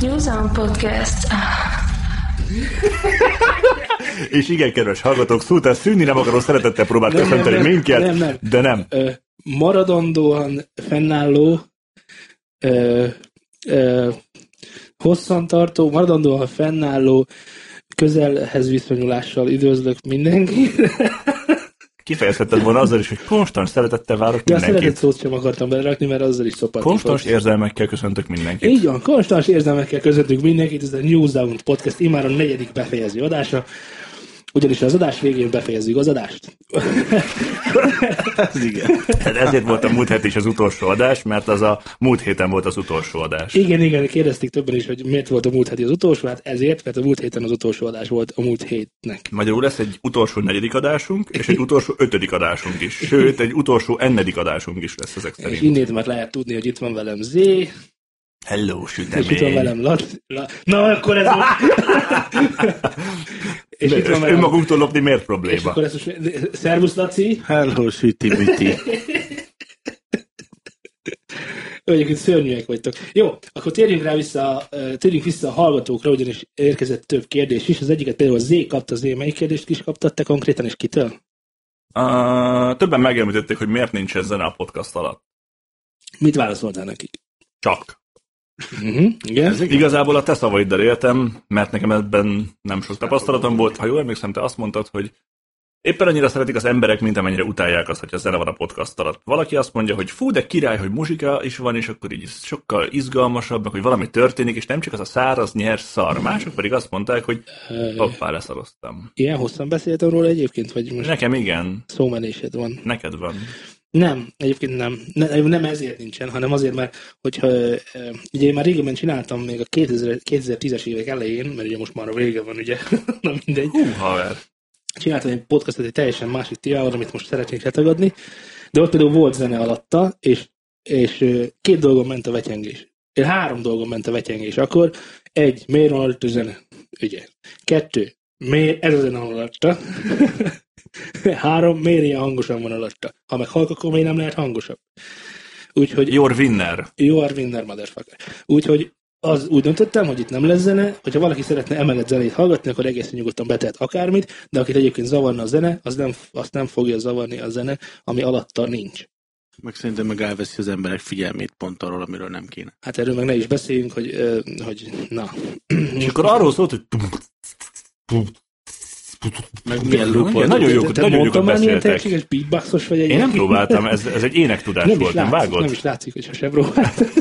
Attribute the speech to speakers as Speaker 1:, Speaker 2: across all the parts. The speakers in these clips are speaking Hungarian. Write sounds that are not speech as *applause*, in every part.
Speaker 1: Hosszan podcast.
Speaker 2: És igen, kedves hallgatók, szóval szűnni nem akaró szeretettel próbált
Speaker 3: Nem, nem,
Speaker 2: köszönteni
Speaker 3: nem,
Speaker 2: minket,
Speaker 3: nem, nem.
Speaker 2: de nem.
Speaker 3: Ö, maradandóan fennálló, ö, ö, hosszantartó, maradandóan fennálló, közelhez viszonyulással üdvözlök mindenkit.
Speaker 2: Kifejezhetted volna azzal is, hogy konstans szeretettel várok
Speaker 3: De a szeretett
Speaker 2: mindenkit.
Speaker 3: szót sem akartam belerakni, mert azzal is szopatni
Speaker 2: Konstans
Speaker 3: fogsz.
Speaker 2: érzelmekkel köszöntök mindenkit.
Speaker 3: Így van, konstans érzelmekkel közöttünk mindenkit, ez a News Down Podcast immár a negyedik befejező adása, ugyanis az adás végén befejezzük az adást.
Speaker 2: Ez igen. Hát ezért volt a múlt hét is az utolsó adás, mert az a múlt héten volt az utolsó adás.
Speaker 3: Igen, igen, kérdezték többen is, hogy miért volt a múlt heti az utolsó, hát ezért, mert a múlt héten az utolsó adás volt a múlt hétnek.
Speaker 2: Magyarul lesz egy utolsó negyedik adásunk, és egy utolsó ötödik adásunk is. Sőt, egy utolsó ennedik adásunk is lesz ezek
Speaker 3: És
Speaker 2: szerint.
Speaker 3: innét már lehet tudni, hogy itt van velem Z,
Speaker 2: Hello,
Speaker 3: és itt van
Speaker 2: sütemény.
Speaker 3: velem Lat... La... Na, akkor ez volt. *laughs* és itt van
Speaker 2: És
Speaker 3: velem...
Speaker 2: önmagunktól lopni miért
Speaker 3: És
Speaker 2: probléma?
Speaker 3: akkor ez most... Szervusz, Laci!
Speaker 4: Hello, süti büti.
Speaker 3: Egyébként szörnyűek vagytok. Jó, akkor térjünk rá vissza, ö, térjünk vissza a hallgatókra, ugyanis érkezett több kérdés is. Az egyiket például Z kapta, Z melyik kérdést is kaptad te konkrétan, és kitől?
Speaker 2: Uh, többen megemlítették, hogy miért nincsen zene a podcast alatt.
Speaker 3: Mit válaszoltál nekik?
Speaker 2: Csak.
Speaker 3: Uh-huh, igen.
Speaker 2: Igazából a te szavaiddal éltem, mert nekem ebben nem sok tapasztalatom volt. Ha jól emlékszem, te azt mondtad, hogy éppen annyira szeretik az emberek, mint amennyire utálják azt, hogy a zene van a podcast alatt. Valaki azt mondja, hogy fú, de király, hogy muzsika is van, és akkor így sokkal izgalmasabb, meg hogy valami történik, és nem csak az a száraz, nyers szar. Mások pedig azt mondták, hogy
Speaker 3: Ö,
Speaker 2: hoppá, leszaroztam.
Speaker 3: Ilyen hosszan beszéltem róla egyébként, vagy most
Speaker 2: Nekem igen,
Speaker 3: szómenésed van?
Speaker 2: neked van.
Speaker 3: Nem, egyébként nem. Ne, nem ezért nincsen, hanem azért, mert hogyha, ö, ö, ugye én már régebben csináltam még a 2000, 2010-es évek elején, mert ugye most már a vége van, ugye, *laughs* na mindegy.
Speaker 2: Hú, haver.
Speaker 3: Csináltam egy podcastot egy teljesen másik témával, amit most szeretnék letagadni, de ott például volt zene alatta, és, és ö, két dolgon ment a vetyengés. Én három dolgon ment a vetyengés akkor. Egy, miért van alatt a zene? Ugye. Kettő, miért ez a zene van alatta? *laughs* Három, miért ilyen hangosan van alatta? Ha meg halk, akkor miért nem lehet hangosabb? Úgyhogy
Speaker 2: Your winner.
Speaker 3: You are winner, motherfucker. Úgyhogy az úgy döntöttem, hogy itt nem lesz zene, hogyha valaki szeretne emellett zenét hallgatni, akkor egészen nyugodtan betehet akármit, de akit egyébként zavarna a zene, az nem, azt nem fogja zavarni a zene, ami alatta nincs.
Speaker 4: Meg szerintem meg elveszi az emberek figyelmét pont arról, amiről nem kéne.
Speaker 3: Hát erről meg ne is beszéljünk, hogy, ö, hogy na.
Speaker 2: És akkor arról szólt, hogy
Speaker 4: Meg milyen loop volt.
Speaker 2: Nagyon jókat-
Speaker 3: Te
Speaker 2: nagyon jókat
Speaker 3: mondtam már milyen
Speaker 2: beszéltek.
Speaker 3: tehetséges beatboxos vagy egy
Speaker 2: én nem próbáltam, ez, ez egy énektudás
Speaker 3: nem
Speaker 2: volt,
Speaker 3: is
Speaker 2: nem
Speaker 3: látszik,
Speaker 2: vágod?
Speaker 3: Nem is látszik, hogyha sem próbált.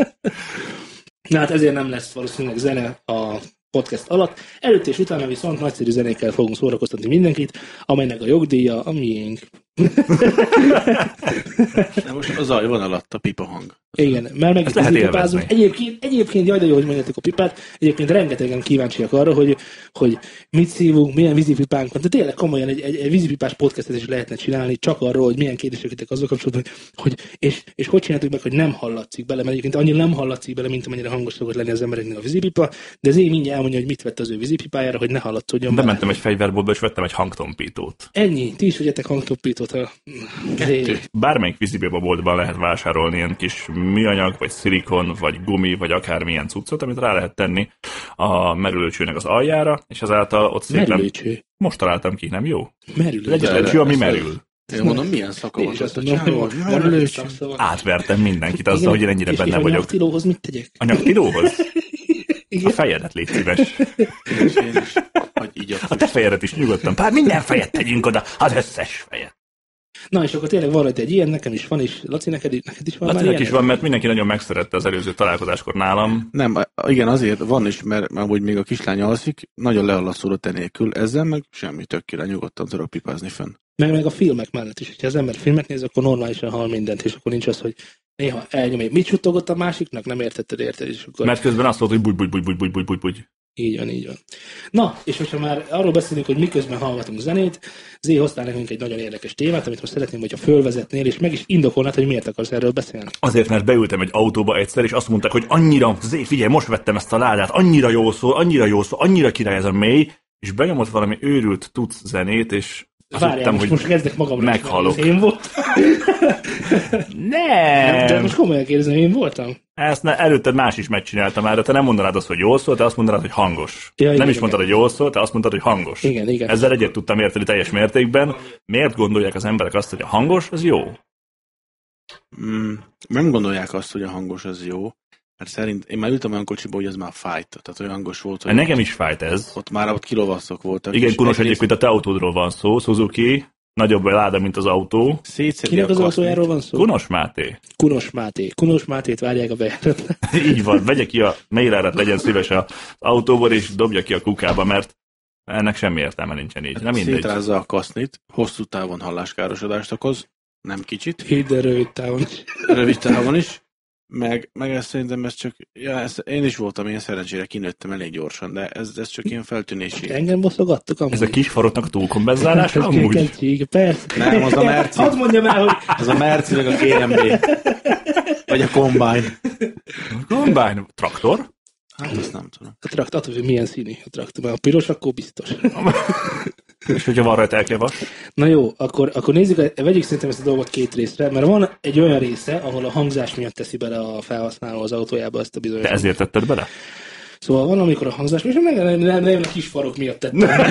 Speaker 2: *laughs*
Speaker 3: Na hát ezért nem lesz valószínűleg zene a podcast alatt. Előtt és utána viszont nagyszerű zenékkel fogunk szórakoztatni mindenkit, amelynek a jogdíja a miénk.
Speaker 4: De most a zaj van alatt, a pipa hang.
Speaker 3: Igen, mert meg
Speaker 2: lehet
Speaker 3: itt pipázunk.
Speaker 2: élvezni.
Speaker 3: Egyébként, egyébként jaj, de jó, hogy mondjátok a pipát. Egyébként rengetegen kíváncsiak arra, hogy, hogy mit szívunk, milyen vízipipánk van. De tényleg komolyan egy, egy, egy vízipipás podcastet is lehetne csinálni, csak arról, hogy milyen kérdések jöttek azzal kapcsolatban, hogy, és, és hogy csináltuk meg, hogy nem hallatszik bele, mert egyébként annyira nem hallatszik bele, mint amennyire hangos szokott lenni az embereknek a vízipipa, de ez én mindjárt elmondja, hogy mit vett az ő vízipipájára, hogy ne hallatszódjon bele.
Speaker 2: Bementem egy fegyverboltba, és vettem egy hangtompítót.
Speaker 3: Ennyi, ti is vegyetek hangtoppítót a... Kettő.
Speaker 2: Bármelyik vízibéba boltban lehet vásárolni ilyen kis műanyag, vagy szilikon, vagy gumi, vagy akármilyen cuccot, amit rá lehet tenni a merülőcsőnek az aljára, és ezáltal ott szépen...
Speaker 3: Merülőcső.
Speaker 2: Most találtam ki, nem jó?
Speaker 3: Merülőcső.
Speaker 2: Legyen
Speaker 4: De-
Speaker 2: egy cső, ami
Speaker 4: ezt-
Speaker 2: merül.
Speaker 4: Én mondom, milyen szaka
Speaker 3: Én
Speaker 4: volt
Speaker 3: is azt
Speaker 4: ott a
Speaker 3: mondom, hogy
Speaker 4: csávó.
Speaker 3: van-
Speaker 4: Jaj,
Speaker 3: van
Speaker 4: lőcs.
Speaker 3: egy
Speaker 2: szóval.
Speaker 3: szakszava.
Speaker 2: Átvertem mindenkit azzal, hogy én ennyire
Speaker 3: és,
Speaker 2: benne
Speaker 3: és
Speaker 2: vagyok.
Speaker 3: A tilóhoz mit tegyek?
Speaker 2: A nyaktilóhoz? A
Speaker 3: Igen.
Speaker 2: fejedet légy szíves.
Speaker 4: És én is. Hogy így a
Speaker 2: A te fejedet is nyugodtan. Pár minden fejet tegyünk oda, az összes fejet.
Speaker 3: Na, és akkor tényleg van rajta egy ilyen, nekem is van, és Laci, neked, i- neked is van már
Speaker 2: Hát
Speaker 3: ilyen?
Speaker 2: is van, mert mindenki nagyon megszerette az előző találkozáskor nálam.
Speaker 4: Nem, a- igen, azért van is, mert amúgy még a kislány alszik, nagyon lealasszódott enélkül, ezzel meg semmi tökére nyugodtan tudok pipázni fönn.
Speaker 3: Meg, meg a filmek mellett is. Ha az ember filmet néz, akkor normálisan hall mindent, és akkor nincs az, hogy néha elnyom egy mit suttogott a másiknak, nem értetted, érted, és akkor
Speaker 2: Mert közben azt volt, hogy buj, buj, buj, buj, buj, buj, buj, buj.
Speaker 3: így van, így van. Na, és hogyha már arról beszélünk, hogy miközben hallgatunk zenét, Zé hoztál nekünk egy nagyon érdekes témát, amit most szeretném, hogyha fölvezetnél, és meg is indokolnád, hogy miért akarsz erről beszélni.
Speaker 2: Azért, mert beültem egy autóba egyszer, és azt mondták, hogy annyira, zé, figyelj, most vettem ezt a ládát, annyira jó szól, annyira jó szól, annyira király ez a mély, és benyomott valami őrült tudsz zenét, és Azt
Speaker 3: Várjál,
Speaker 2: hittem,
Speaker 3: most,
Speaker 2: hogy
Speaker 3: most kezdek magamra. is
Speaker 2: meghalok.
Speaker 3: menni. Én voltam.
Speaker 2: Nem!
Speaker 3: De most komolyan kérdezem, én voltam?
Speaker 2: Ezt ne, előtted más is megcsinálta már, de te nem mondanád azt, hogy jól szól, te azt mondanád, hogy hangos.
Speaker 3: Ja,
Speaker 2: Ja,
Speaker 3: igen,
Speaker 2: nem is
Speaker 3: igen.
Speaker 2: mondtad, hogy jól szól, te azt mondtad, hogy hangos.
Speaker 3: Igen, igen.
Speaker 2: Ezzel egyet tudtam érteni teljes mértékben. Miért gondolják az emberek azt, hogy a hangos, az jó?
Speaker 4: Mm, nem gondolják azt, hogy a hangos az jó, mert szerint én már ültem olyan kocsiba, hogy ez már fájt. Tehát olyan hangos volt, hogy
Speaker 2: Hát Nekem is fájt ez.
Speaker 4: ott már ott kilovasszok voltak.
Speaker 2: Igen, kunos
Speaker 4: egyrészt
Speaker 2: egyébként a te autódról van szó, Suzuki, nagyobb a láda, mint az autó.
Speaker 4: Szétszedi
Speaker 3: Kinek
Speaker 4: a
Speaker 3: az
Speaker 4: kasznit.
Speaker 3: autójáról van szó?
Speaker 2: Kunos Máté.
Speaker 3: Kunos Máté. Kunos Mátét várják a bejáratot.
Speaker 2: Így van, vegye ki a mailárat, legyen szíves az autóból, és dobja ki a kukába, mert ennek semmi értelme nincsen így. Nem mindegy.
Speaker 4: Szétrázza a kasznit, hosszú távon hallásárosodást okoz, nem kicsit,
Speaker 3: Hidd el rövid távon.
Speaker 4: rövid távon is, meg, meg ezt szerintem ez csak, ja, ezt én is voltam, én szerencsére kinőttem elég gyorsan, de ez, ez csak ilyen feltűnési.
Speaker 3: Engem bosszogattok amúgy.
Speaker 2: Ez a kis farotnak a túlkompenzálása amúgy?
Speaker 3: Kentség, persze.
Speaker 4: Nem, az a merci.
Speaker 3: Azt mondjam el, hogy
Speaker 4: Ez a Merci, meg a KMB. Vagy a Combine.
Speaker 2: Combine, traktor?
Speaker 4: Hát azt nem tudom.
Speaker 3: a trakt, attól, hogy milyen színű a trakt. Ha piros, akkor biztos.
Speaker 2: És hogyha van rajta elkevas?
Speaker 3: Na jó, akkor, akkor nézzük, a- vegyük szerintem ezt a dolgot két részre, mert van egy olyan része, ahol a hangzás miatt teszi bele a felhasználó az autójába ezt a bizonyos.
Speaker 2: Te ezért tetted bele?
Speaker 3: Szóval van, amikor a hangzás, és nem, nem, nem, nem a kis farok miatt tettem.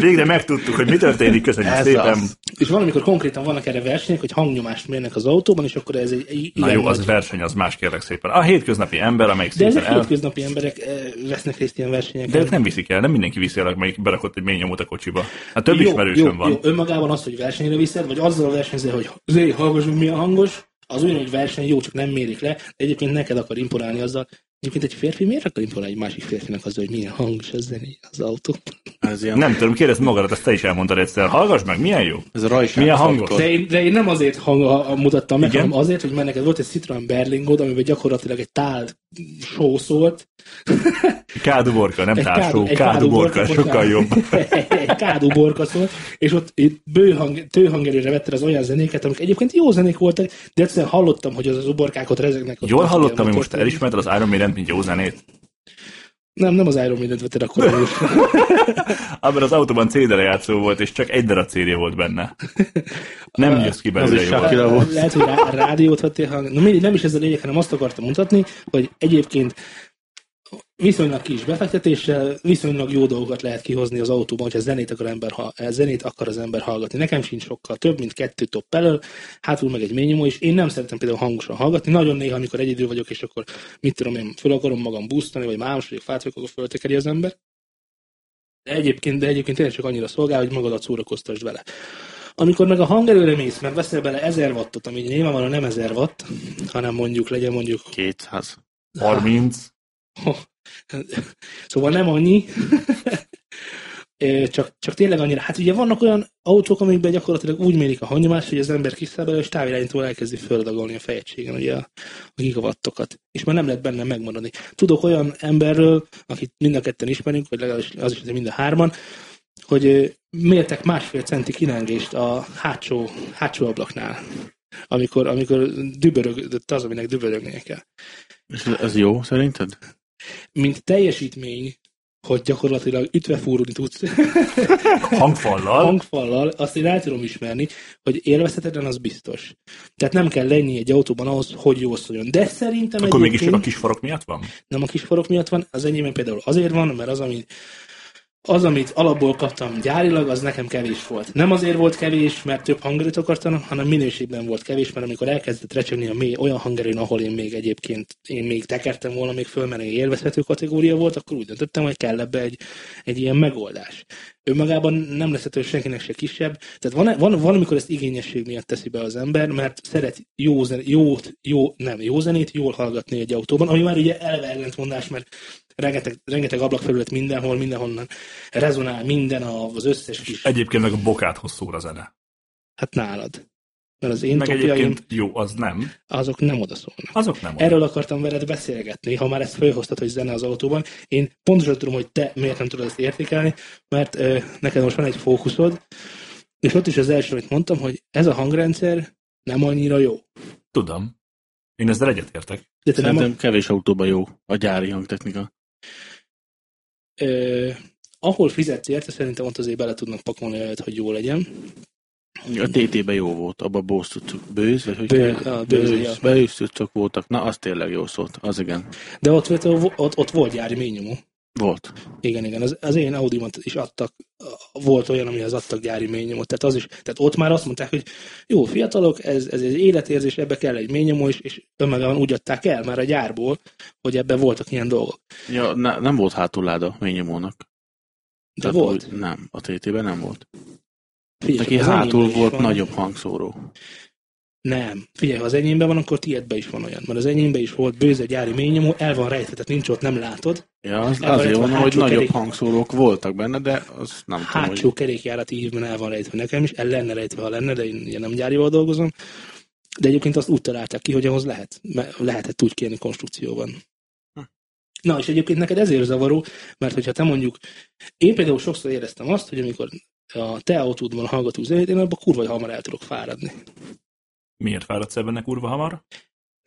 Speaker 2: Végre megtudtuk, hogy mi történik, köszönjük
Speaker 4: Ez
Speaker 2: szépen.
Speaker 4: az.
Speaker 3: és van, amikor konkrétan vannak erre versenyek, hogy hangnyomást mérnek az autóban, és akkor ez egy i-
Speaker 2: Na
Speaker 3: igen
Speaker 2: jó, az
Speaker 3: nagy-
Speaker 2: verseny, az más kérlek szépen. A hétköznapi ember, amelyik
Speaker 3: De ezek
Speaker 2: szépen el...
Speaker 3: hétköznapi emberek eh, vesznek részt ilyen versenyeken.
Speaker 2: De ők nem viszik el, nem mindenki viszi el, amelyik berakott egy mély nyomót a kocsiba. Hát több ismerősöm van.
Speaker 3: Jó, önmagában az, hogy versenyre viszed, vagy azzal versenyzel, hogy zé, hallgassunk, mi a hangos, az ugyanúgy verseny jó, csak nem mérik le. De egyébként neked akar imponálni azzal. Egyébként egy férfi miért akar imponálni egy másik férfinek azzal, hogy milyen hangos az zené az autó?
Speaker 4: Ez ilyen,
Speaker 2: Nem tudom, kérdezd magadat, ezt te is elmondtad egyszer. Hallgass meg, milyen jó.
Speaker 4: ez a rajság.
Speaker 2: Milyen hangos?
Speaker 4: faktor.
Speaker 3: De én, de én nem azért hang, a, a, mutattam meg,
Speaker 2: Igen?
Speaker 3: hanem azért, hogy mert neked volt egy Citroen Berlingod, amiben gyakorlatilag egy tál só szólt.
Speaker 2: Káduborka, nem
Speaker 3: Egy
Speaker 2: társó,
Speaker 3: kádu- egy
Speaker 2: káduborka,
Speaker 3: káduborka,
Speaker 2: sokkal jobb.
Speaker 3: bocsánat. *laughs* egy kádú borka szólt, és ott itt bőhang, tőhangerőre vetted az olyan zenéket, amik egyébként jó zenék voltak, de egyszerűen hallottam, hogy az az uborkákot rezegnek. ott
Speaker 2: Jól
Speaker 3: a
Speaker 2: hallottam, hogy most
Speaker 3: motortól.
Speaker 2: elismerted az Iron Maiden, mint jó zenét.
Speaker 3: Nem, nem az Iron Maiden vetted akkor. is.
Speaker 2: Abban az autóban CD-re játszó volt, és csak egy darab CD volt benne.
Speaker 3: *laughs*
Speaker 2: Nem jössz ki belőle
Speaker 4: is
Speaker 2: jól.
Speaker 4: Akira volt.
Speaker 3: Lehet, hogy rá, rádiót vettél hang. Na, mindegy, nem is ez a lényeg, hanem azt akartam mutatni, hogy egyébként viszonylag kis befektetéssel viszonylag jó dolgokat lehet kihozni az autóban, hogyha zenét akar, ember, ha, eh, zenét akar az ember hallgatni. Nekem sincs sokkal több, mint kettő top elől, hátul meg egy ményomó, és én nem szeretem például hangosan hallgatni. Nagyon néha, amikor egyedül vagyok, és akkor mit tudom én, föl akarom magam búztani, vagy mámos vagyok, fát vagyok, akkor föltekeri az ember. De egyébként, de egyébként tényleg csak annyira szolgál, hogy magadat szórakoztasd vele. Amikor meg a hangerőre mész, mert veszel bele 1000 wattot, ami nyilvánvalóan nem 1000 watt, hanem mondjuk legyen mondjuk
Speaker 4: 200.
Speaker 2: 30.
Speaker 3: Szóval nem annyi, Ö, csak, csak tényleg annyira. Hát ugye vannak olyan autók, amikben gyakorlatilag úgy mérik a hangyomást, hogy az ember kiszáll belőle, és távirányítóval elkezdi földagolni a fejegységen ugye a, a gigavattokat. És már nem lehet benne megmaradni. Tudok olyan emberről, akit mind a ketten ismerünk, vagy legalábbis az is, hogy mind a hárman, hogy ö, mértek másfél centi kilengést a hátsó, hátsó ablaknál. Amikor, amikor dübörögött az, aminek dübörögnie kell
Speaker 4: És ez, ez jó, szerinted?
Speaker 3: mint teljesítmény, hogy gyakorlatilag ütve fúrni tudsz
Speaker 2: Hangfallal.
Speaker 3: hangfallal, azt én el tudom ismerni, hogy élvezhetetlen az biztos. Tehát nem kell lenni egy autóban ahhoz, hogy jól szóljon. De szerintem
Speaker 2: Akkor mégis
Speaker 3: egyébként
Speaker 2: a kis farok miatt van?
Speaker 3: nem a kisforok miatt van, az enyémben például azért van, mert az, amit az, amit alapból kaptam gyárilag, az nekem kevés volt. Nem azért volt kevés, mert több hangerőt akartam, hanem minőségben volt kevés, mert amikor elkezdett recsegni a mély olyan hangerőn, ahol én még egyébként én még tekertem volna, még fölmenő élvezhető kategória volt, akkor úgy döntöttem, hogy kell ebbe egy, egy ilyen megoldás. Önmagában nem leszhető senkinek se kisebb. Tehát van, van, van, amikor ezt igényesség miatt teszi be az ember, mert szeret jó, zen, jót, jó, nem, jó zenét jól hallgatni egy autóban, ami már ugye eleve ellentmondás, mert rengeteg, rengeteg ablakfelület mindenhol, mindenhonnan rezonál minden a- az összes kis,
Speaker 2: Egyébként meg a bokát hosszúra zene.
Speaker 3: hát nálad. Mert az én
Speaker 2: Meg
Speaker 3: topjaim,
Speaker 2: egyébként jó, az nem.
Speaker 3: azok nem odaszólnak.
Speaker 2: Azok nem. olyan.
Speaker 3: Erről akartam veled beszélgetni, ha már ezt felhoztad, hogy zene az autóban. Én pontosan tudom, hogy te miért nem tudod ezt értékelni, mert ö, neked most van egy fókuszod, és ott is az első, amit mondtam, hogy ez a hangrendszer nem annyira jó.
Speaker 2: Tudom. Én ezzel egyetértek.
Speaker 3: De te nem,
Speaker 4: Szerintem kevés autóban jó a gyári hangtechnika.
Speaker 3: ö, ahol fizetsz érte, szerintem ott azért bele tudnak pakolni olyat, hogy jó legyen.
Speaker 4: A TT-ben jó volt, abban bóztucok. Bőz, vagy hogy
Speaker 3: Bő- a bőz, ja.
Speaker 4: Bőztucok voltak. Na, az tényleg jó szólt. Az igen.
Speaker 3: De ott, ott, ott, ott volt gyárményomú.
Speaker 4: Volt.
Speaker 3: Igen, igen. Az, az én Audimat is adtak, volt olyan, amihez adtak gyári mélynyomot. Tehát, az is, tehát ott már azt mondták, hogy jó, fiatalok, ez, ez egy életérzés, ebbe kell egy mélynyomó is, és önmagában úgy adták el már a gyárból, hogy ebbe voltak ilyen dolgok.
Speaker 4: Ja, ne, nem volt hátulláda ményomónak.
Speaker 3: De volt.
Speaker 4: Úgy, nem, a TT-ben nem volt.
Speaker 3: Figyelj,
Speaker 4: Neki
Speaker 3: ha az
Speaker 4: hátul
Speaker 3: enyémben is
Speaker 4: volt
Speaker 3: van-
Speaker 4: nagyobb hangszóró.
Speaker 3: Nem. Figyelj, ha az enyémben van, akkor tiédben is van olyan. Mert az enyémben is volt bőze gyári mélynyomó, el van rejtve, tehát nincs ott, nem látod.
Speaker 4: Ja, az,
Speaker 3: Ebben
Speaker 4: azért
Speaker 3: itt van
Speaker 4: mondom, hogy
Speaker 3: hátsó
Speaker 4: nagyobb
Speaker 3: kerék.
Speaker 4: hangszórók voltak benne, de az nem tudom,
Speaker 3: Hátsó
Speaker 4: hogy...
Speaker 3: Hát, kerékjárati hívben el van rejtve nekem is, el lenne rejtve, ha lenne, de én ugye nem gyárival dolgozom. De egyébként azt úgy találták ki, hogy ahhoz lehet. Mert lehetett úgy kérni konstrukcióban.
Speaker 4: Hm.
Speaker 3: Na, és egyébként neked ezért zavaró, mert hogyha te mondjuk, én például sokszor éreztem azt, hogy amikor a te autódban hallgató zenét, én abban kurva hamar el tudok fáradni.
Speaker 2: Miért fáradsz ebben ne kurva hamar?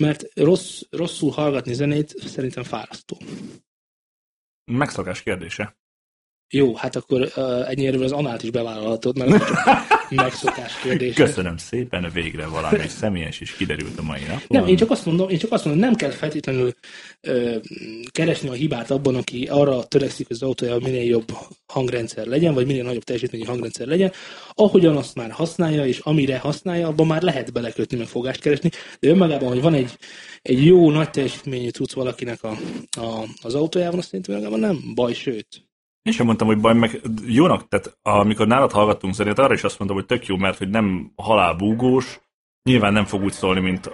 Speaker 3: Mert rossz, rosszul hallgatni zenét szerintem fárasztó.
Speaker 2: Megszokás kérdése.
Speaker 3: Jó, hát akkor uh, ennyire az anált is bevállalhatod, mert ez csak
Speaker 4: *laughs*
Speaker 3: megszokás kérdése.
Speaker 2: Köszönöm szépen, végre valami személyes is kiderült a mai nap.
Speaker 3: Nem, én csak azt mondom, én csak azt mondom, nem kell feltétlenül ö, keresni a hibát abban, aki arra törekszik, hogy az autója minél jobb hangrendszer legyen, vagy minél nagyobb teljesítményű hangrendszer legyen. Ahogyan azt már használja, és amire használja, abban már lehet belekötni, meg fogást keresni. De önmagában, hogy van egy, egy jó, nagy teljesítményű tudsz valakinek a, a, az autójában, azt szerintem önmagában nem baj, sőt.
Speaker 2: Én sem mondtam, hogy baj, meg jónak, tehát amikor nálad hallgattunk zenét, arra is azt mondtam, hogy tök jó, mert hogy nem halálbúgós, nyilván nem fog úgy szólni, mint uh,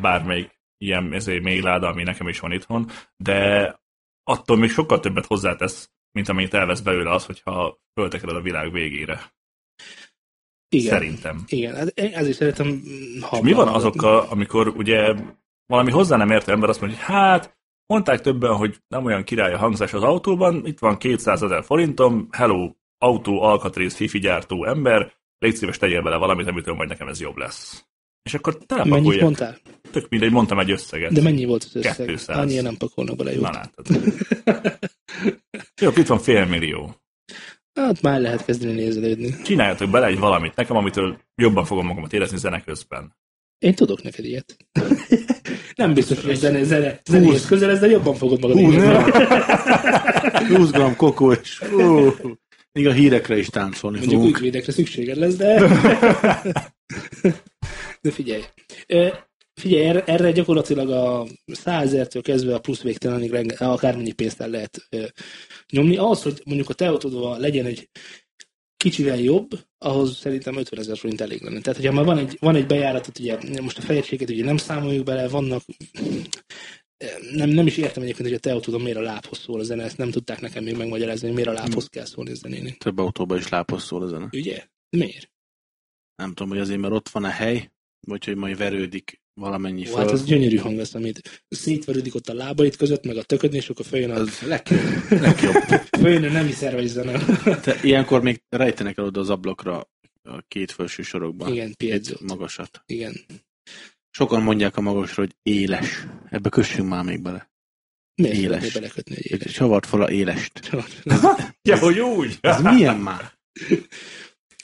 Speaker 2: bármelyik ilyen ezért mélyláda, ami nekem is van itthon, de attól még sokkal többet hozzátesz, mint amit elvesz belőle az, hogyha föltekered a világ végére.
Speaker 3: Igen.
Speaker 2: Szerintem.
Speaker 3: Igen, hát én ezért szeretem mm,
Speaker 2: És
Speaker 3: habban
Speaker 2: mi van
Speaker 3: hallgatni.
Speaker 2: azokkal, amikor ugye valami hozzá nem értő ember azt mondja, hogy hát, mondták többen, hogy nem olyan király a hangzás az autóban, itt van 200 ezer forintom, hello, autó, alkatrész, hifi gyártó ember, légy szíves, tegyél bele valamit, amitől majd nekem ez jobb lesz. És akkor
Speaker 3: Mennyit
Speaker 2: telepakolják.
Speaker 3: mondtál?
Speaker 2: Tök mindegy, mondtam egy összeget.
Speaker 3: De mennyi volt az összeg?
Speaker 2: 200.
Speaker 3: Annyira nem pakolnak bele jót.
Speaker 2: Na látod. Jó, itt van fél millió.
Speaker 3: Hát már lehet kezdeni nézelődni.
Speaker 2: Csináljatok bele egy valamit nekem, amitől jobban fogom magamat érezni zene közben.
Speaker 3: Én tudok neked ilyet. nem biztos, hogy zene, zene, zenéhez közel, ez, de jobban fogod magad
Speaker 4: Hú,
Speaker 3: érezni.
Speaker 4: nem. 20 gram kokó, és hú, még a hírekre is táncolni
Speaker 3: Mondjuk
Speaker 4: fogunk.
Speaker 3: ügyvédekre szükséged lesz, de... de figyelj. Ö, Figyelj, erre, erre gyakorlatilag a 100 ezertől kezdve a plusz végtelenig renge- akármennyi pénzt el lehet ö, nyomni. Ahhoz, hogy mondjuk a te autódval legyen egy kicsivel jobb, ahhoz szerintem 50 ezer forint elég lenne. Tehát, hogyha már van egy, van egy bejáratot, ugye most a fejegységet ugye nem számoljuk bele, vannak nem, nem is értem egyébként, hogy a te autódon miért a lábhoz szól a zene, ezt nem tudták nekem még megmagyarázni, hogy miért a lábhoz kell szólni a zenének.
Speaker 4: Több autóban is lápos szól a zene.
Speaker 3: Ugye? Miért?
Speaker 4: Nem tudom, hogy azért, mert ott van a hely, vagy hogy majd verődik valamennyi
Speaker 3: Jó,
Speaker 4: föl.
Speaker 3: hát ez gyönyörű hang lesz, amit szétverődik ott a lábait között, meg a töködni, és akkor följön a, *laughs*
Speaker 4: az legjobb. legjobb.
Speaker 3: följön a nemi szervei zene.
Speaker 4: Te, ilyenkor még rejtenek el oda az ablakra a két felső sorokban.
Speaker 3: Igen,
Speaker 4: Két
Speaker 3: piedzőt.
Speaker 4: magasat.
Speaker 3: Igen.
Speaker 4: Sokan mondják a magasra, hogy éles. Ebbe kössünk már még bele.
Speaker 3: Miért
Speaker 4: Éles.
Speaker 3: szeretnél belekötni egy
Speaker 4: Egy
Speaker 3: éles?
Speaker 4: Csavart fel a élest.
Speaker 2: Ja, hogy úgy!
Speaker 4: Ez milyen már?
Speaker 3: *laughs*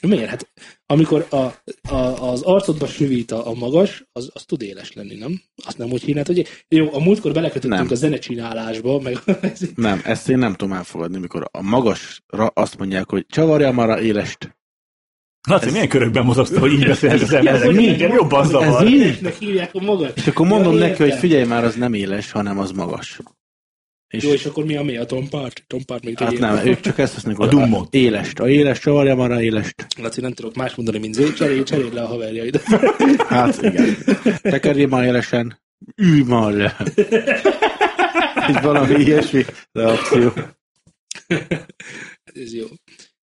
Speaker 3: Miért? Hát amikor a, a, az arcodba süvít a, a magas, az, az tud éles lenni, nem? Azt nem úgy hívnád, hogy jó, a múltkor belekötöttünk
Speaker 4: Nem.
Speaker 3: a zenecsinálásba, meg *laughs*
Speaker 4: Nem, ezt én nem tudom elfogadni, mikor a magasra azt mondják, hogy csavarja már a élest.
Speaker 2: Laci,
Speaker 4: Ez-
Speaker 2: milyen körökben mozogsz, hogy így beszélsz az
Speaker 3: Ez
Speaker 2: emberek?
Speaker 3: mi?
Speaker 2: Minket jobban
Speaker 4: Ez
Speaker 2: zavar.
Speaker 4: mi?
Speaker 3: *laughs* élesnek hívják a magas.
Speaker 4: És akkor mondom
Speaker 3: Ja,
Speaker 4: neki, hogy
Speaker 3: értem.
Speaker 4: figyelj már, az nem éles, hanem az magas.
Speaker 3: Jó, és akkor mi a mi? A tompárt? Tompárt még
Speaker 4: Hát
Speaker 3: tegyél.
Speaker 4: nem, ők csak ezt használják.
Speaker 2: A
Speaker 4: hogy
Speaker 2: dummot.
Speaker 4: Élest. A éles csavarja már a élest.
Speaker 3: Laci, nem tudok más mondani, mint zé, cserélj, cserélj le a haverjaidat.
Speaker 4: Hát igen. Tekerj már élesen. Ülj már le. És valami ilyesmi reakció.
Speaker 3: *laughs* Ez jó.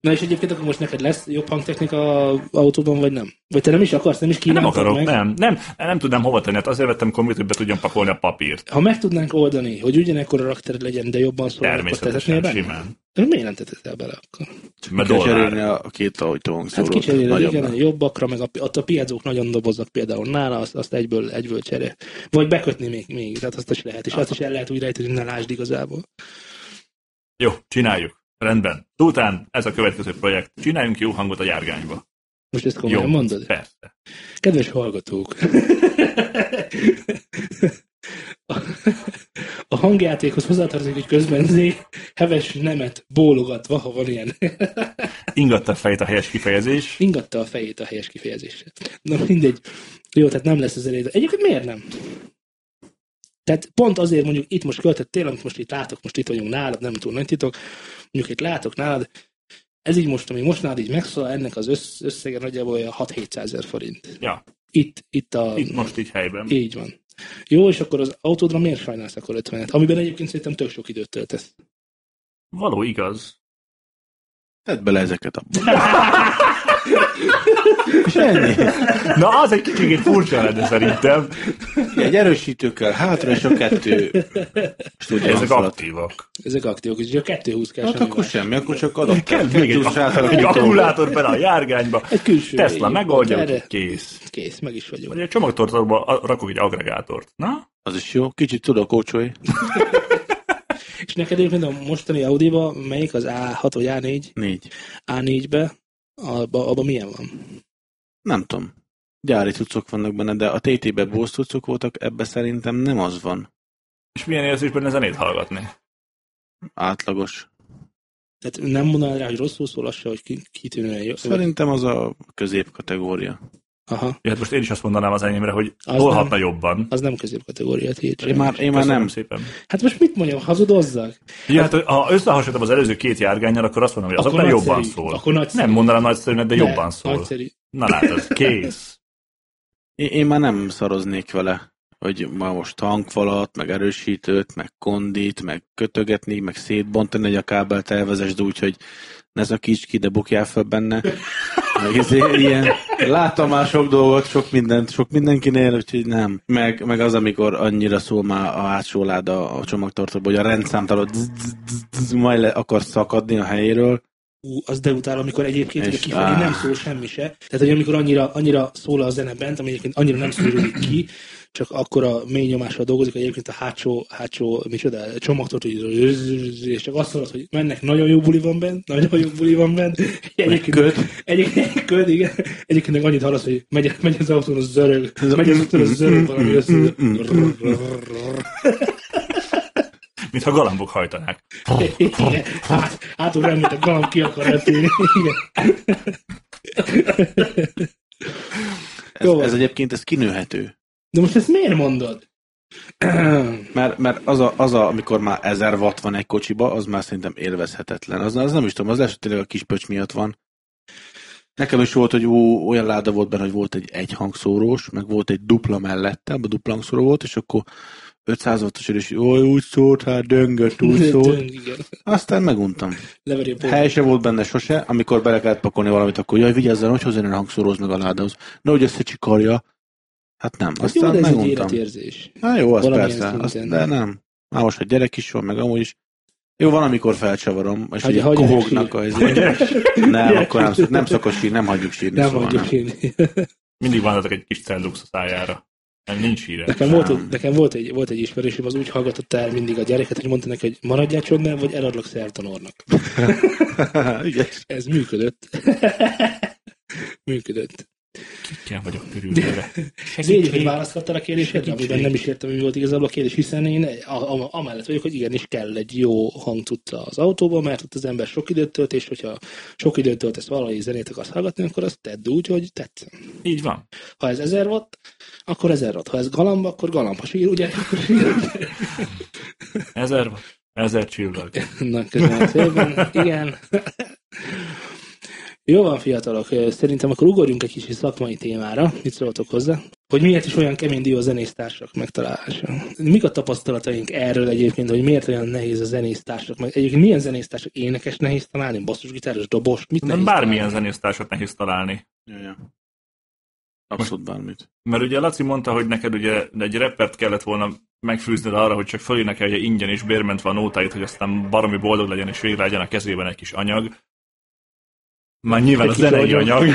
Speaker 3: Na és egyébként akkor most neked lesz jobb hangtechnika autóban, vagy nem? Vagy te nem is akarsz, nem is kínálod
Speaker 2: Nem akarok,
Speaker 3: meg?
Speaker 2: nem. Nem, nem tudnám hova tenni, hát azért vettem kombit, hogy be tudjam pakolni a papírt.
Speaker 3: Ha meg tudnánk oldani, hogy ugyanekkor a rakter legyen, de jobban szól, akkor tetetnél
Speaker 2: Természetesen,
Speaker 3: benne?
Speaker 2: simán.
Speaker 3: De Miért nem tetettél bele akkor?
Speaker 2: Mert
Speaker 4: Kell
Speaker 2: dollár.
Speaker 4: cserélni a két ajtó
Speaker 3: Hát
Speaker 4: hangszórót.
Speaker 3: kicseréled,
Speaker 4: Nagyobbra.
Speaker 3: igen, a jobbakra, meg a, pi- ott a piacok nagyon doboznak például nála, azt, azt egyből, egyből cserél. Vagy bekötni még, még, tehát azt is lehet, és azt is el lehet úgy rejteni, hogy ne lásd igazából.
Speaker 2: Jó, csináljuk. Rendben. Tután, ez a következő projekt. Csináljunk jó hangot a járgányba.
Speaker 3: Most ezt komolyan Jó. mondod?
Speaker 2: Persze.
Speaker 3: Kedves hallgatók! A- A hangjátékhoz hozzátartozik, hogy közben Zé heves nemet bólogatva, ha van ilyen,
Speaker 2: Ingatta a fejét a helyes kifejezés.
Speaker 3: ingatta a fejét a helyes kifejezéssel. Na mindegy. Jó, tehát nem lesz az elég. Egyébként miért nem? Tehát pont azért mondjuk itt most költöttél, amit most itt látok, most itt vagyunk nálad, nem túl nagy titok, mondjuk itt látok nálad, ez így most, ami most nálad így megszólal, ennek az össz, összege nagyjából olyan 6-700 ezer forint.
Speaker 2: Ja,
Speaker 3: Itt, itt a...
Speaker 2: itt most így helyben.
Speaker 3: Így van. Jó, és akkor az autódra miért sajnálsz akkor 50-et? Amiben egyébként szerintem tök sok időt töltesz.
Speaker 2: Való igaz.
Speaker 4: Tedd bele ezeket abba. És ennyi.
Speaker 2: Na, az egy kicsit furcsa lenne szerintem.
Speaker 4: Egy erősítőkkel hátra, és a kettő stúdió
Speaker 2: Ezek
Speaker 4: alatt.
Speaker 2: aktívak.
Speaker 3: Ezek aktívok, és a 220 kell
Speaker 4: Hát akkor semmi, akkor csak adott.
Speaker 2: Kell még egy, egy akkumulátor bele a járgányba.
Speaker 3: Egy külső.
Speaker 2: Tesla
Speaker 3: így,
Speaker 2: megoldja,
Speaker 3: erre.
Speaker 2: úgyhogy kész.
Speaker 3: Kész, meg is vagyok.
Speaker 2: Vagy egy csomagtartóba a- rakok egy agregátort. Na?
Speaker 4: Az is jó. Kicsit tudok ócsolni.
Speaker 3: És neked egyébként a mostani Audi-ba, melyik az A6 vagy A4?
Speaker 4: Négy.
Speaker 3: A4-be, abban abba milyen van?
Speaker 4: Nem tudom. Gyári cuccok vannak benne, de a TT-be Bose cuccok voltak, ebbe szerintem nem az van.
Speaker 2: És milyen érzés benne zenét hallgatni?
Speaker 4: Átlagos.
Speaker 3: Tehát nem mondanál rá, hogy rosszul szól, az se, hogy ki- kitűnően jó.
Speaker 4: Szerintem az a középkategória.
Speaker 3: Aha,
Speaker 2: Ja, hát most én is azt mondanám az enyémre, hogy
Speaker 3: Az
Speaker 2: holhatna jobban.
Speaker 3: az nem középkategória tiéd.
Speaker 4: Én már, én már
Speaker 2: Köszönöm
Speaker 4: nem.
Speaker 2: szépen.
Speaker 3: Hát most mit mondjam, hazudozzak?
Speaker 2: Ja, hát, ha összehasonlítom az előző két járgányjal, akkor azt mondom, hogy az
Speaker 3: Akkor
Speaker 2: akkor jobban
Speaker 3: nagyszerű.
Speaker 2: szól.
Speaker 3: Akkor nagyszerű.
Speaker 2: Nem mondanám nagyszerűnek, de, de jobban szól.
Speaker 3: Nagyszerű.
Speaker 2: Na látod, kész.
Speaker 4: Én, én már nem szaroznék vele, hogy ma most tankfalat, meg erősítőt, meg kondit, meg kötögetni, meg szétbontani, hogy a kábelt elvezesd úgy, hogy ne zakíts ki, de bukjál fel *laughs* benne. Meg izé, ilyen. Láttam már sok dolgot, sok mindent, sok mindenkinél, úgyhogy nem. Meg, meg az, amikor annyira szól már a hátsó láda a csomagtartóban, hogy a rendszámtalod majd le akar szakadni a helyéről.
Speaker 3: ú, az de utálom, amikor egyébként
Speaker 4: És
Speaker 3: ugye kifelé
Speaker 4: áh.
Speaker 3: nem szól semmi se. Tehát, hogy amikor annyira, annyira szól a zene bent, ami egyébként annyira nem szűrődik ki, csak akkor a mély nyomással dolgozik, hogy egyébként a hátsó, hátsó micsoda, csomagtort, hogy- és csak azt mondod, hogy mennek, nagyon jó buli van bent, nagyon jó buli van bent. Egyébként,
Speaker 4: köd.
Speaker 3: Egyébként, köd, igen. Egyébként meg annyit hallasz, hogy megy, megy az autón, az zörög. Megy az autón, az zörög valami össze.
Speaker 2: Mintha galambok hajtanák.
Speaker 3: Igen. Hát, hátul nem, mint a galamb ki akar repülni. Igen.
Speaker 4: Ez,
Speaker 3: Jó van.
Speaker 4: ez egyébként ez kinőhető.
Speaker 3: De most ezt miért mondod?
Speaker 4: Mert, mert az, a, az a, amikor már 1000 watt van egy kocsiba, az már szerintem élvezhetetlen. Az, az nem is tudom, az lehet, hogy tényleg a kis pöcs miatt van. Nekem is volt, hogy ú, olyan láda volt benne, hogy volt egy egyhangszórós, meg volt egy dupla mellette, abban dupla hangszóró volt, és akkor 500 wattos erős, oly úgy szólt, hát döngött, úgy szólt.
Speaker 3: Igen.
Speaker 4: Aztán meguntam.
Speaker 3: Leveri a port.
Speaker 4: Hely se volt benne sose, amikor bele kellett pakolni valamit, akkor jaj, vigyázzál, hogy hozzá ne hangszóróz meg a ládához. Na, hogy összecsikarja. Hát nem,
Speaker 3: Jó,
Speaker 4: aztán
Speaker 3: de ez egy
Speaker 4: meguntam.
Speaker 3: életérzés.
Speaker 4: Na jó, az
Speaker 3: Valamilyen
Speaker 4: persze.
Speaker 3: szinten.
Speaker 4: Azt, de nem. Már most, hogy gyerek is van, meg amúgy is. Jó, van, amikor felcsavarom, és
Speaker 3: Hagy-
Speaker 4: ugye
Speaker 3: hagyjanak
Speaker 4: kohognak a... izé.
Speaker 3: *laughs*
Speaker 4: Nem, akkor nem, szok, nem szokott sírni, nem hagyjuk sírni.
Speaker 3: Nem
Speaker 4: szóval
Speaker 3: mondjuk
Speaker 4: nem.
Speaker 3: én.
Speaker 2: Mindig vannak egy kis cellux a szájára. Nem, nincs híre.
Speaker 3: Nekem, volt egy, nekem volt, egy, volt egy ismerősöm, az úgy hallgatott el mindig a gyereket, hogy mondta neki, hogy maradjál csodnál, vagy eladlak szertanornak.
Speaker 4: *laughs* Ügyes.
Speaker 3: Ez működött. működött.
Speaker 2: Kell vagyok körülbelül.
Speaker 3: Légy, hogy választottál a kérdésedre, amiben nem is értem, mi volt igazából a kérdés, hiszen én e- a- a- amellett vagyok, hogy igenis kell egy jó hangtudta az autóban, mert ott az ember sok időt tölt, és hogyha sok időt töltesz valami zenét akarsz hallgatni, akkor azt tedd úgy, hogy tetsz.
Speaker 2: Így van.
Speaker 3: Ha ez 1000 watt, akkor 1000 watt. Ha ez galamb, akkor galamb. Ha sír, ugye? *laughs* Akkor sír.
Speaker 2: Ezer, ezer csillag.
Speaker 3: Na, köszönöm szépen. Igen. Jó van, fiatalok. Szerintem akkor ugorjunk egy kicsit szakmai témára. Mit szóltok hozzá? Hogy miért is olyan kemény dió a zenésztársak megtalálása? Mik a tapasztalataink erről egyébként, hogy miért olyan nehéz a zenésztársak? Meg egyébként milyen zenésztársak énekes nehéz találni? Basszusgitáros, dobos? Mit
Speaker 2: Nem
Speaker 3: nehéz
Speaker 2: bármilyen
Speaker 3: találni?
Speaker 2: zenésztársat nehéz találni.
Speaker 4: Jaj, jaj. Abszolút bármit.
Speaker 2: Mert ugye Laci mondta, hogy neked ugye egy reppert kellett volna megfűzned arra, hogy csak fölénekelje ingyen és bérmentve a nótáit, hogy aztán baromi boldog legyen, és végre legyen a kezében egy kis anyag. Már nyilván
Speaker 3: Egy
Speaker 2: a
Speaker 3: kis
Speaker 2: zenei
Speaker 3: agyag.
Speaker 2: anyag,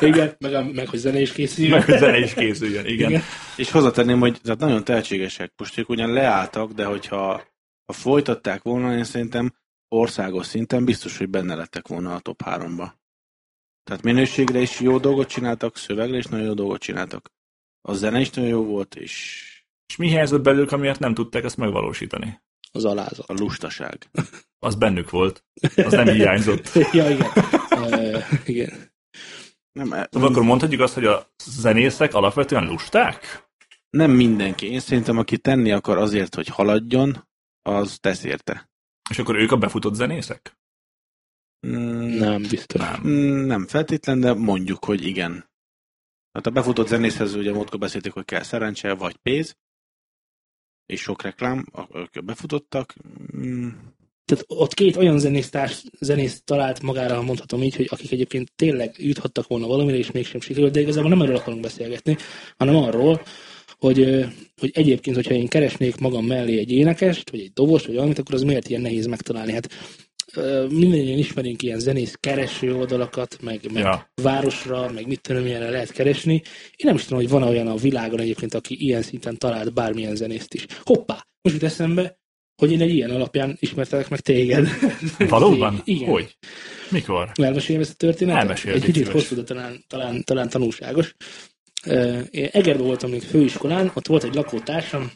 Speaker 3: *laughs* Igen, meg, a, meg hogy zene is készül.
Speaker 2: meg hogy zene is készüljön, igen.
Speaker 3: Igen.
Speaker 2: igen.
Speaker 4: És hozzátenném, hogy tehát nagyon tehetségesek. Most ők ugyan leálltak, de hogyha ha folytatták volna, én szerintem országos szinten biztos, hogy benne lettek volna a top 3-ba. Tehát minőségre is jó dolgot csináltak, szövegre is nagyon jó dolgot csináltak. A zene is nagyon jó volt, és
Speaker 2: És mi helyzet belőlük, amiért nem tudták ezt megvalósítani?
Speaker 3: Az alázat. *laughs*
Speaker 4: a lustaság.
Speaker 2: Az bennük volt. Az nem hiányzott.
Speaker 3: *laughs* ja, igen. Ö, igen.
Speaker 4: Nem, e-
Speaker 2: Szóval akkor mondhatjuk azt, hogy a zenészek alapvetően lusták?
Speaker 4: nem mindenki. Én szerintem, aki tenni akar azért, hogy haladjon, az tesz érte.
Speaker 2: És akkor ők a befutott zenészek?
Speaker 4: Mm,
Speaker 3: Nem, biztos.
Speaker 2: Nem.
Speaker 4: Mm, Nem feltétlen, de mondjuk, hogy igen. Hát a befutott zenészhez ugye múltkor beszéltük, hogy kell szerencse, vagy pénz, és sok reklám, a- akik befutottak. Mm,
Speaker 3: Tehát ott két olyan zenésztárs, zenész talált magára, ha mondhatom így, hogy akik egyébként tényleg juthattak volna valamire, és mégsem sikerült, de igazából nem erről akarunk beszélgetni, hanem arról, hogy, ö, hogy egyébként, hogyha én keresnék magam mellé egy énekest, vagy egy dobost, vagy valamit, akkor az miért ilyen nehéz megtalálni? Hát ö, mindannyian ismerünk ilyen zenész kereső oldalakat, meg, meg
Speaker 2: Ja.
Speaker 3: városra, meg mit tudom, ilyenre lehet keresni. Én nem is tudom, hogy van olyan a világon egyébként, aki ilyen szinten talált bármilyen zenészt is. Hoppá! Most jut eszembe, hogy én egy ilyen alapján ismertelek meg téged.
Speaker 2: *laughs* Valóban?
Speaker 3: *laughs* Igen.
Speaker 2: Hogy? Mikor?
Speaker 3: Elmeséljem ezt a történetet?
Speaker 2: Elmeséld,
Speaker 3: Egy
Speaker 2: légy
Speaker 3: kicsit
Speaker 2: szíves.
Speaker 3: hosszú, de talán, talán, talán tanulságos. Ö, Én Egerben voltam még főiskolán, ott volt egy lakótársam,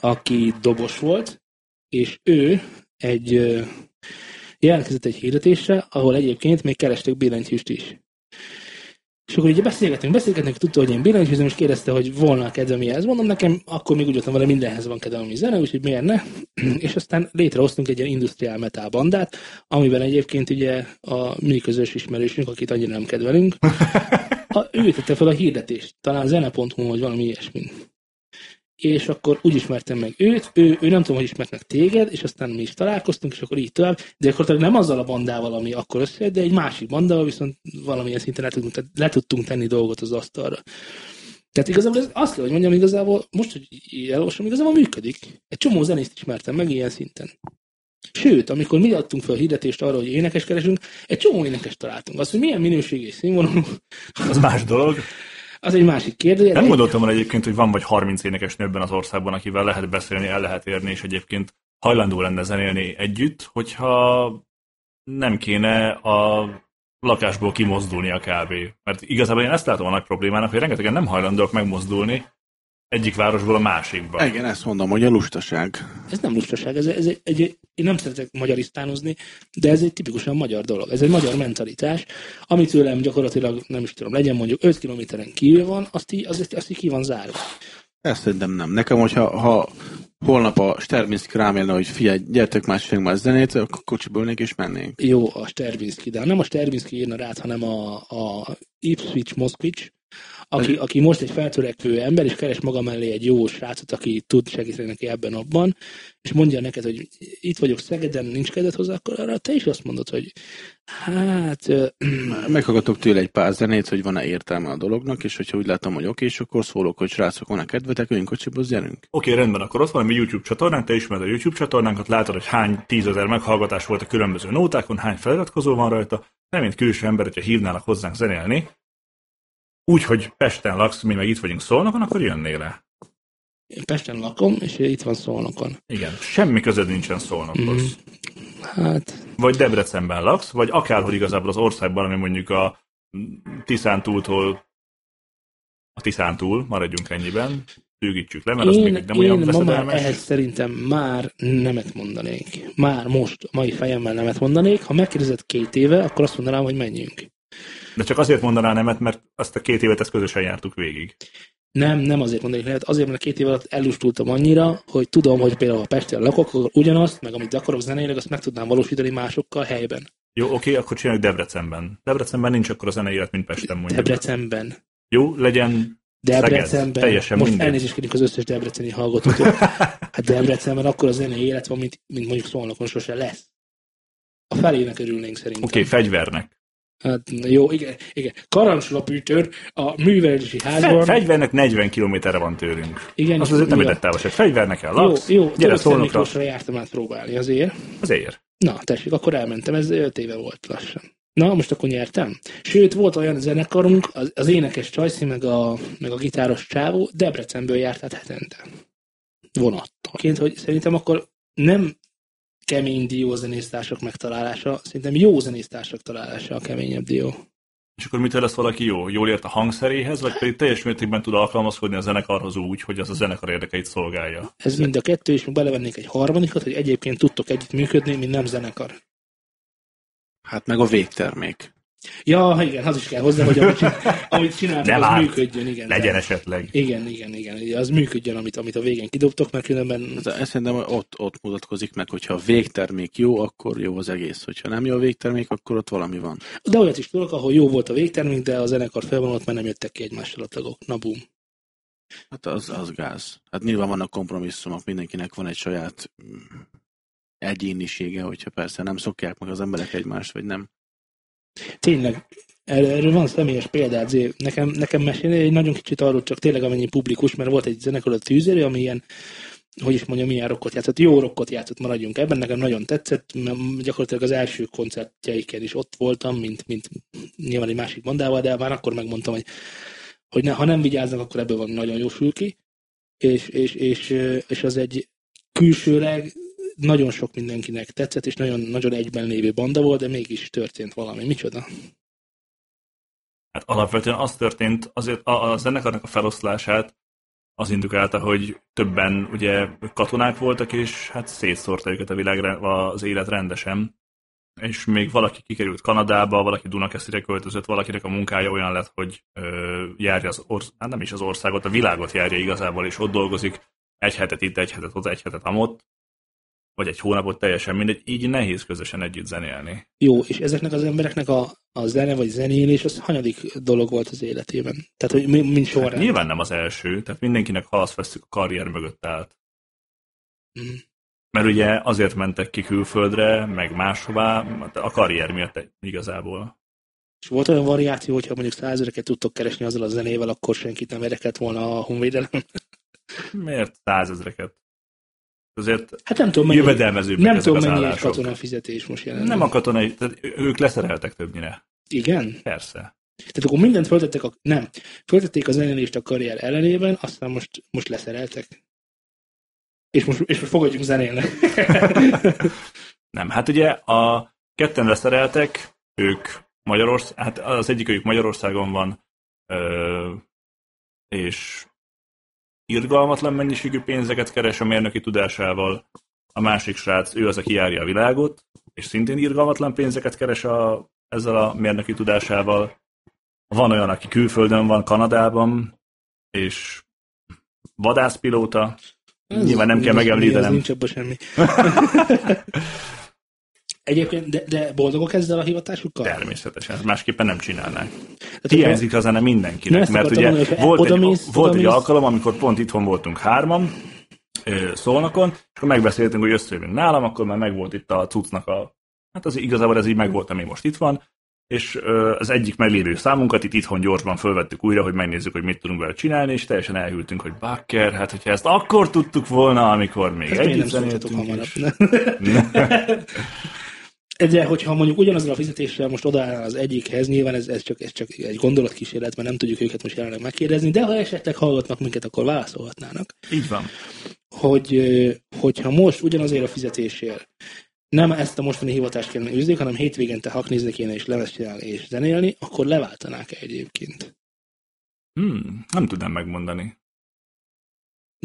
Speaker 3: aki dobos volt, és ő egy ö, jelentkezett egy hirdetésre, ahol egyébként még kerestek billentyűst is. És akkor így beszélgetünk, beszélgetünk, tudta, hogy én billentyűzöm, és kérdezte, hogy volna kedvem ilyenhez. Mondom nekem, akkor még úgy voltam vele, mindenhez van kedvem, ami zene, úgyhogy miért ne? *clears throat* és aztán létrehoztunk egy ilyen industriál metal bandát, amiben egyébként ugye a mi közös ismerősünk, akit annyira nem kedvelünk, a, ő tette fel a hirdetést, talán zene.hu, vagy valami ilyesmi. És akkor úgy ismertem meg őt, ő, ő nem tudom, hogy ismert meg téged, és aztán mi is találkoztunk, és akkor így tovább, de akkor nem azzal a bandával, ami akkor összejött, de egy másik bandával viszont valamilyen szinten le tudtunk, le tudtunk tenni dolgot az asztalra. Tehát igazából ez azt kell, hogy mondjam, igazából most, hogy így elolvasom, igazából működik. Egy csomó zenészt ismertem meg ilyen szinten. Sőt, amikor mi adtunk fel a hirdetést arra, hogy énekes keresünk, egy csomó énekes találtunk. Azt, hogy milyen minőségű és színvonalú,
Speaker 2: Az más dolog.
Speaker 3: az egy másik kérdés.
Speaker 2: Nem gondoltam el egyébként, hogy van vagy 30 énekes nő ebben az országban, akivel lehet beszélni, el lehet érni, és egyébként hajlandó lenne zenélni együtt, hogyha nem kéne a lakásból kimozdulni a kávé. Mert igazából én ezt látom a nagy problémának, hogy rengetegen nem hajlandóak megmozdulni egyik városból a másikba.
Speaker 4: igen, ezt mondom, hogy a lustaság.
Speaker 3: Ez nem lustaság, ez, ez egy, egy, én nem szeretek magyarisztánozni, de ez egy tipikusan magyar dolog. Ez egy magyar mentalitás, ami tőlem gyakorlatilag, nem is tudom, legyen mondjuk 5 kilométeren kívül van, azt így, az, azt így ki van zárva.
Speaker 4: Ezt szerintem nem. Nekem, hogyha ha holnap a Sterbinski rám élne, hogy figyelj, gyertek már sérünk már zenét, akkor kocsiból ülnék és mennénk.
Speaker 3: Jó a Sterbinski, de nem a Sterbinski írna rád, hanem a, a Ipswich Moszkvics, aki, aki most egy feltörekvő ember, és keres maga mellé egy jó srácot, aki tud segíteni neki ebben abban, és mondja neked, hogy itt vagyok Szegeden, nincs kedved hozzá, akkor arra te is azt mondod, hogy hát ö,
Speaker 4: Meghallgatok tőle egy pár zenét, hogy van-e értelme a dolognak, és hogyha úgy látom, hogy oké, és akkor szólok, hogy srácok, van-e kedvetek, üljünk kocsiból, gyerünk.
Speaker 2: Oké, okay, rendben, akkor ott van a mi YouTube csatornánk, te ismered a YouTube csatornánkat, látod, hogy hány tízezer meghallgatás volt a különböző nótákon, hány feliratkozó van rajta, nem mint külső ember, hogyha hívnának hozzánk zenélni, úgyhogy Pesten laksz, mi meg itt vagyunk Szolnokon, akkor jönnél le.
Speaker 3: Én Pesten lakom, és itt van Szolnokon.
Speaker 2: Igen, semmi közöd nincsen Szolnokhoz.
Speaker 3: Mhm.
Speaker 2: Mm-hmm.
Speaker 3: Hát,
Speaker 2: Vagy Debrecenben laksz, vagy akárhol igazából az országban, ami mondjuk a Tiszántúltól a Tiszántúl, maradjunk ennyiben, bőgítsük le, mert az
Speaker 3: én,
Speaker 2: még nem olyan
Speaker 3: én ma már
Speaker 2: veszedelmes.
Speaker 3: ehhez szerintem már nemet mondanék. Már most, a mai fejemmel nemet mondanék. Ha megkérdezed két éve, akkor azt mondanám, hogy menjünk.
Speaker 2: De csak azért mondaná nemet, mert azt a két évet ezt közösen jártuk végig.
Speaker 3: Nem, nem azért mondanék nemet, azért, mert két év alatt elustultam annyira, hogy tudom, hogy például ha Pesten lakok, akkor ugyanazt, meg amit akarok zenéleg, azt meg tudnám valósítani másokkal helyben.
Speaker 2: Jó, oké, akkor csináljuk Debrecenben. Debrecenben nincs akkor a zenei élet, mint Pesten mondjuk.
Speaker 3: Debrecenben.
Speaker 2: Jó, legyen... Szeged,
Speaker 3: Debrecenben.
Speaker 2: teljesen
Speaker 3: Most
Speaker 2: mindegy.
Speaker 3: elnézést kérünk az összes debreceni hallgatótól. Hát Debrecenben akkor a zenei élet van, mint, mint mondjuk Szolnokon sose lesz. A felének örülnénk szerintem.
Speaker 2: Oké, fegyvernek.
Speaker 3: Hát, jó, igen, igen. Karancslapütőr a művelési
Speaker 2: Fe,
Speaker 3: házban.
Speaker 2: fegyvernek 40 kilométerre van tőlünk.
Speaker 3: igen,
Speaker 2: Azt azért nem
Speaker 3: igen.
Speaker 2: érett távol se. Fegyvernek el
Speaker 3: Jó,
Speaker 2: laksz,
Speaker 3: jó,
Speaker 2: gyere szólnokra,
Speaker 3: Miklósra jártam át próbálni azért.
Speaker 2: azért.
Speaker 3: Na, tessék, akkor elmentem, ez 5 éve volt lassan. Na, most akkor nyertem. Sőt, volt olyan zenekarunk, az, az énekes Csajci, meg a, meg a gitáros csávó Debrecenből járt át hetente. Vonattal. Ként, hogy szerintem akkor nem kemény dió zenésztársak megtalálása. Szerintem jó zenésztársak találása a keményebb dió.
Speaker 2: És akkor mitől lesz valaki jó? Jól ért a hangszeréhez, vagy pedig teljes mértékben tud alkalmazkodni a zenekarhoz úgy, hogy az a zenekar érdekeit szolgálja?
Speaker 3: Ez mind a kettő, és mi belevennénk egy harmadikat, hogy egyébként tudtok együtt működni, mint nem zenekar.
Speaker 4: Hát meg a végtermék.
Speaker 3: Ja, ha igen, az is kell hozzá, hogy amit, csin- amit
Speaker 2: Ne
Speaker 3: csináltok, az
Speaker 2: várj!
Speaker 3: működjön, igen.
Speaker 2: Legyen esetleg.
Speaker 3: Igen, igen, igen, igen, az működjön, amit, amit a végén kidobtok, mert különben
Speaker 4: Ez, ez szerintem ott, ott mutatkozik meg, hogyha a végtermék jó, akkor jó az egész. Hogyha nem jó a végtermék, akkor ott valami van.
Speaker 3: De olyat is tudok, ahol jó volt a végtermék, de a zenekar felvonult, mert nem jöttek ki egymással a tagok. Na bum.
Speaker 4: Hát az, az gáz. Hát nyilván vannak kompromisszumok, mindenkinek van egy saját mm, egyénisége, hogyha persze nem szokják meg az emberek egymást, vagy nem.
Speaker 3: Tényleg, erre- erről van személyes példát, Zé. Nekem, nekem mesélni egy nagyon kicsit arról, csak tényleg amennyi publikus, mert volt egy zenekar a tűzérő, ami ilyen, hogy is mondjam, milyen rockot játszott. Jó rockot játszott, maradjunk ebben, nekem nagyon tetszett, mert gyakorlatilag az első koncertjeiken is ott voltam, mint, mint nyilván egy másik bandával, de már akkor megmondtam, hogy, hogy ne, ha nem vigyáznak, akkor ebből van nagyon jó sülki, és, és, és, ö, és az egy külsőleg nagyon sok mindenkinek tetszett, és nagyon, nagyon egyben lévő banda volt, de mégis történt valami. Micsoda?
Speaker 2: Hát alapvetően az történt, azért a, a zenekarnak a feloszlását az indukálta, hogy többen ugye katonák voltak, és hát szétszórta őket a világ, az élet rendesen. És még valaki kikerült Kanadába, valaki Dunakeszire költözött, valakinek a munkája olyan lett, hogy ö, járja az országot, hát nem is az országot, a világot járja igazából, és ott dolgozik egy hetet itt, egy hetet ott, egy hetet amott, vagy egy hónapot teljesen mindegy, így nehéz közösen együtt zenélni.
Speaker 3: Jó, és ezeknek az embereknek a, a zene vagy zenélés az hanyadik dolog volt az életében. Tehát, hogy mi- mint sorrend.
Speaker 2: Hát Nyilván nem az első, tehát mindenkinek halaszfeszük a karrier mögött állt.
Speaker 3: Mhm.
Speaker 2: Mert ugye azért mentek ki külföldre, meg máshová, hát a karrier miatt igazából.
Speaker 3: És volt olyan variáció, hogyha mondjuk százezreket tudtok keresni azzal a zenével, akkor senkit nem érdekelt volna a honvédelem. *laughs*
Speaker 2: Miért százezreket? Azért
Speaker 3: Hát nem tudom, mennyi,
Speaker 2: jövedelmezőbbek
Speaker 3: nem
Speaker 2: ezek
Speaker 3: tudom,
Speaker 2: az
Speaker 3: mennyi egy
Speaker 2: állások.
Speaker 3: katona fizetés most jelenleg.
Speaker 2: Nem a katonai, tehát ők leszereltek többnyire.
Speaker 3: Igen?
Speaker 2: Persze.
Speaker 3: Tehát akkor mindent föltettek a... Nem. Föltették a zenélést a karrier ellenében, aztán most, most leszereltek. És most, és most fogadjunk zenélni.
Speaker 2: Nem, hát ugye a ketten leszereltek, ők Magyarország, hát az egyik ők Magyarországon van, ö, és irgalmatlan mennyiségű pénzeket keres a mérnöki tudásával, a másik srác, ő az, aki járja a világot, és szintén irgalmatlan pénzeket keres a, ezzel a mérnöki tudásával. Van olyan, aki külföldön van, Kanadában, és vadászpilóta, nyilván nem kell
Speaker 3: Ez- ez- ez
Speaker 2: megemlítenem.
Speaker 3: Nincs abban
Speaker 2: *laughs*
Speaker 3: semmi. Egyébként, de, de boldogok ezzel a hivatásukkal?
Speaker 2: Természetesen, másképpen nem csinálnák.
Speaker 3: Tehát, hogyha-
Speaker 2: hiányzik a zene
Speaker 3: Na,
Speaker 2: mindenkinek,
Speaker 3: ezt
Speaker 2: mert
Speaker 3: akartam
Speaker 2: ugye
Speaker 3: mondani, hogyha
Speaker 2: volt, egy,
Speaker 3: odamész-
Speaker 2: volt egy
Speaker 3: odamész-
Speaker 2: alkalom, amikor pont itthon voltunk hárman, ö, szolnokon, és akkor megbeszéltünk, hogy összejövünk nálam, akkor már megvolt itt a cuccnak a... Hát az igazából ez így megvolt, ami most itt van, és ö, az egyik meglévő számunkat itt itthon gyorsban fölvettük újra, hogy megnézzük, hogy mit tudunk vele csinálni, és teljesen elhűltünk, hogy bakker, hát hogyha ezt akkor tudtuk volna, amikor még
Speaker 3: ezt Hát miért
Speaker 2: együtt
Speaker 3: nem szóltatok
Speaker 2: zenéltünk.
Speaker 3: hamarabb?
Speaker 2: és-
Speaker 3: *laughs* De hogyha mondjuk ugyanazzal a fizetéssel most odaállnál az egyikhez, nyilván ez, ez, csak, ez csak egy gondolatkísérlet, mert nem tudjuk őket most jelenleg megkérdezni, de ha esetleg hallgatnak minket, akkor válaszolhatnának,
Speaker 2: Így van.
Speaker 3: hogy ö, hogyha most ugyanazért a fizetésért nem ezt a mostani hivatást kellene űzni, hanem hétvégente haknizni kéne és lemezt csinálni és zenélni, akkor leváltanák-e egyébként?
Speaker 2: Hmm, nem tudnám megmondani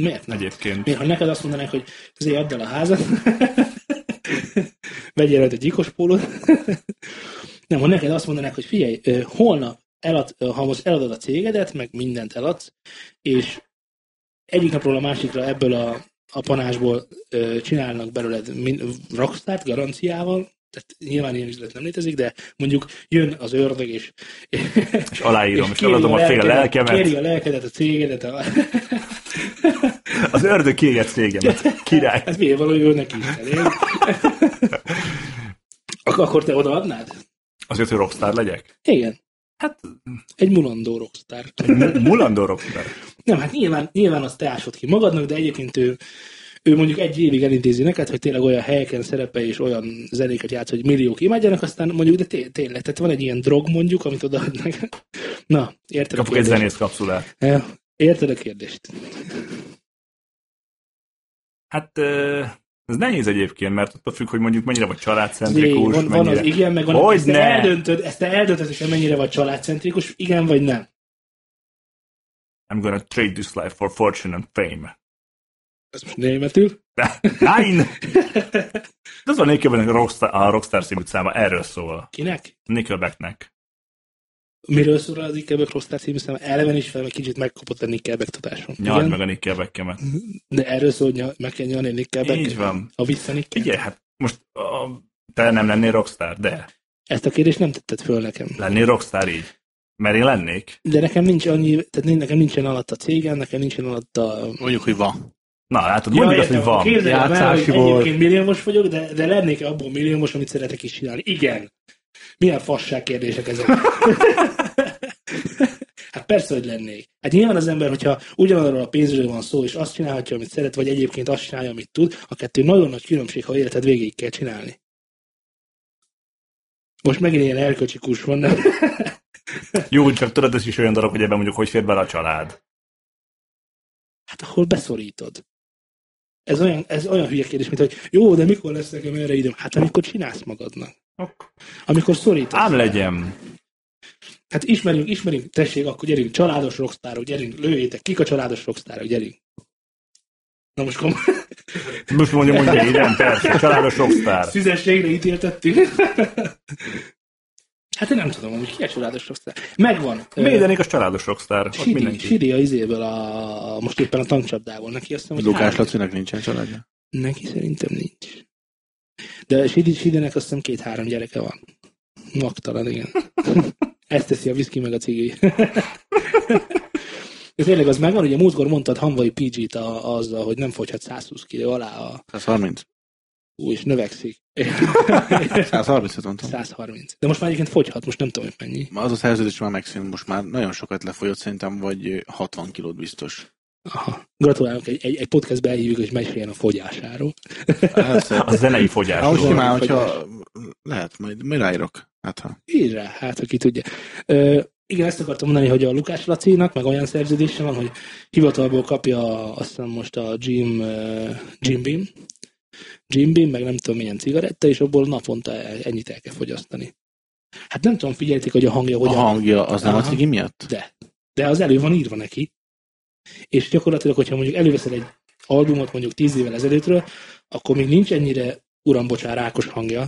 Speaker 3: Miért nem?
Speaker 2: egyébként.
Speaker 3: Miért, ha neked azt mondanák, hogy azért add el a házat, *laughs* vegyél rajta egy gyíkos pólót. Nem, ha neked azt mondanák, hogy figyelj, ö, holnap elad, ö, ha most eladod a cégedet, meg mindent eladsz, és egyik napról a másikra ebből a, a panásból ö, csinálnak belőled min, rockstart garanciával, tehát nyilván ilyen üzlet nem létezik, de mondjuk jön az ördög, és,
Speaker 2: És
Speaker 3: *laughs*
Speaker 2: aláírom, és,
Speaker 3: kéri
Speaker 2: eladom a fél
Speaker 3: lelkedet-
Speaker 2: lelkemet.
Speaker 3: Kéri a lelkedet, a cégedet, a,
Speaker 2: Az ördög kiégett cégemet. Király.
Speaker 3: Ez Hát miért valami ő neki is elég. Ak- akkor te odaadnád?
Speaker 2: Azért, hogy rockstar legyek?
Speaker 3: Igen.
Speaker 2: Hát,
Speaker 3: Egy mulandó rockstar.
Speaker 2: mu- mulandó rockstar.
Speaker 3: Nem, hát nyilván, nyilván azt te ásod ki magadnak, de egyébként ő, ő mondjuk egy évig elintézi neked, hogy tényleg olyan helyeken szerepel és olyan zenéket játsz, hogy milliók imádjanak, aztán mondjuk, de té- tényleg, tehát van egy ilyen drog mondjuk, amit odaadnak. *laughs* Na, érted a
Speaker 2: Kapok egy
Speaker 3: kérdést?
Speaker 2: zenész kapszulát.
Speaker 3: Eh, Érted a kérdést?
Speaker 2: Hát, ö, Ez nehéz egyébként, mert attól függ, hogy mondjuk mennyire vagy
Speaker 3: Jé,
Speaker 2: családcentrikus,
Speaker 3: van, van
Speaker 2: mennyire...
Speaker 3: az igen, meg van
Speaker 2: Hogy
Speaker 3: ezt te
Speaker 2: ne!
Speaker 3: eldöntöd, ezt te eldöntöd, hogy te mennyire vagy családcentrikus, igen vagy nem.
Speaker 2: I'm gonna trade this life for fortune and fame.
Speaker 3: Ez most németül.
Speaker 2: Nein! De az van Nickelback a Rockstar, a Rockstar című száma, erről szól.
Speaker 3: Kinek?
Speaker 2: Nickelbacknek.
Speaker 3: Miről szól az Nickelback Rockstar című szám? Eleven is fel, meg kicsit megkapott a Nickelback tudáson.
Speaker 2: Nyald
Speaker 3: Igen?
Speaker 2: meg a Nickelbackemet.
Speaker 3: De erről szól, hogy nyal- meg kell nyalni a Nickelback.
Speaker 2: Így van.
Speaker 3: A vissza Nickel.
Speaker 2: Figyelj, hát most a, te nem lennél rockstar, de
Speaker 3: Ezt a kérdést nem tetted föl nekem.
Speaker 2: lennél rockstar így. Mert én lennék.
Speaker 3: De nekem nincs annyi, tehát nincs- nekem nincsen alatt a cégem, nekem nincsen alatt a...
Speaker 4: Mondjuk, hogy van.
Speaker 2: Na, látod, mondjuk azt,
Speaker 3: értem,
Speaker 2: hogy van.
Speaker 3: Képzeld el, hogy
Speaker 1: Játszási volt.
Speaker 3: egyébként milliómos vagyok, de, de lennék abból milliómos, amit szeretek is csinálni. Igen. Milyen fasság
Speaker 1: *laughs*
Speaker 3: kérdések ezek. hát persze, hogy lennék. Hát nyilván az ember, hogyha ugyanarról a pénzről van szó, és azt csinálhatja, amit szeret, vagy egyébként azt csinálja, amit tud, a kettő nagyon nagy különbség, ha életed végéig kell csinálni. Most megint ilyen erkölcsi kurs van, nem?
Speaker 2: Jó, csak tudod, ez is olyan darab, hogy ebben mondjuk hogy fér bele a család.
Speaker 3: Hát ahol beszorítod. Ez olyan, ez olyan hülye kérdés, mint hogy jó, de mikor lesz nekem erre időm? Hát amikor csinálsz magadnak. Amikor szorítod.
Speaker 2: Ám legyen.
Speaker 3: Hát ismerünk, ismerünk, tessék, akkor gyerünk, családos rockstárok, gyerünk, lőjétek, kik a családos rockstárok, gyerünk. Na most komoly,
Speaker 2: Most mondja, mondja, igen, persze, családos rockstar.
Speaker 3: *laughs* szüzességre ítéltettünk. *laughs* hát én nem tudom, hogy ki a családos rockstár. Megvan.
Speaker 2: Médenék az családos rockstar. Ott
Speaker 3: Siri,
Speaker 2: mindenki.
Speaker 3: Siri a izéből, a, most éppen a tankcsapdából. Neki azt hiszem, hogy
Speaker 4: Lukás
Speaker 3: három-
Speaker 4: Lacinak nincsen családja.
Speaker 3: Neki szerintem nincs. De Sidi Sidinek azt hiszem két-három gyereke van. Magtalan, igen. Ezt teszi a viszki meg a cigi. *laughs* De tényleg az megvan, ugye múltkor mondtad Hanvai PG-t a, azzal, hogy nem fogyhat 120 kiló alá a
Speaker 4: 130.
Speaker 3: ú, és növekszik.
Speaker 4: 130-et mondtam.
Speaker 3: 130. De most már egyébként fogyhat, most nem tudom, hogy mennyi.
Speaker 4: Ma Az a szerződés már megszűnt, most már nagyon sokat lefolyott, szerintem vagy ö, 60 kilót biztos.
Speaker 3: Aha. Gratulálunk, egy, egy, egy podcastbe elhívjuk, és meséljen a fogyásáról.
Speaker 2: A zenei
Speaker 4: Ha most
Speaker 2: fogyásról.
Speaker 3: Ahogy-
Speaker 4: Hát, simán, hogyha lehet, majd, majd ráírok. Hát ha.
Speaker 3: Így rá, hát aki tudja. Ö, igen, ezt akartam mondani, hogy a Lukás Lacinak meg olyan szerződése van, hogy hivatalból kapja azt hiszem most a Jim, ö, Jim Beam, Jim Beam, meg nem tudom milyen cigaretta, és abból naponta el- ennyit el kell fogyasztani. Hát nem tudom, figyelték, hogy a hangja
Speaker 4: A
Speaker 3: hogyan, Aha.
Speaker 4: hangja az nem a
Speaker 3: Aha.
Speaker 4: cigi miatt?
Speaker 3: de az elő van írva neki. És gyakorlatilag, hogyha mondjuk előveszel egy albumot mondjuk tíz évvel ezelőttről, akkor még nincs ennyire uram, bocsán, rákos hangja.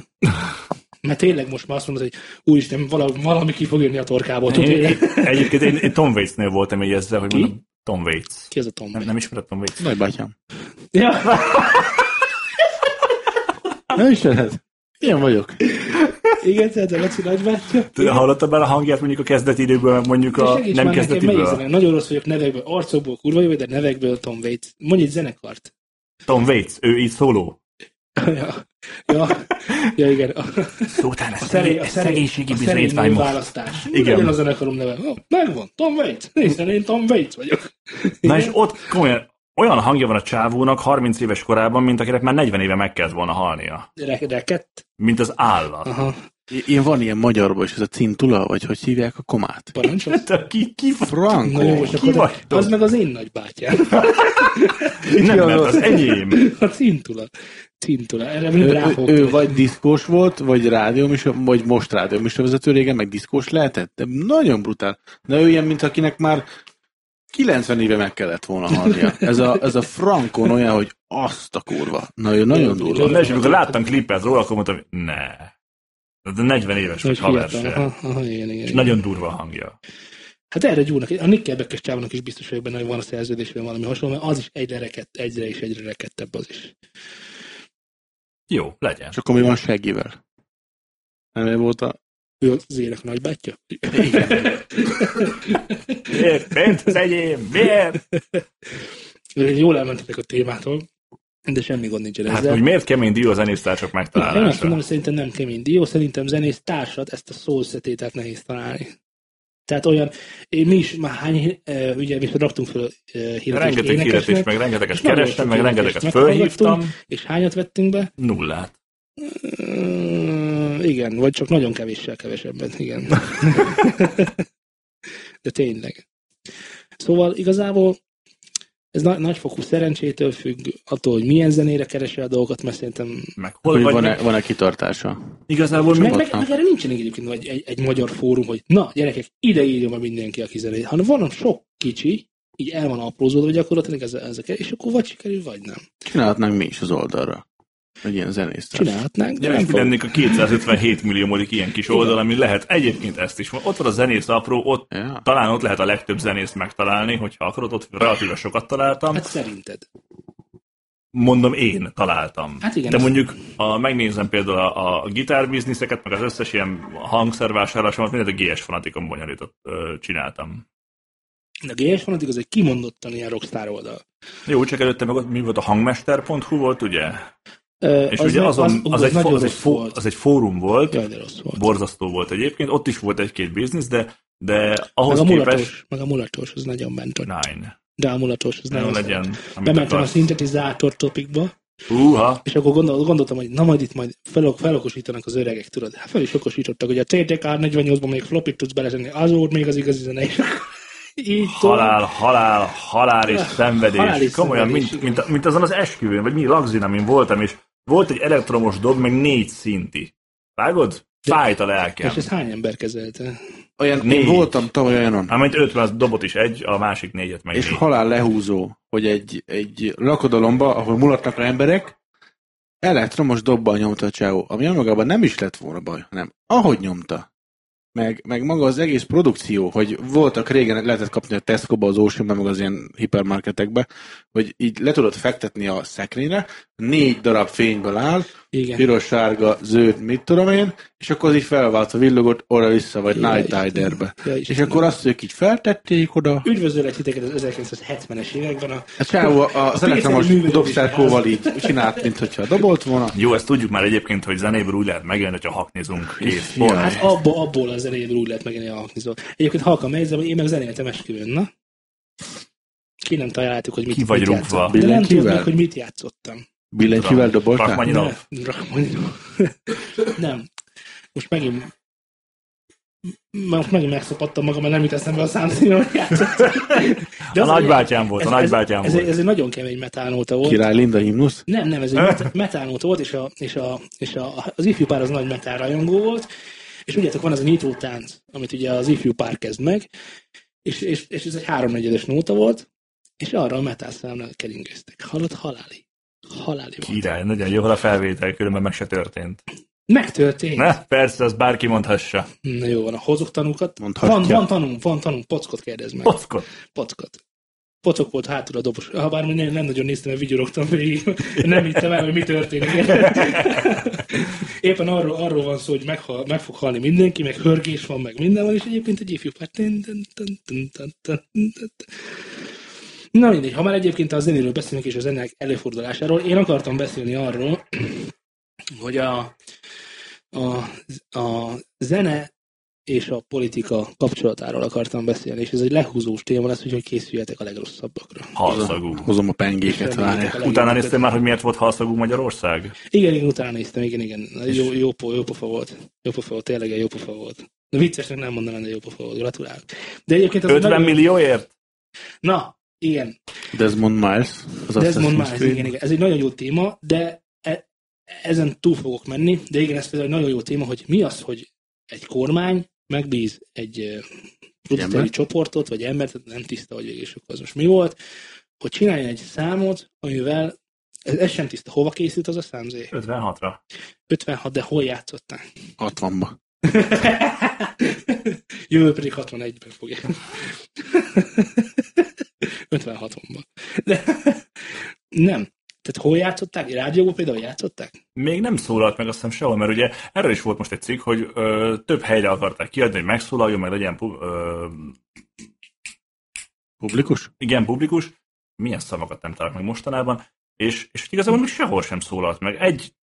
Speaker 3: Mert tényleg most már azt mondod, hogy úristen, valami, valami ki fog jönni a torkából. Tudod,
Speaker 2: Én-
Speaker 3: hogy-
Speaker 2: én- Egyébként én, én Tom Waits-nél voltam így ezzel, hogy
Speaker 3: Ki?
Speaker 2: mondom, Tom Waits.
Speaker 3: Ki az a Tom?
Speaker 2: Nem, nem ismered Tom Waits?
Speaker 4: Nagybátyám.
Speaker 3: Ja,
Speaker 4: Nem ismered? Ilyen vagyok.
Speaker 3: igen, tehát a Laci nagybátyja.
Speaker 2: Te hallottad már a hangját mondjuk a kezdeti időből, meg mondjuk
Speaker 3: Te
Speaker 2: a
Speaker 3: segíts
Speaker 2: nem
Speaker 3: már nekem, melyik zene?
Speaker 2: kezdetiből?
Speaker 3: Nagyon rossz vagyok nevekből, arcokból kurva jó, de nevekből Tom Waits. Mondj egy zenekart. *laughs*
Speaker 2: Tom Waits, ő így szóló.
Speaker 3: Ja, ja, ja igen. A,
Speaker 2: Szótán ez
Speaker 3: a, szerény, a, szerény, a szerény nő választás. Mi
Speaker 2: Igen. Hm.
Speaker 3: legyen a zenekarom neve? Ó, megvan, Tom Waits. Nézd, én Tom Waits vagyok.
Speaker 2: Na és ott komolyan, olyan hangja van a csávónak 30 éves korában, mint akinek már 40 éve meg kellett volna halnia.
Speaker 3: Re- Rekett.
Speaker 2: Mint az állat.
Speaker 3: Aha,
Speaker 4: I- Ilyen van ilyen magyarban is, ez a cintula, vagy hogy hívják a komát?
Speaker 3: parancsolsz.
Speaker 2: Te ki, ki f-
Speaker 3: Na jó,
Speaker 4: Franco.
Speaker 3: most
Speaker 2: Ki
Speaker 3: akkor
Speaker 2: vagy te?
Speaker 3: az meg az én nagybátyám. *laughs*
Speaker 2: nem, mert az enyém.
Speaker 3: A cintula. Cintula. Erre
Speaker 4: Ő,
Speaker 3: mind
Speaker 4: ő,
Speaker 3: ráfogtam.
Speaker 4: ő vagy diszkós volt, vagy rádióműsor, vagy most rádióműsorvezető régen, meg diszkós lehetett. De nagyon brutál. De ő ilyen, mint akinek már 90 éve meg kellett volna halnia. Ez a, ez a frankon olyan, hogy azt a kurva. Na, ő nagyon durva.
Speaker 2: Na és amikor láttam klipet róla, akkor mondtam, hogy ne. De 40 éves vagy
Speaker 3: Hogy
Speaker 2: haver
Speaker 3: fiatal. Aha,
Speaker 2: se.
Speaker 3: aha, igen, igen.
Speaker 2: És
Speaker 3: igen.
Speaker 2: nagyon durva a hangja.
Speaker 3: Hát erre gyúrnak. A Nickelback-es csávónak is biztos vagyok benne, hogy van a szerződésben valami hasonló, mert az is egyre, rekett, egyre és egyre rekettebb az is.
Speaker 2: Jó, legyen.
Speaker 4: És akkor mi van seggivel? Nem ő volt a...
Speaker 3: Ő az élek nagybátyja?
Speaker 2: Miért? Mint az enyém? Miért?
Speaker 3: *laughs* Jól elmentetek a témától, de semmi gond nincsen
Speaker 2: Hát,
Speaker 3: ezzel.
Speaker 2: hogy miért kemény dió a zenésztársak
Speaker 3: Én azt
Speaker 2: megtalálása?
Speaker 3: mondom, hogy szerintem nem kemény dió, szerintem zenész társat, ezt a szószetétet nehéz találni. Tehát olyan, én mi is már hány, eh, ugye mi raktunk föl eh, hirdetést
Speaker 2: Rengeteg hirdetést,
Speaker 3: énekesnek,
Speaker 2: meg rengeteget
Speaker 3: és nagyon
Speaker 2: kerestem,
Speaker 3: sok
Speaker 2: meg
Speaker 3: hirdetést
Speaker 2: rengeteget fölhívtam.
Speaker 3: és hányat vettünk be?
Speaker 2: Nullát.
Speaker 3: Mm, igen, vagy csak nagyon kevéssel kevesebbet, igen.
Speaker 2: *laughs*
Speaker 3: De tényleg. Szóval igazából Ez na- nagyfokú szerencsétől függ, attól, hogy milyen zenére keresi a dolgokat, mert szerintem
Speaker 2: Meg hol
Speaker 4: Hogy
Speaker 2: vagy,
Speaker 4: van-e,
Speaker 2: meg,
Speaker 4: van-e kitartása?
Speaker 2: igazából
Speaker 3: meg,
Speaker 2: meg,
Speaker 3: meg, meg erre nincsen egyébként egy, egy, egy magyar fórum, hogy na, gyerekek, ide írjon már mindenki, aki zenét. Hanem van sok kicsi, így el van aprózódva gyakorlatilag ezek, ezek, és akkor vagy sikerül, vagy nem.
Speaker 4: Csinálhatnánk mi is az oldalra. Egy ilyen zenésztár.
Speaker 3: Csinálhatnánk, de
Speaker 2: Ja,
Speaker 3: nem
Speaker 2: és mi
Speaker 3: fog.
Speaker 2: lennék a 257 millió modik ilyen kis oldal, ami lehet egyébként ezt is. Ott van a zenész apró, ott
Speaker 4: Ja.
Speaker 2: talán ott lehet a legtöbb zenészt megtalálni, hogyha akarod, ott relatíve sokat találtam.
Speaker 3: Hát szerinted.
Speaker 2: Mondom, én találtam.
Speaker 3: Hát igen,
Speaker 2: De
Speaker 3: ez-
Speaker 2: mondjuk, ha megnézem például a, a gitárbiszniszeket, meg az összes ilyen hangszervásárlásomat, mindent a GS fanatikon bonyolított ö, csináltam.
Speaker 3: De a GS fanatik az egy kimondottan ilyen rockstar oldal.
Speaker 2: Jó, csak előtte meg ott mi volt a hangmester.hu volt, ugye?
Speaker 3: Ö,
Speaker 2: És az ugye
Speaker 3: meg-
Speaker 2: azon, az, az, egy, fo-
Speaker 3: nagyon
Speaker 2: az, egy
Speaker 3: rossz
Speaker 2: fo-
Speaker 3: volt.
Speaker 2: az egy fórum volt,
Speaker 3: Jaj, de rossz volt.
Speaker 2: borzasztó volt egyébként, ott is volt egy-két biznisz, de, de
Speaker 3: Meg
Speaker 2: ahhoz
Speaker 3: a
Speaker 2: képest...
Speaker 3: mulatos, meg a mulatos, az nagyon ment. ott.
Speaker 2: Nine.
Speaker 3: De a mulatos, az
Speaker 2: Nem
Speaker 3: nagyon ment.
Speaker 2: legyen, amit
Speaker 3: Bementem a
Speaker 2: akarsz.
Speaker 3: szintetizátor topikba,
Speaker 2: Húha,
Speaker 3: és akkor gondol, gondoltam, hogy na majd itt majd felok, felokosítanak az öregek, tudod. Hát fel is okosítottak, hogy a CTK 48-ban még flopit tudsz beletenni, az volt még az igazi zene. *laughs* Így
Speaker 2: halál, halál, halál és szenvedés.
Speaker 3: Szóval- Halál és
Speaker 2: Komolyan,
Speaker 3: szenvedés,
Speaker 2: mint,
Speaker 3: igen.
Speaker 2: mint, mint azon az esküvőn, vagy mi lagzin, amin voltam, és volt egy elektromos dob, meg négy szinti. Vágod? Fájt a lelkem.
Speaker 3: És ezt hány ember kezelte?
Speaker 4: Olyan,
Speaker 2: Négy.
Speaker 4: én voltam tavaly olyanon,
Speaker 2: Amint 50 dobot is egy, a másik négyet meg
Speaker 4: és
Speaker 2: négy.
Speaker 4: halál lehúzó, hogy egy, egy lakodalomba, ahol mulatnak rá emberek, elektromos dobban nyomta a csávó, ami önmagában nem is lett volna baj, hanem ahogy nyomta. Meg, meg maga az egész produkció, hogy voltak régen, lehetett kapni a Tesco-ba, az Ocean-ba, meg az ilyen hipermarketekbe, hogy így le tudod fektetni a szekrényre, négy darab fényből áll,
Speaker 3: Igen.
Speaker 4: piros, sárga, zöld, mit tudom én, és akkor az így felvált a villogott oda-vissza, vagy
Speaker 3: Ja,
Speaker 4: Night
Speaker 3: Istenem.
Speaker 4: Riderbe.
Speaker 3: Ja,
Speaker 4: És
Speaker 3: Istenem.
Speaker 4: akkor azt ők így feltették oda,
Speaker 3: Üdvözöllek titeket az 1970-es években a
Speaker 4: a Hát csávó a az
Speaker 3: pénzteli
Speaker 4: elektromos
Speaker 3: művelődés
Speaker 4: dobszerkóval így csinált, mint hogyha dobolt volna.
Speaker 2: Jó, ezt tudjuk már egyébként, hogy zenéből úgy lehet megélni, hogyha haknizunk. Kész.
Speaker 4: Ja.
Speaker 2: Pont.
Speaker 3: Hát abba, abból a zenéből úgy lehet megélni a haknizót. Egyébként halkan megjegyzem, hogy én meg zenéltem esküvőn, na? Ki nem találtuk, hogy mit,
Speaker 2: Ki vagy
Speaker 3: mit
Speaker 2: rúgva?
Speaker 3: játszottam. De nem tudod
Speaker 4: Billentyűvel?
Speaker 3: meg, hogy mit játszottam.
Speaker 4: Billentyűvel
Speaker 2: Rachmaninoff.
Speaker 4: doboltál?
Speaker 2: Minap.
Speaker 3: Ne, Rachmaninov. *laughs* nem. Most megint M- most megint megszopadtam magam, mert nem jut eszembe a számszínű, hogy játszottam. De
Speaker 2: A
Speaker 3: az-
Speaker 2: nagybátyám volt, a
Speaker 3: ez-
Speaker 2: nagybátyám
Speaker 3: ez, ez,
Speaker 2: volt.
Speaker 3: ez, egy nagyon kemény metánóta volt.
Speaker 4: Király Linda himnusz?
Speaker 3: Nem, nem, ez egy met- metánót volt, és, a, és, a, és a, az ifjú pár az nagy metán rajongó volt, és ugyatok van az a nyitó tánc, amit ugye az ifjú pár kezd meg, és, és, és ez egy háromnegyedes nóta volt, és arra a metálszámra keringeztek. Hallott haláli. Haláli volt.
Speaker 2: Király, nagyon jó, ha a felvétel, különben meg se történt.
Speaker 3: Megtörtént.
Speaker 2: Ne? Persze, azt bárki mondhassa.
Speaker 3: Na jó, van, hozok tanúkat.
Speaker 4: Mondhatja.
Speaker 3: Van, van tanunk, van tanunk, pockot kérdez meg.
Speaker 2: Pockot.
Speaker 3: Pockot. Pocok volt hátul a dobos. Habár még nem, nem nagyon néztem, mert vigyorogtam végig. Nem hittem el, hogy mi történik. Éppen arról, arról van szó, hogy meghal, meg fog halni mindenki, meg hörgés van, meg minden van, és egyébként egy ifjú pár. Tün, tün, tün, tün, tün, tün, tün, tün. Na mindegy, ha már egyébként a zenéről beszélünk és a zenek előfordulásáról, én akartam beszélni arról, *clears throat* hogy a, a, a zene és a politika kapcsolatáról akartam beszélni, és ez egy lehúzós téma lesz, úgyhogy készüljetek a legrosszabbakra.
Speaker 2: Halszagú.
Speaker 4: Hozom a pengéket, várja.
Speaker 3: Reméljetek a
Speaker 2: Utána
Speaker 3: legjobbakat.
Speaker 2: néztem már, hogy miért volt halszagú Magyarország?
Speaker 3: Igen, igen, utána néztem, igen, igen. Jó, jó, po, jó pofa volt. Jó pofa volt, tényleg jó pofa volt. Na, viccesnek nem mondanám, de jó pofa volt, gratulálok. De egyébként az...
Speaker 2: 50
Speaker 3: nagyon-
Speaker 2: millióért?
Speaker 3: Na, igen,
Speaker 4: Desmond Miles. Az
Speaker 3: Desmond
Speaker 4: Assassin's
Speaker 3: Miles,
Speaker 4: Creed.
Speaker 3: igen, igen. Ez egy nagyon jó téma, de e- ezen túl fogok menni, de igen, ez például egy nagyon jó téma, hogy mi az, hogy egy kormány megbíz egy ö, produceri
Speaker 4: embert?
Speaker 3: csoportot, vagy embert, nem tiszta, hogy végül is akkor az most mi volt, hogy csináljon egy számot, amivel ez, ez sem tiszta, hova készült az a számzé?
Speaker 2: 56-ra.
Speaker 3: 56, de hol játszották?
Speaker 4: 60-ba.
Speaker 3: *laughs* Jövő pedig 61-ben fogják. *laughs* 56-ban. De, *laughs* nem. Tehát hol játszották? Rádióban például játszották?
Speaker 2: Még nem szólalt meg azt hiszem sehol, mert ugye erről is volt most egy cikk, hogy ö, több helyre akarták kiadni, hogy megszólaljon, meg legyen pu- ö,
Speaker 4: Publikus?
Speaker 2: igen, publikus. Milyen szavakat nem találok meg mostanában. És, és igazából még sehol sem szólalt meg. Egy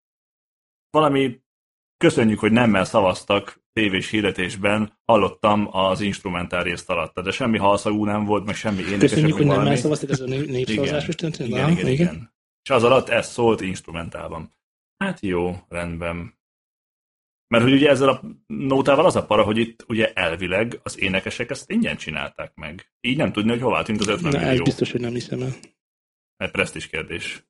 Speaker 2: valami köszönjük, hogy nemmel szavaztak tévés hirdetésben, hallottam az instrumentál részt alatt. De semmi halszagú nem volt, meg semmi énekes.
Speaker 3: Köszönjük,
Speaker 2: meg
Speaker 3: hogy nem
Speaker 2: valami.
Speaker 3: elszavaztak ez
Speaker 2: *laughs*
Speaker 3: a né- népszavazás most történt.
Speaker 2: Igen,
Speaker 3: Na,
Speaker 2: igen, igen. És az alatt ez szólt instrumentálban. Hát jó, rendben. Mert hogy ugye ezzel a nótával az a para, hogy itt ugye elvileg az énekesek ezt ingyen csinálták meg. Így nem tudni, hogy hová tűnt az 50
Speaker 3: Na, ez
Speaker 2: millió.
Speaker 3: biztos, hogy nem hiszem el.
Speaker 2: Egy presztis kérdés.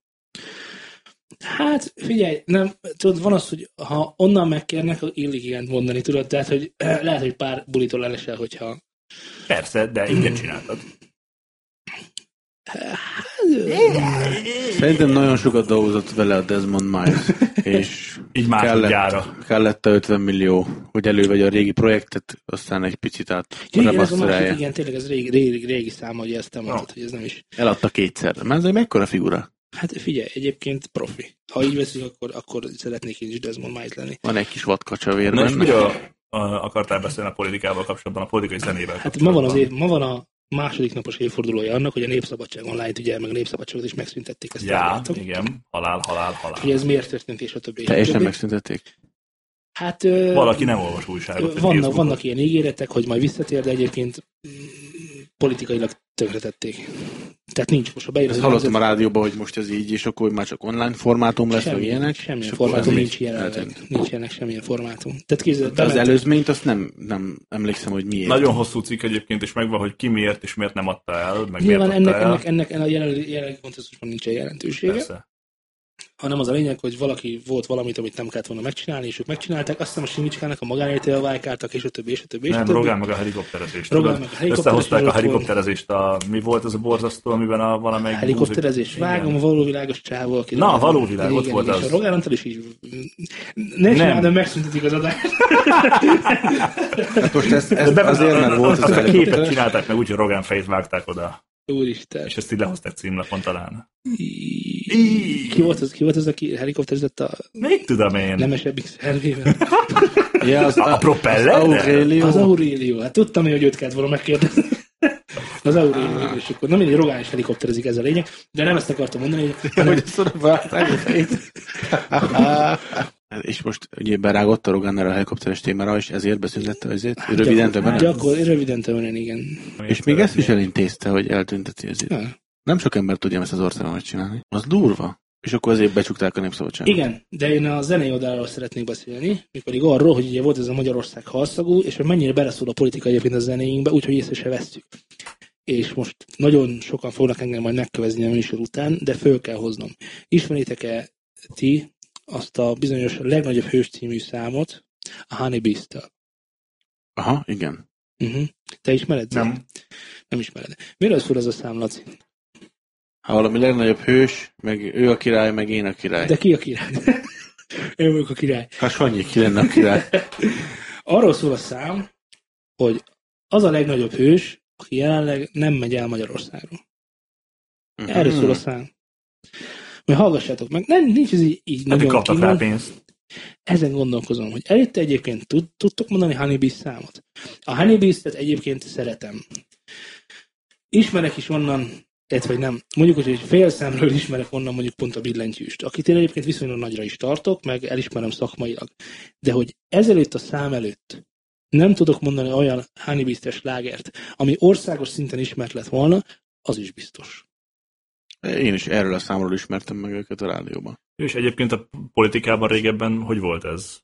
Speaker 3: Hát, figyelj, nem, tudod, van az, hogy ha onnan megkérnek, akkor illik igent mondani, tudod, tehát, hogy eh, lehet, hogy pár bulitól elesel, hogyha...
Speaker 2: Persze, de ingyen csináltad.
Speaker 4: Szerintem nagyon sokat dolgozott vele a Desmond
Speaker 3: *laughs*
Speaker 4: Miles, és
Speaker 2: Így
Speaker 4: kellett,
Speaker 2: másodjára.
Speaker 4: kellett a 50 millió, hogy elővegye a régi projektet, aztán egy picit át
Speaker 3: Ja, igen, ez a másik,
Speaker 4: remasterálja.
Speaker 3: igen, tényleg ez régi, régi, régi száma, hogy ezt te mondtad, hogy ez nem is...
Speaker 4: Eladta kétszer. Már ez egy mekkora figura?
Speaker 3: Hát figyelj, egyébként profi. Ha így veszünk, akkor, akkor szeretnék én is Desmond Miles lenni.
Speaker 4: Van egy kis vadkacsa vér
Speaker 2: Na és
Speaker 4: benne.
Speaker 2: miről a, akartál beszélni a politikával kapcsolatban, a politikai zenével
Speaker 3: Hát
Speaker 2: kapcsolatban?
Speaker 3: ma van, az év, ma van a második napos évfordulója annak, hogy a Népszabadság online, ugye, meg a Népszabadságot is megszüntették ezt.
Speaker 2: Já,
Speaker 3: tudjátok?
Speaker 2: igen, halál, halál, halál.
Speaker 3: Hogy ez miért történt, és a többi. és a
Speaker 4: Teljesen
Speaker 3: többi.
Speaker 4: megszüntették.
Speaker 3: Hát ö,
Speaker 2: Valaki nem olvas újságot. vagy
Speaker 3: vannak,
Speaker 2: Facebookot.
Speaker 3: vannak ilyen ígéretek, hogy majd visszatér, de egyébként mm, politikailag tönkretették. Tehát nincs most, ha beír
Speaker 4: Ezt hallottam a rádióban, hogy most ez így, és akkor már csak online formátum lesz, meg ilyenek.
Speaker 3: semmilyen
Speaker 4: és akkor
Speaker 3: formátum
Speaker 4: ez így
Speaker 3: nincs jelenleg.
Speaker 4: eltűnt.
Speaker 3: Nincs jelenleg semmilyen formátum. Tehát képzeld,
Speaker 4: De az
Speaker 3: bement-
Speaker 4: előzményt azt nem, nem emlékszem, hogy miért.
Speaker 2: Nagyon hosszú cikk egyébként, és megvan, hogy ki miért és miért nem adta el, meg
Speaker 3: Nyilván
Speaker 2: miért adta
Speaker 3: ennek,
Speaker 2: el.
Speaker 3: ennek, ennek, ennek a jelenlegi, jelenlegi kontextusban nincsen jelentősége, Persze.
Speaker 2: Persze.
Speaker 3: hanem az a lényeg, hogy valaki volt valamit, amit nem kellett volna megcsinálni, és ők megcsinálták, azt hiszem a Simicsikának a magánéletével vájkáltak, és a többi, és a többi, és a
Speaker 2: Nem,
Speaker 3: többi.
Speaker 2: Rogán meg a helikopterezést.
Speaker 3: Rogán
Speaker 2: tudod?
Speaker 3: meg a helikopterezés
Speaker 2: Összehozták a
Speaker 3: volt.
Speaker 2: helikopterezést, a, mi volt az a borzasztó, amiben a valamelyik...
Speaker 3: Helikopterezés,
Speaker 2: múzik- Igen.
Speaker 3: vágom a való világos csávó. aki-
Speaker 2: Na, a való világ,
Speaker 3: Igen,
Speaker 2: ott volt
Speaker 3: igen,
Speaker 2: az.
Speaker 3: és A Rogán Antal is így... Ne csinálj, de megszüntetik az adást.
Speaker 4: Hát most ezt, ezt
Speaker 2: De be-
Speaker 4: azért, mert volt
Speaker 2: azt
Speaker 4: az
Speaker 2: a képet
Speaker 4: előbb.
Speaker 2: csinálták meg úgy, hogy Rogán fejét vágták oda,
Speaker 3: Úristen.
Speaker 2: és ezt így lehozták címlapon talán.
Speaker 3: Í- Ki volt az, ki volt az aki helikopterezett a
Speaker 2: Mit tudom én?
Speaker 3: nemesebbik szervével?
Speaker 4: Ja, az,
Speaker 2: A- a propellerrel?
Speaker 4: Az Aurelio.
Speaker 3: Az Aurélio, hát tudtam én, hogy őt kellett volna megkérdezni. Az Aurélio,
Speaker 4: Ah.
Speaker 3: és akkor, na mindegy, Rogán is helikopterezik ez a lényeg, de nem ezt akartam mondani,
Speaker 4: *laughs* hogy
Speaker 3: hogy
Speaker 4: ezt oda vágták a fejét. *laughs* És most ugye berágott a Rogan erre a helikopteres témára, és ezért beszüntette azért röviden többen. nem?
Speaker 3: Gyakor, röviden tömönen, igen.
Speaker 4: És még ezt is elintézte, hogy eltünteti ezért.
Speaker 3: Ja.
Speaker 4: Nem sok ember tudja ezt az országban megcsinálni. Az durva. És akkor azért becsukták a népszabadságot.
Speaker 3: Igen, de én a zenei oldaláról szeretnék beszélni, mégpedig arról, hogy ugye volt ez a Magyarország halszagú, és hogy mennyire beleszól a politika egyébként a zenéinkbe, úgyhogy észre se vesszük. És most nagyon sokan fognak engem majd megkövezni a műsor után, de föl kell hoznom. Ismeritek-e ti azt a bizonyos legnagyobb hős című számot, a Honey Beast-tel?
Speaker 4: Aha, igen.
Speaker 3: Uh-huh. Te ismered? Zé?
Speaker 2: Nem.
Speaker 3: Nem ismered. Miről szól ez a szám, Laci?
Speaker 4: Ha Hát valami legnagyobb hős, meg ő a király, meg én a király.
Speaker 3: De ki a király? Én vagyok a király.
Speaker 4: Ha Sanyi ki lenne a király.
Speaker 3: Arról szól a szám, hogy az a legnagyobb hős, aki jelenleg nem megy el Magyarországról. *laughs* Erről
Speaker 2: Hmm.
Speaker 3: szól a szám. Majd hallgassátok meg, nem, nincs ez így, így
Speaker 2: Hát, hogy
Speaker 3: nagyon
Speaker 2: kaptak rá
Speaker 3: kívánt.
Speaker 2: pénzt.
Speaker 3: Ezen gondolkozom, hogy előtte egyébként tud, tudtok mondani Honeybee számot. A Honeybeast-et egyébként szeretem. Ismerek is onnan, tehát vagy nem, mondjuk, hogy egy fél szemről ismerek onnan mondjuk pont a billentyűst, akit én egyébként viszonylag nagyra is tartok, meg elismerem szakmailag. De hogy ezelőtt a szám előtt nem tudok mondani olyan Honeybeast-es lágert, ami országos szinten ismert lett volna, az is biztos.
Speaker 4: Én is erről a számról ismertem meg őket a rádióban.
Speaker 2: És egyébként a politikában régebben hogy volt ez?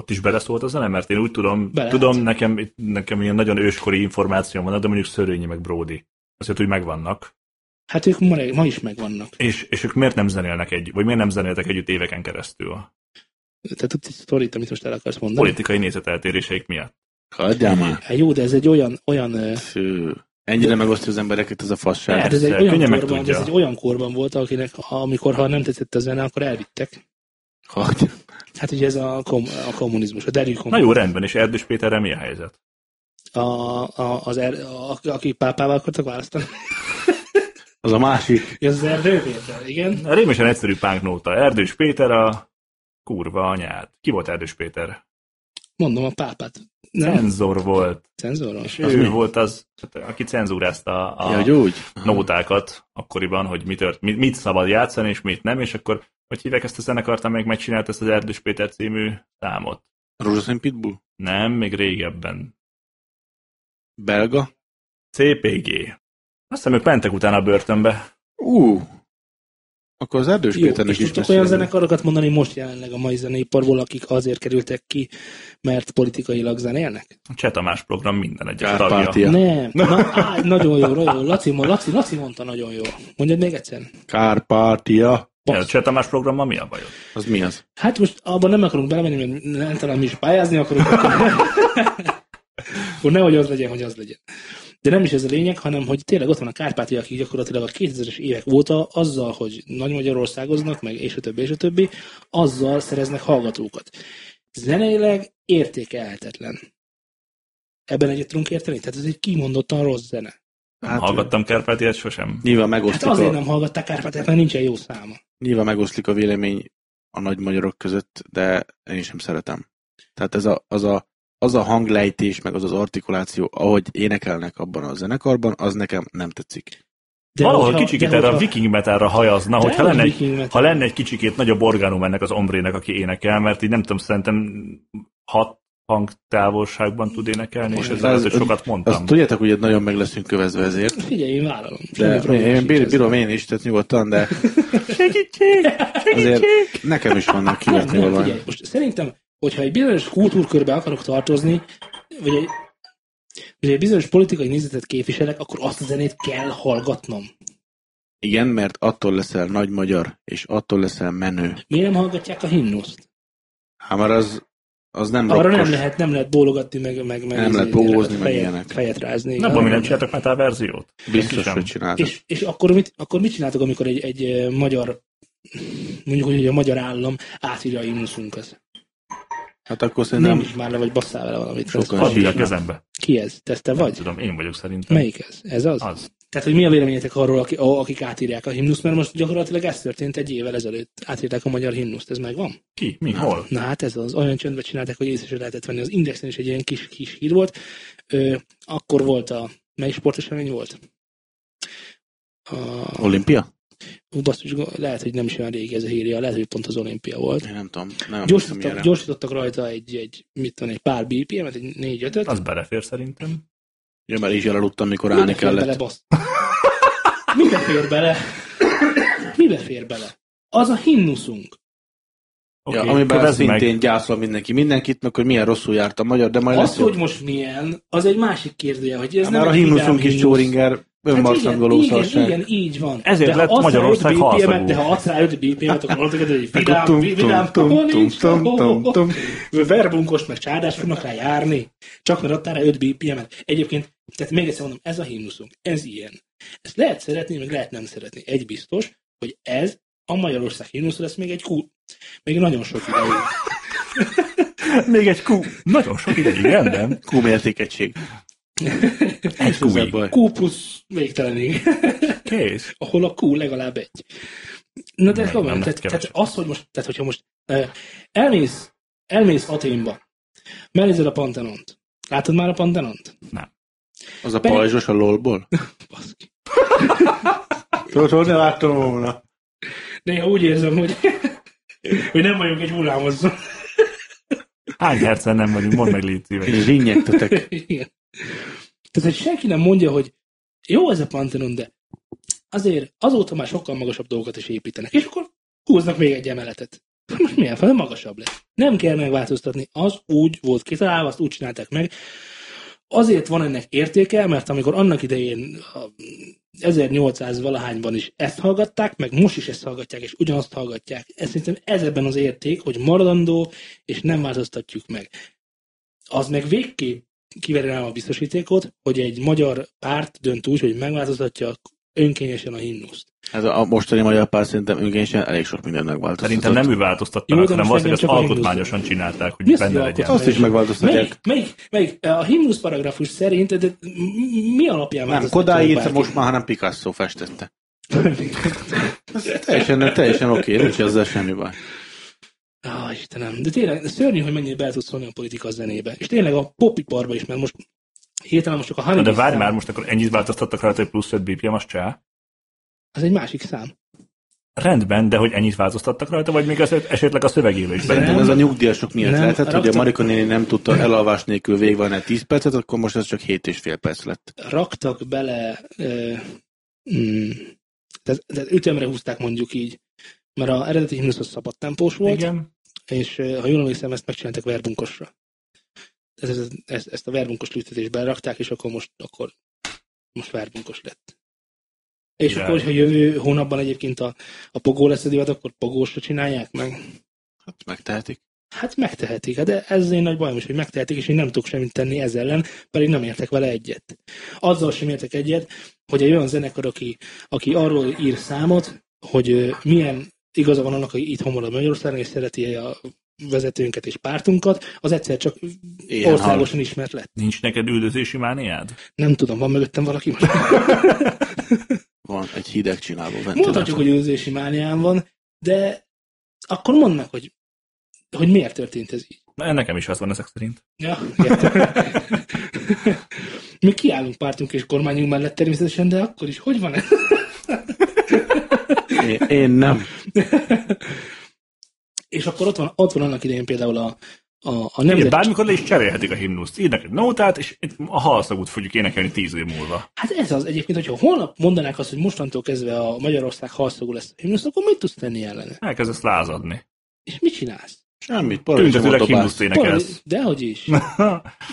Speaker 2: Ott is beleszólt az zene? Mert én úgy tudom,
Speaker 3: Bele.
Speaker 2: tudom nekem, itt- nekem ilyen nagyon őskori információm van, de mondjuk Szörényi meg Brody. Azért úgy megvannak.
Speaker 3: Hát ők ma, ma is megvannak.
Speaker 2: És, és ők miért nem zenélnek egy, vagy miért nem zenéltek együtt éveken keresztül?
Speaker 3: Te tudsz egy sztorit, amit most el akarsz mondani?
Speaker 2: Politikai nézeteltéréseik miatt.
Speaker 4: Hagyjál már.
Speaker 3: Hát jó, de ez egy olyan, olyan, ö,
Speaker 4: Fű. Ennyire megosztja az embereket ez a
Speaker 3: hát
Speaker 4: fasság.
Speaker 3: ez
Speaker 2: Persze,
Speaker 3: egy olyan
Speaker 2: könnyen
Speaker 3: korban,
Speaker 2: megtudja.
Speaker 3: ez egy olyan korban volt, akinek, ha- amikor ha nem tetszett a zene, akkor elvittek.
Speaker 4: Hagy.
Speaker 3: Hát ugye ez a, kom, a kommunizmus, a derű
Speaker 2: Na
Speaker 3: kommunizmus.
Speaker 2: jó, rendben, és Erdős Péterrel mi a helyzet?
Speaker 3: A, a, az er, a, akik pápával akartak választani.
Speaker 4: Az a másik.
Speaker 3: Ez az erdővétel, igen.
Speaker 2: Rémesen egyszerű pánknóta. Erdős Péter a kurva anyád. Ki volt Erdős Péter?
Speaker 3: Mondom a pápát. Nem,
Speaker 2: Cenzor volt.
Speaker 3: cenzorom.
Speaker 2: És
Speaker 4: Az
Speaker 2: ő
Speaker 4: mi?
Speaker 2: volt az, hát, aki cenzúrázta a,
Speaker 4: Ja, hogy úgy?
Speaker 2: nótákat akkoriban, hogy mit, tört, mit, mit szabad játszani, és mit nem, és akkor hogy hívják ezt a zenekart, amelyik megcsinált ezt az Erdős Péter című számot?
Speaker 4: Rózsaszín Pitbull?
Speaker 2: Nem, még régebben.
Speaker 4: Belga?
Speaker 2: CPG. Azt hiszem, ők mentek utána a börtönbe.
Speaker 4: Ú, Akkor az Erdős
Speaker 3: Jó,
Speaker 4: Péternek
Speaker 3: és
Speaker 4: is
Speaker 3: tudtok olyan
Speaker 4: beszélünk.
Speaker 3: zenekarokat mondani most jelenleg a mai zeneiparból, akik azért kerültek ki, mert politikailag zenélnek?
Speaker 2: A Cseh Tamás program minden egyes tagja.
Speaker 4: Kárpátia.
Speaker 3: Nem. Na, á, nagyon jó, nagyon jó. Laci, mo- Laci, Laci mondta nagyon jó. Mondjad még egyszer.
Speaker 4: Kárpátia.
Speaker 2: A Cseh Tamás programmal mi a bajod?
Speaker 4: Az mi az?
Speaker 3: Hát most abban nem akarunk belemenni, mert nem talán mi is pályázni akarunk. Akkor nehogy az legyen, hogy az legyen. De nem is ez a lényeg, hanem hogy tényleg ott van a Kárpátia, akik gyakorlatilag a 2000-es évek óta azzal, hogy Nagy Magyarországoznak, meg és a többi, és a többi, azzal szereznek hallgatókat. Zeneileg értékelhetetlen. Ebben egyet tudunk érteni? Tehát ez egy kimondottan rossz zene.
Speaker 2: Hát, Hallgattam Kárpátiát sosem.
Speaker 4: Nyilván
Speaker 3: Hát
Speaker 4: megoszlik,
Speaker 3: azért
Speaker 4: a,
Speaker 3: nem hallgatták Kárpátiát, mert nincsen jó száma.
Speaker 4: nyilván megoszlik a vélemény a nagy magyarok között, de én sem szeretem. Tehát ez a, az, a, az a hanglejtés, meg az az artikuláció, ahogy énekelnek abban a zenekarban, az nekem nem tetszik.
Speaker 2: De Valahol kicsikét erre a
Speaker 3: hogyha-
Speaker 2: viking metalra hajazna, hogyha
Speaker 3: Dehogy
Speaker 2: lenne egy
Speaker 3: viking metal.
Speaker 2: ha lenne egy kicsikét nagyobb orgánum ennek az ombrének, aki énekel, mert így nem tudom, szerintem hat hangtávolságban tud énékelni, és
Speaker 3: Igen.
Speaker 2: ezzel
Speaker 4: Az-
Speaker 2: azért sokat
Speaker 4: Azt
Speaker 2: mondtam.
Speaker 4: tudjátok, hogy nagyon meg leszünk kövezve ezért.
Speaker 3: Figyelj, én vállalom. Semmi
Speaker 4: De én,
Speaker 3: probléma
Speaker 4: én
Speaker 3: sincs
Speaker 4: bír,
Speaker 3: ezzel.
Speaker 4: bírom én is, tehát
Speaker 3: *laughs*
Speaker 4: nyugodtan, de azért nekem is vannak
Speaker 3: Nem,
Speaker 4: kivetni
Speaker 3: nem,
Speaker 4: valami.
Speaker 3: figyelj, most szerintem, hogyha egy bizonyos kultúrkörbe akarok tartozni, vagy egy, vagy egy bizonyos politikai nézetet képviselek, akkor azt a zenét kell hallgatnom.
Speaker 4: Igen, mert attól leszel nagy magyar, és attól leszel menő.
Speaker 3: Miért nem hallgatják a himnuszt?
Speaker 4: Hát már az, az nem
Speaker 3: Arra
Speaker 4: rokkos.
Speaker 3: nem lehet, nem lehet bólogatni, meg, meg, meg
Speaker 4: Nem
Speaker 3: izé-
Speaker 4: lehet bogózni, meg
Speaker 3: fejet,
Speaker 4: ilyenek.
Speaker 3: Fejet rázni.
Speaker 2: Na,
Speaker 3: Igen.
Speaker 2: mi nem csináltak metal verziót? Senki
Speaker 4: Biztos,
Speaker 2: sem.
Speaker 4: hogy csináltak.
Speaker 3: És, és akkor, mit, akkor mit csináltok, amikor egy, egy eh, magyar mondjuk, hogy a magyar állam átírja a himnuszunkat.
Speaker 4: Hát akkor
Speaker 3: Nem. nem
Speaker 4: szerintem
Speaker 3: is már le, vagy basszál vele valamit.
Speaker 4: Sokan
Speaker 3: Ez-
Speaker 2: Hadd így a
Speaker 4: nem.
Speaker 2: kezembe.
Speaker 3: Ki ez? Te, te
Speaker 2: Nem
Speaker 3: vagy?
Speaker 2: tudom, én vagyok szerintem.
Speaker 3: Melyik ez? Ez az?
Speaker 2: Az.
Speaker 3: Tehát, hogy mi a véleményetek arról, aki, a- akik átírják a himnuszt, mert most gyakorlatilag ez történt egy évvel ezelőtt. Átírták a magyar himnuszt, ez megvan?
Speaker 2: Ki? Mi? Hol?
Speaker 3: Na hát ez az, olyan csöndbe csinálták, hogy észre se lehetett venni. Az Indexen is egy ilyen kis, kis hír volt. Ö, akkor volt a... Melyik sportesemény volt? A,
Speaker 4: olimpia?
Speaker 3: ú, basszus, go- lehet, hogy nem is olyan régi ez a hírja, lehet, hogy pont az olimpia volt.
Speaker 4: Én nem tudom. Nem emlékszem
Speaker 3: Gyorsítottak,
Speaker 4: ilyenre.
Speaker 3: gyorsítottak rajta egy, egy, mit tudom, egy pár BPM-et, egy 4-5-öt.
Speaker 2: Az belefér szerintem.
Speaker 4: Ja, mert is elaludtam, mikor állni
Speaker 3: Mibe fér Bele,
Speaker 4: kellett.
Speaker 3: basz? Mibe fér bele? Mibe fér bele? Az a himnuszunk.
Speaker 4: Ja,
Speaker 2: Oké,
Speaker 4: amiben
Speaker 2: kövezd
Speaker 4: szintén
Speaker 2: meg.
Speaker 4: gyászol mindenki mindenkit, meg hogy milyen rosszul járt a magyar, de majd
Speaker 3: Az,
Speaker 4: lesz.
Speaker 3: hogy
Speaker 4: Hogy
Speaker 3: most milyen, az egy másik kérdője, hogy ez
Speaker 4: hát
Speaker 3: nem
Speaker 4: már a
Speaker 3: egy vidám
Speaker 4: himnuszunk is
Speaker 3: himnusz.
Speaker 4: Csóringer,
Speaker 3: Hát igen,
Speaker 4: önmarszangoló
Speaker 3: igen, igen,
Speaker 4: szarság.
Speaker 3: így van.
Speaker 2: Ezért
Speaker 3: ha
Speaker 2: lett
Speaker 3: adsz rá
Speaker 2: Magyarország
Speaker 3: öt BPM-et,
Speaker 2: halszagú.
Speaker 3: De ha adsz rá 5 BPM-et, akkor mondod, hogy egy
Speaker 4: Akkor
Speaker 3: vidám, vidám, ahol nincs, ahol-
Speaker 4: tum.
Speaker 3: verbunkos, meg csárdás fognak rá járni, csak mert adtál rá 5 BPM-et. Egyébként, tehát még egyszer mondom, ez a himnuszunk, ez ilyen. Ezt lehet szeretni, meg lehet nem szeretni. Egy biztos, hogy ez a Magyarország himnusz lesz még egy kú, még nagyon sok ideig.
Speaker 2: Hát Még egy kú. Nagyon sok ideig, rendben.
Speaker 3: *laughs*
Speaker 4: Kumértékegység.
Speaker 2: Egy
Speaker 4: Ez a
Speaker 2: kúig.
Speaker 4: baj.
Speaker 3: Q plusz végtelenig,
Speaker 2: Kész.
Speaker 3: ahol a Q legalább egy. Na de
Speaker 2: Nem,
Speaker 3: komolyan,
Speaker 2: nem,
Speaker 3: tehát, tehát
Speaker 2: kevesebb.
Speaker 3: az, hogy most, tehát hogyha most eh, elmész, elmész Aténba, megnézed a Pantenont. Látod már a Pantenont?
Speaker 4: Az a
Speaker 3: Pedig-
Speaker 4: pajzsos a lolból?
Speaker 3: Baszki.
Speaker 4: Tudod, hogy ne láttam volna.
Speaker 3: Néha úgy érzem, hogy, *laughs* hogy nem vagyunk egy hullámozzon.
Speaker 2: Hány hercen nem vagyunk, mondd meg légy szíves.
Speaker 4: Én rinnyegtetek.
Speaker 3: *laughs* Igen. Tehát, hogy senki nem mondja, hogy jó ez a Pantheon, de azért azóta már sokkal magasabb dolgokat is építenek, és akkor húznak még egy emeletet. Hát Most milyen fel, magasabb lesz. Nem kell megváltoztatni, az úgy volt kitalálva, azt úgy csinálták meg. Azért van ennek értéke, mert amikor annak idején a 1800 valahányban is ezt hallgatták, meg most is ezt hallgatják, és ugyanazt hallgatják. Ez szerintem ez ebben az érték, hogy maradandó, és nem változtatjuk meg. Az meg végképp kiveri rám a biztosítékot, hogy egy magyar párt dönt úgy, hogy megváltoztatja önkényesen a himnuszt.
Speaker 4: Ez Hát a mostani magyar pár szerintem önkényesen elég sok mindent megváltoztatott.
Speaker 2: Szerintem nem ő változtatta
Speaker 3: Jó,
Speaker 2: meg,
Speaker 3: de
Speaker 2: hanem
Speaker 3: most
Speaker 2: valószínűleg ezt
Speaker 3: engem csak a
Speaker 2: alkotmányosan csinálták,
Speaker 3: Mi
Speaker 2: hogy
Speaker 3: az, hogy
Speaker 2: benne legyen.
Speaker 3: alkotmány?
Speaker 4: Azt is megváltoztatják.
Speaker 3: Melyik, melyik, melyik, a himnusz paragrafus szerint, de m- mi alapján
Speaker 4: Nem
Speaker 3: változtatja
Speaker 4: Kodály
Speaker 3: a
Speaker 4: írta
Speaker 3: párt?
Speaker 4: most már, hanem Picasso festette. Ez teljesen, teljesen oké, nincs ezzel semmi baj.
Speaker 3: *laughs* Á, Istenem, de tényleg szörnyű, hogy mennyire bele tudsz szólni a politika zenébe. És tényleg a popiparba is, mert most hirtelen most csak a
Speaker 2: Na, de
Speaker 3: Honeybees
Speaker 2: várj
Speaker 3: szám,
Speaker 2: már, most akkor ennyit változtattak rajta, hogy plusz 5 BPM, az csá.
Speaker 3: az egy másik szám.
Speaker 2: Rendben, de hogy ennyit változtattak rajta, vagy még az esetleg a szövegélő is benne?
Speaker 4: Szerintem ez a nyugdíjasok miatt
Speaker 3: Nem,
Speaker 4: lehetett, hogy a
Speaker 3: raktam-
Speaker 4: Marika néni nem tudta elalvás nélkül végigvenni 10 percet, akkor most ez csak 7 és fél perc lett.
Speaker 3: Raktak bele, ö, mm, tehát, tehát ütemre húzták mondjuk így Mert az eredeti himnusz az szabad tempós volt,
Speaker 2: Igen.
Speaker 3: és eh, ha jól emlékszem, ezt megcsináltak verbunkosra. Ez, ez, ez, ezt a verbunkos lütetést belerakták, és akkor most, akkor most verbunkos lett. És
Speaker 2: Király.
Speaker 3: akkor, hogyha jövő hónapban egyébként a, a pogó lesz a divat, akkor pogósra csinálják meg.
Speaker 4: Hát megtehetik.
Speaker 3: Hát megtehetik, de ez az én nagy bajom is, hogy megtehetik, és én nem tudok semmit tenni ez ellen, pedig nem értek vele egyet. Azzal sem értek egyet, hogy egy olyan zenekar, aki, aki arról ír számot, hogy ö, milyen igaza van annak, hogy itt marad Magyarországon, és szereti a vezetőnket és pártunkat, az egyszer csak
Speaker 4: Ilyen
Speaker 3: országosan ismert lett.
Speaker 2: Nincs neked üldözési mániád?
Speaker 3: Nem tudom, van mögöttem valaki most.
Speaker 4: Van egy hideg csináló
Speaker 3: Mondhatjuk,
Speaker 4: ventilátor.
Speaker 3: hogy őzési mániám van, de akkor mondd meg, hogy, hogy miért történt ez így.
Speaker 2: Na, nekem is az van ezek szerint.
Speaker 3: Ja, értem. *laughs* Mi kiállunk pártunk és kormányunk mellett természetesen, de akkor is hogy van ez?
Speaker 4: Én, én nem.
Speaker 3: És akkor ott van, ott van annak idején például a, a, a
Speaker 2: Igen,
Speaker 3: nemzet...
Speaker 2: bármikor le is cserélhetik a himnuszt. Írnak egy nótát, és itt a halszagút fogjuk énekelni tíz év múlva.
Speaker 3: Hát ez az egyébként, hogyha holnap mondanák azt, hogy mostantól kezdve a Magyarország halszagú lesz a himnusz, akkor mit tudsz tenni ellene?
Speaker 2: Elkezdesz lázadni.
Speaker 3: És mit csinálsz?
Speaker 4: Semmit. Paradicsomot
Speaker 2: Tüntetőleg
Speaker 4: dobálsz.
Speaker 2: himnuszt énekelsz.
Speaker 3: Dehogy is. És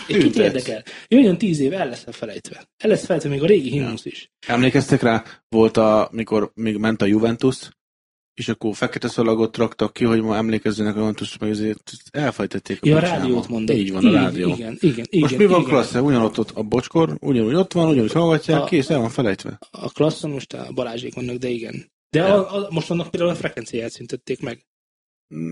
Speaker 3: kit
Speaker 4: Tüntetsz.
Speaker 3: érdekel? Jöjjön tíz év, el lesz felejtve. El lesz felejtve még a régi himnusz is.
Speaker 4: Emlékeztek rá, volt a, mikor még ment a Juventus, és akkor fekete szalagot raktak ki, hogy ma emlékezzenek a Juventus, meg ezért elfejtették. hogy
Speaker 3: Ja, a
Speaker 4: mit csinál
Speaker 3: rádiót
Speaker 4: ma.
Speaker 3: mondod.
Speaker 4: Így van, a rádió.
Speaker 3: Igen, igen, igen.
Speaker 4: Most mi van
Speaker 3: igen.
Speaker 4: klassz? Ugyanott ott a bocskor, ugyanúgy ott van, ugyanúgy hallgatják,
Speaker 3: A-
Speaker 4: kész, el van felejtve.
Speaker 3: a klasszon most a Balázsék vannak, de igen. De a, a, most annak például a frekvenciáját szüntették meg.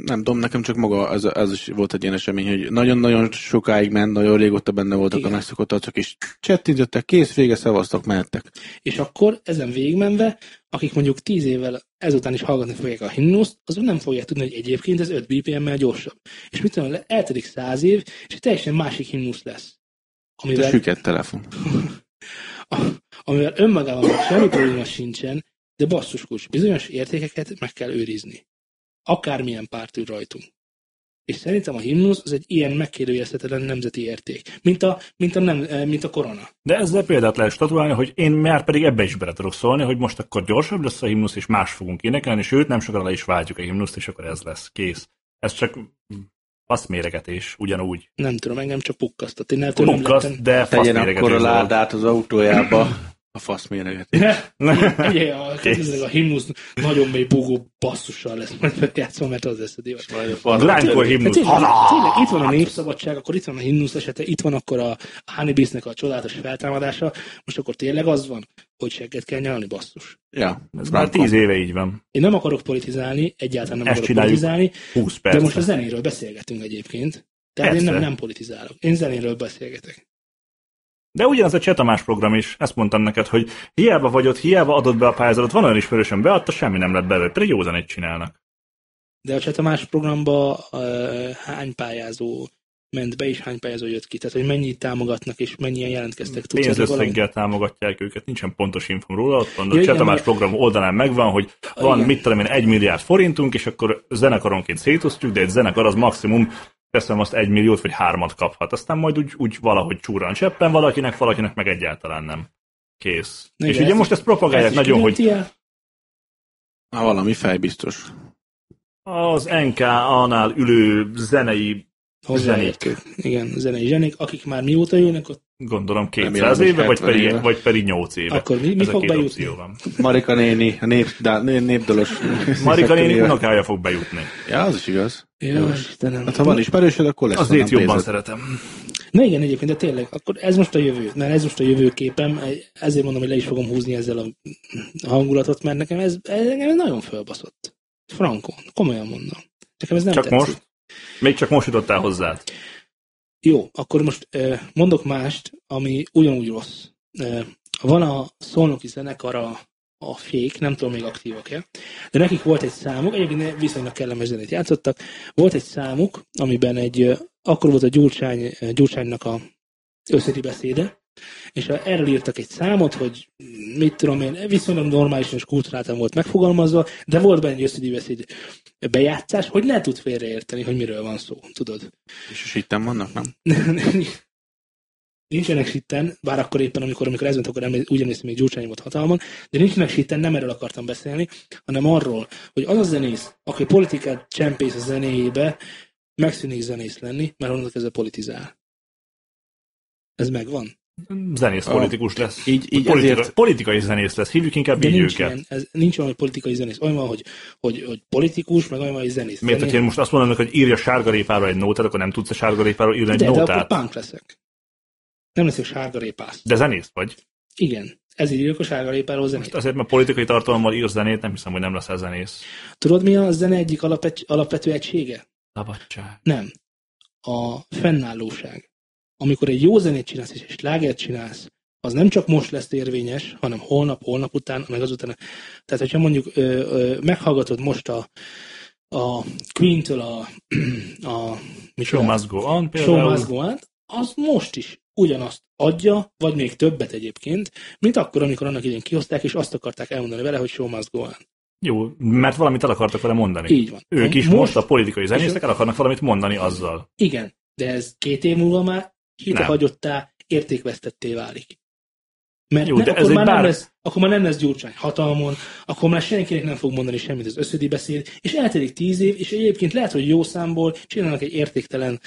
Speaker 4: Nem tudom, nekem csak maga, ez, ez is volt egy ilyen esemény, hogy nagyon-nagyon sokáig ment, nagyon régóta benne voltak
Speaker 3: Igen.
Speaker 4: a megszokott arcok, és csettintettek, kész, vége, szavaztak, mehettek.
Speaker 3: És akkor ezen végigmenve, akik mondjuk 10 évvel ezután is hallgatni fogják a himnuszt, azok nem fogják tudni, hogy egyébként ez 5 BPM-mel gyorsabb. És mit tudom, le- eltelik 100 év, és egy teljesen másik himnusz lesz.
Speaker 4: De
Speaker 3: Amivel,
Speaker 4: süket telefon.
Speaker 3: amivel önmagában már semmi probléma sincsen, de basszus kulcs, bizonyos értékeket meg kell őrizni. Akármilyen párt ül rajtunk. És szerintem a himnusz az egy ilyen megkérdőjelezhetetlen nemzeti érték, mint a, mint a, nem, eh, mint a korona.
Speaker 2: De ezzel példát lehet statuálni, hogy én már pedig ebbe is bele tudok szólni, hogy most akkor gyorsabb lesz a himnusz, és más fogunk énekelni, sőt, nem sokára le is váltjuk a himnuszt, és akkor ez lesz, kész. Ez csak faszméregetés, ugyanúgy.
Speaker 3: Nem tudom, engem csak pukkasztott. Én ettől nem lettem.
Speaker 2: Munkasz, de
Speaker 4: Tegyen akkor a
Speaker 2: faszméregetés. volt.
Speaker 4: ládát az autójába, a fasz méreget.
Speaker 2: *laughs*
Speaker 3: Ugye, a, a himnusz nagyon mély bugó basszussal lesz majd megjátszva, mert az lesz a divat.
Speaker 2: Lánykor
Speaker 3: Hát
Speaker 2: himnusz.
Speaker 3: tényleg,
Speaker 2: Haza!
Speaker 3: tényleg, itt van a népszabadság, akkor itt van a himnusz esete, itt van akkor a Hannibisnek a csodálatos feltámadása, most akkor tényleg az van, hogy segget kell nyalni, basszus.
Speaker 4: Ja,
Speaker 2: Ez már
Speaker 3: hát,
Speaker 2: tíz éve így van.
Speaker 3: Én nem akarok politizálni, egyáltalán nem
Speaker 2: Ezt
Speaker 3: akarok
Speaker 2: csináljuk.
Speaker 3: politizálni,
Speaker 2: 20
Speaker 3: de most
Speaker 2: perc.
Speaker 3: a zenéről beszélgetünk egyébként. Tehát én
Speaker 2: Persze.
Speaker 3: nem, nem politizálok. Én zenéről beszélgetek.
Speaker 2: De ugyanaz a Csetamás program is, ezt mondtam neked, hogy hiába vagy ott, hiába adott be a pályázatot, van olyan ismerősen beadta, semmi nem lett belőle, pedig jó zenét csinálnak.
Speaker 3: De a Csetamás programban uh, hány pályázó ment be, és hány pályázó jött ki. Tehát, hogy mennyit támogatnak, és mennyien jelentkeztek. Tudsz erről valamit?
Speaker 2: Pénzösszeggel támogatják őket, nincsen pontos infom róla, ott van
Speaker 3: Ja,
Speaker 2: a
Speaker 3: igen,
Speaker 2: Csetamás
Speaker 3: mert-
Speaker 2: program oldalán megvan, hogy van
Speaker 3: Igen.
Speaker 2: mit tudom én, egy milliárd forintunk, és akkor zenekaronként szétosztjuk, de egy zenekar az maximum teszem azt egy milliót vagy hármat kaphat. Aztán majd úgy, úgy valahogy csúran cseppen valakinek, valakinek meg egyáltalán nem. Kész.
Speaker 3: Na
Speaker 2: és
Speaker 3: igen,
Speaker 2: ugye
Speaker 3: ezt
Speaker 2: most ezt propagálják
Speaker 3: Ezt is
Speaker 2: nagyon, hogy
Speaker 3: különti el?
Speaker 4: Ha valami fej biztos.
Speaker 2: az NK-nál ülő zenei,
Speaker 3: Hozzáértők. Igen, zenei zsenik, akik már mióta jönnek, ott
Speaker 2: gondolom
Speaker 4: Remélem,
Speaker 2: 200
Speaker 4: hogy
Speaker 2: éve, vagy
Speaker 4: 70
Speaker 2: pedig,
Speaker 4: éve.
Speaker 2: vagy pedig 8 éve.
Speaker 3: Akkor mi- mi
Speaker 2: Ez a
Speaker 3: fog
Speaker 2: két
Speaker 3: bejutni?
Speaker 2: opció van.
Speaker 4: Marika néni, a nép, dá, né- népdalos.
Speaker 2: Marika néni
Speaker 4: szektőrével.
Speaker 2: unokája fog bejutni.
Speaker 4: Ja, az is igaz.
Speaker 3: Jó,
Speaker 4: Jó.
Speaker 3: Istenem.
Speaker 4: Hát ha van ismerősöd, akkor lesz
Speaker 2: Azért
Speaker 4: onnan
Speaker 2: jobban
Speaker 4: pénzed.
Speaker 2: szeretem.
Speaker 3: Na igen, egyébként, de tényleg, akkor ez most a jövő, mert ez most a jövőképem, ezért mondom, hogy le is fogom húzni ezzel a hangulatot, mert nekem ez, ez engem nagyon fölbaszott. Frankon, komolyan mondom. Nekem ez nem
Speaker 2: Csak
Speaker 3: tetszik.
Speaker 2: most? Még csak most jutottál hozzád.
Speaker 3: Jó, akkor most eh, mondok mást, ami ugyanúgy rossz. Eh, Van a szolnoki zenekar a, a fék, nem tudom még aktívak-e, de nekik volt egy számuk, egyébként viszonylag kellemes zenét játszottak, volt egy számuk, amiben egy, eh, akkor volt a Gyurcsány, eh, Gyurcsánynak a összeti beszéde, és a- erről írtak egy számot, hogy mit tudom én, viszonylag normálisan és kultúráltan volt megfogalmazva, de volt benne egy összedi beszéd bejátszás, hogy ne tud félreérteni, hogy miről van szó, tudod.
Speaker 4: És is itt nem vannak, nem?
Speaker 3: *laughs* nincsenek sitten, bár akkor éppen, amikor, amikor ez ment, akkor emlék, úgy emlékszem, még Gyurcsány volt hatalmon, de nincsenek sitten, nem erről akartam beszélni, hanem arról, hogy az a zenész, aki politikát csempész a zenéjébe, megszűnik zenész lenni, mert onnantól kezdve politizál. Ez megvan.
Speaker 2: Zenész
Speaker 4: Ah.
Speaker 2: politikus lesz.
Speaker 4: Így- így
Speaker 2: politika,
Speaker 4: ezért-
Speaker 2: Politikai zenész lesz, hívjuk inkább
Speaker 3: De
Speaker 2: így
Speaker 3: nincs,
Speaker 2: őket.
Speaker 3: ilyen, ez, nincs olyan, hogy politikai zenész. Olyan van, hogy, hogy, hogy politikus, meg olyan van, hogy zenész.
Speaker 2: Miért, hogyha én most azt mondanak, hogy írja sárgarépáról egy nótát, akkor nem tudsz a sárgarépáról írni egy
Speaker 3: de, de akkor
Speaker 2: nótát.
Speaker 3: punk leszek. Nem leszek sárga répász.
Speaker 2: De zenész vagy.
Speaker 3: Igen. Ezért írjuk a sárga répáról zenét.
Speaker 2: Most azért, mert politikai tartalommal ír zenét, nem hiszem, hogy nem leszel zenész.
Speaker 3: Tudod, mi a zene egyik alapet, alapvető egysége?
Speaker 2: Szabadság.
Speaker 3: Nem. A fennállóság. Amikor egy jó zenét csinálsz és egy slágert csinálsz, az nem csak most lesz érvényes, hanem holnap, holnap után, meg azután. Tehát, hogyha mondjuk ö, ö, meghallgatod most a, a Queen-től a,
Speaker 2: Show
Speaker 3: a micsoda,
Speaker 2: must go on
Speaker 3: Show
Speaker 2: például.
Speaker 3: Must Go On, az most is ugyanazt adja, vagy még többet egyébként, mint akkor, amikor annak idén kihozták, és azt akarták elmondani vele, hogy Show Must Go On.
Speaker 2: Jó, mert valamit el akartak vele mondani.
Speaker 3: Így van.
Speaker 2: Ők is most, a politikai zenészek el akarnak valamit mondani azzal.
Speaker 3: Igen, de ez két év múlva már hitahagyottá, értékvesztetté válik. Mert
Speaker 2: Jó,
Speaker 3: Jó, ne,
Speaker 2: de
Speaker 3: akkor,
Speaker 2: ez egy
Speaker 3: már
Speaker 2: bár-
Speaker 3: nem lesz, akkor már nem lesz Gyurcsány hatalmon, akkor már senkinek nem fog mondani semmit az összödi beszéd, és eltelik tíz év, és egyébként lehet, hogy jó számból csinálnak egy értéktelen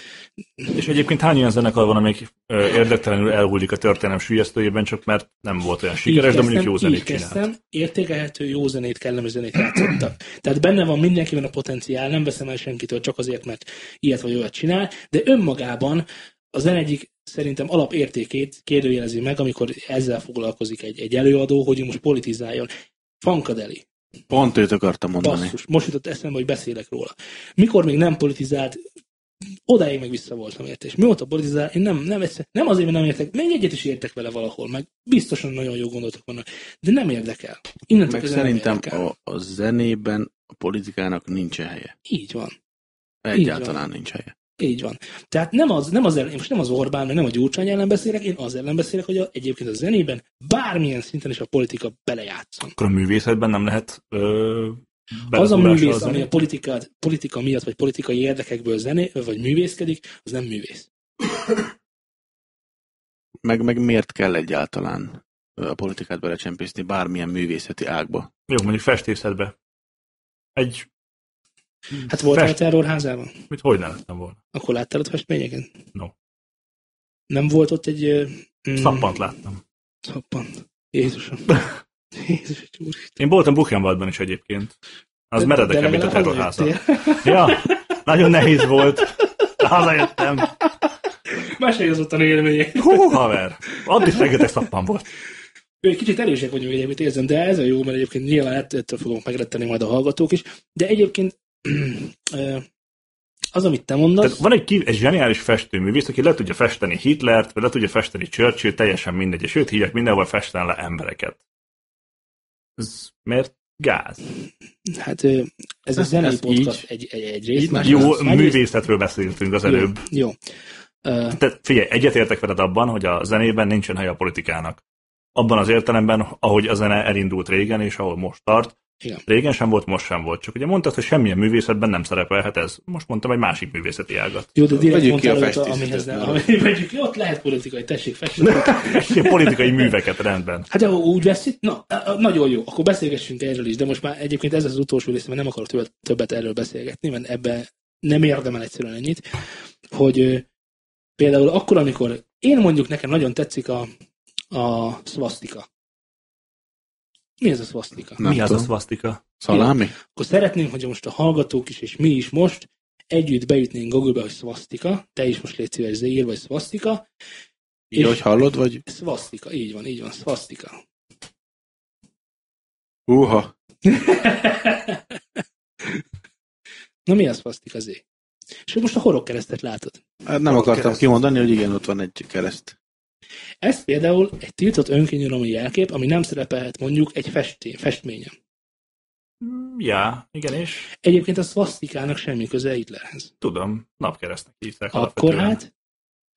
Speaker 2: És egyébként hány olyan zenekar van, amelyik ö, érdektelenül elhullik a történelem sűjesztőjében, csak mert nem volt olyan sikeres, de mondjuk jó zenét
Speaker 3: így
Speaker 2: csinált.
Speaker 3: kezdtem, értékelhető jó zenét, kellemes zenét játszottak. Tehát benne van mindenkiben a potenciál, nem veszem el senkitől csak azért, mert ilyet vagy olyat csinál, de önmagában a zene egyik szerintem alapértékét kérdőjelezi meg, amikor ezzel foglalkozik egy, egy előadó, hogy ő most politizáljon. Funkadeli.
Speaker 4: Pont őt akartam mondani.
Speaker 3: Basszus, most jutott eszembe, hogy beszélek róla. Mikor még nem politizált, odáig meg vissza voltam érte. És mióta politizál, én nem, nem, egyszer, nem azért, mert nem értek, még egyet is értek vele valahol, meg biztosan nagyon jó gondolatok vannak, de nem érdekel. Innentől
Speaker 4: Meg
Speaker 3: kezdve nem
Speaker 4: szerintem
Speaker 3: érdekel.
Speaker 4: a, a zenében a politikának nincs helye.
Speaker 3: Így van.
Speaker 4: Egyáltalán nincs helye.
Speaker 3: Így van. Tehát nem az, nem az ellen, most nem az Orbán, meg nem a Gyurcsány ellen beszélek, én az ellen beszélek, hogy a, egyébként a zenében bármilyen szinten is a politika belejátszon.
Speaker 2: Akkor a művészetben nem lehet ö,
Speaker 3: az a
Speaker 2: beleszólással
Speaker 3: művész, ami a
Speaker 2: zenét?
Speaker 3: politika, politika miatt, vagy politikai érdekekből zené, vagy művészkedik, az nem művész.
Speaker 4: Meg, meg miért kell egyáltalán ö, a politikát belecsempészni bármilyen művészeti ágba?
Speaker 2: Jó, mondjuk festészetbe. Egy,
Speaker 3: Hát voltál a
Speaker 2: Fest-
Speaker 3: terrorházában?
Speaker 2: mit hogy ne lettem volna?
Speaker 3: Akkor láttál ott festményeken?
Speaker 2: No.
Speaker 3: Nem volt ott egy... ö, Mm,
Speaker 2: Szappant láttam.
Speaker 3: Szappant.
Speaker 2: *laughs*
Speaker 3: Jézusom. Jézus, úristen.
Speaker 2: Én voltam Buchenwaldban is egyébként. Az
Speaker 3: De-
Speaker 2: meredekebb,
Speaker 3: de
Speaker 2: mint a
Speaker 3: legalább
Speaker 2: terrorháza.
Speaker 3: hazajöttél.
Speaker 2: Ja, nagyon nehéz volt. De hazajöttem.
Speaker 3: *laughs* Mesélj az ottan élmények.
Speaker 2: Hú, haver. Addig rengeteg szappan volt.
Speaker 3: Egy kicsit erősek vagyunk egyébként érzem, de ez a jó, mert egyébként nyilván ett- ettől fogunk megretteni majd a hallgatók is. De egyébként *clears throat* ö, az, amit te
Speaker 2: Tehát
Speaker 3: mondasz,
Speaker 2: van egy, ki- egy zseniális festőművész, aki le tudja festeni Hitlert, vagy le tudja festeni Churchill, teljesen mindegy, és őt hívják mindenhol festen le embereket. Ez miért gáz?
Speaker 3: hát ö, ez a
Speaker 4: Ez-
Speaker 3: zenei
Speaker 4: ez
Speaker 3: podcast
Speaker 4: így.
Speaker 3: egy, egy, egy rész.
Speaker 4: Így
Speaker 3: másrészt-
Speaker 2: Jó,
Speaker 3: másrészt-
Speaker 2: művészetről beszéltünk az előbb.
Speaker 3: Hát Jó. Ö,
Speaker 2: Tehát figyelj, egyetértek veled abban, hogy a zenében nincsen hely a politikának. Abban az értelemben, ahogy a zene elindult régen, és ahol most tart,
Speaker 3: Igen.
Speaker 2: Régen sem volt, most sem volt. Csak ugye mondtad, hogy semmilyen művészetben nem szerepelhet ez. Most mondtam egy másik művészeti ágat.
Speaker 3: Jó, de direkt
Speaker 4: Vegyük
Speaker 3: mondtál,
Speaker 4: ki a
Speaker 3: olyat,
Speaker 4: festészetet,
Speaker 3: amihez nem.
Speaker 4: mert-
Speaker 3: ami- Vegyük ki, ott lehet politikai, tessék festeni.
Speaker 2: Ilyen politikai műveket rendben.
Speaker 3: Hát de ha úgy veszik, na, á, á, nagyon jó, akkor beszélgessünk erről is, de most már egyébként ez az utolsó rész, mert nem akarok többet, többet erről beszélgetni, mert ebbe nem érdemel egyszerűen ennyit, hogy ö, például akkor, amikor én mondjuk nekem nagyon tetszik a, a szvasztika. Mi ez a szvasztika?
Speaker 4: Nem
Speaker 2: Mi az a
Speaker 4: tudom.
Speaker 2: szvasztika?
Speaker 4: Szalámi?
Speaker 3: akkor szeretném, hogy most a hallgatók is, és mi is most együtt beütnénk Google-be, hogy szvasztika, te is most légy szíves, ír, vagy szvasztika,
Speaker 4: Így, hogy hallod, vagy?
Speaker 3: szvasztika, így van, így van, szvasztika.
Speaker 4: Húha!
Speaker 3: Na mi az szvasztika zé? És most a horog keresztet látod.
Speaker 4: Hát nem akartam
Speaker 2: kereszt.
Speaker 4: kimondani, hogy igen, ott van egy kereszt.
Speaker 3: Ez például egy tiltott önkényuralmi jelkép, ami nem szerepelhet mondjuk egy festé, festményen.
Speaker 2: Mm, Ja, igen, és
Speaker 3: Egyébként a szvasztikának semmi köze Hitlerhez.
Speaker 2: tudom, napkeresztnek hívták.
Speaker 3: Akkor
Speaker 2: alapvetően.
Speaker 3: hát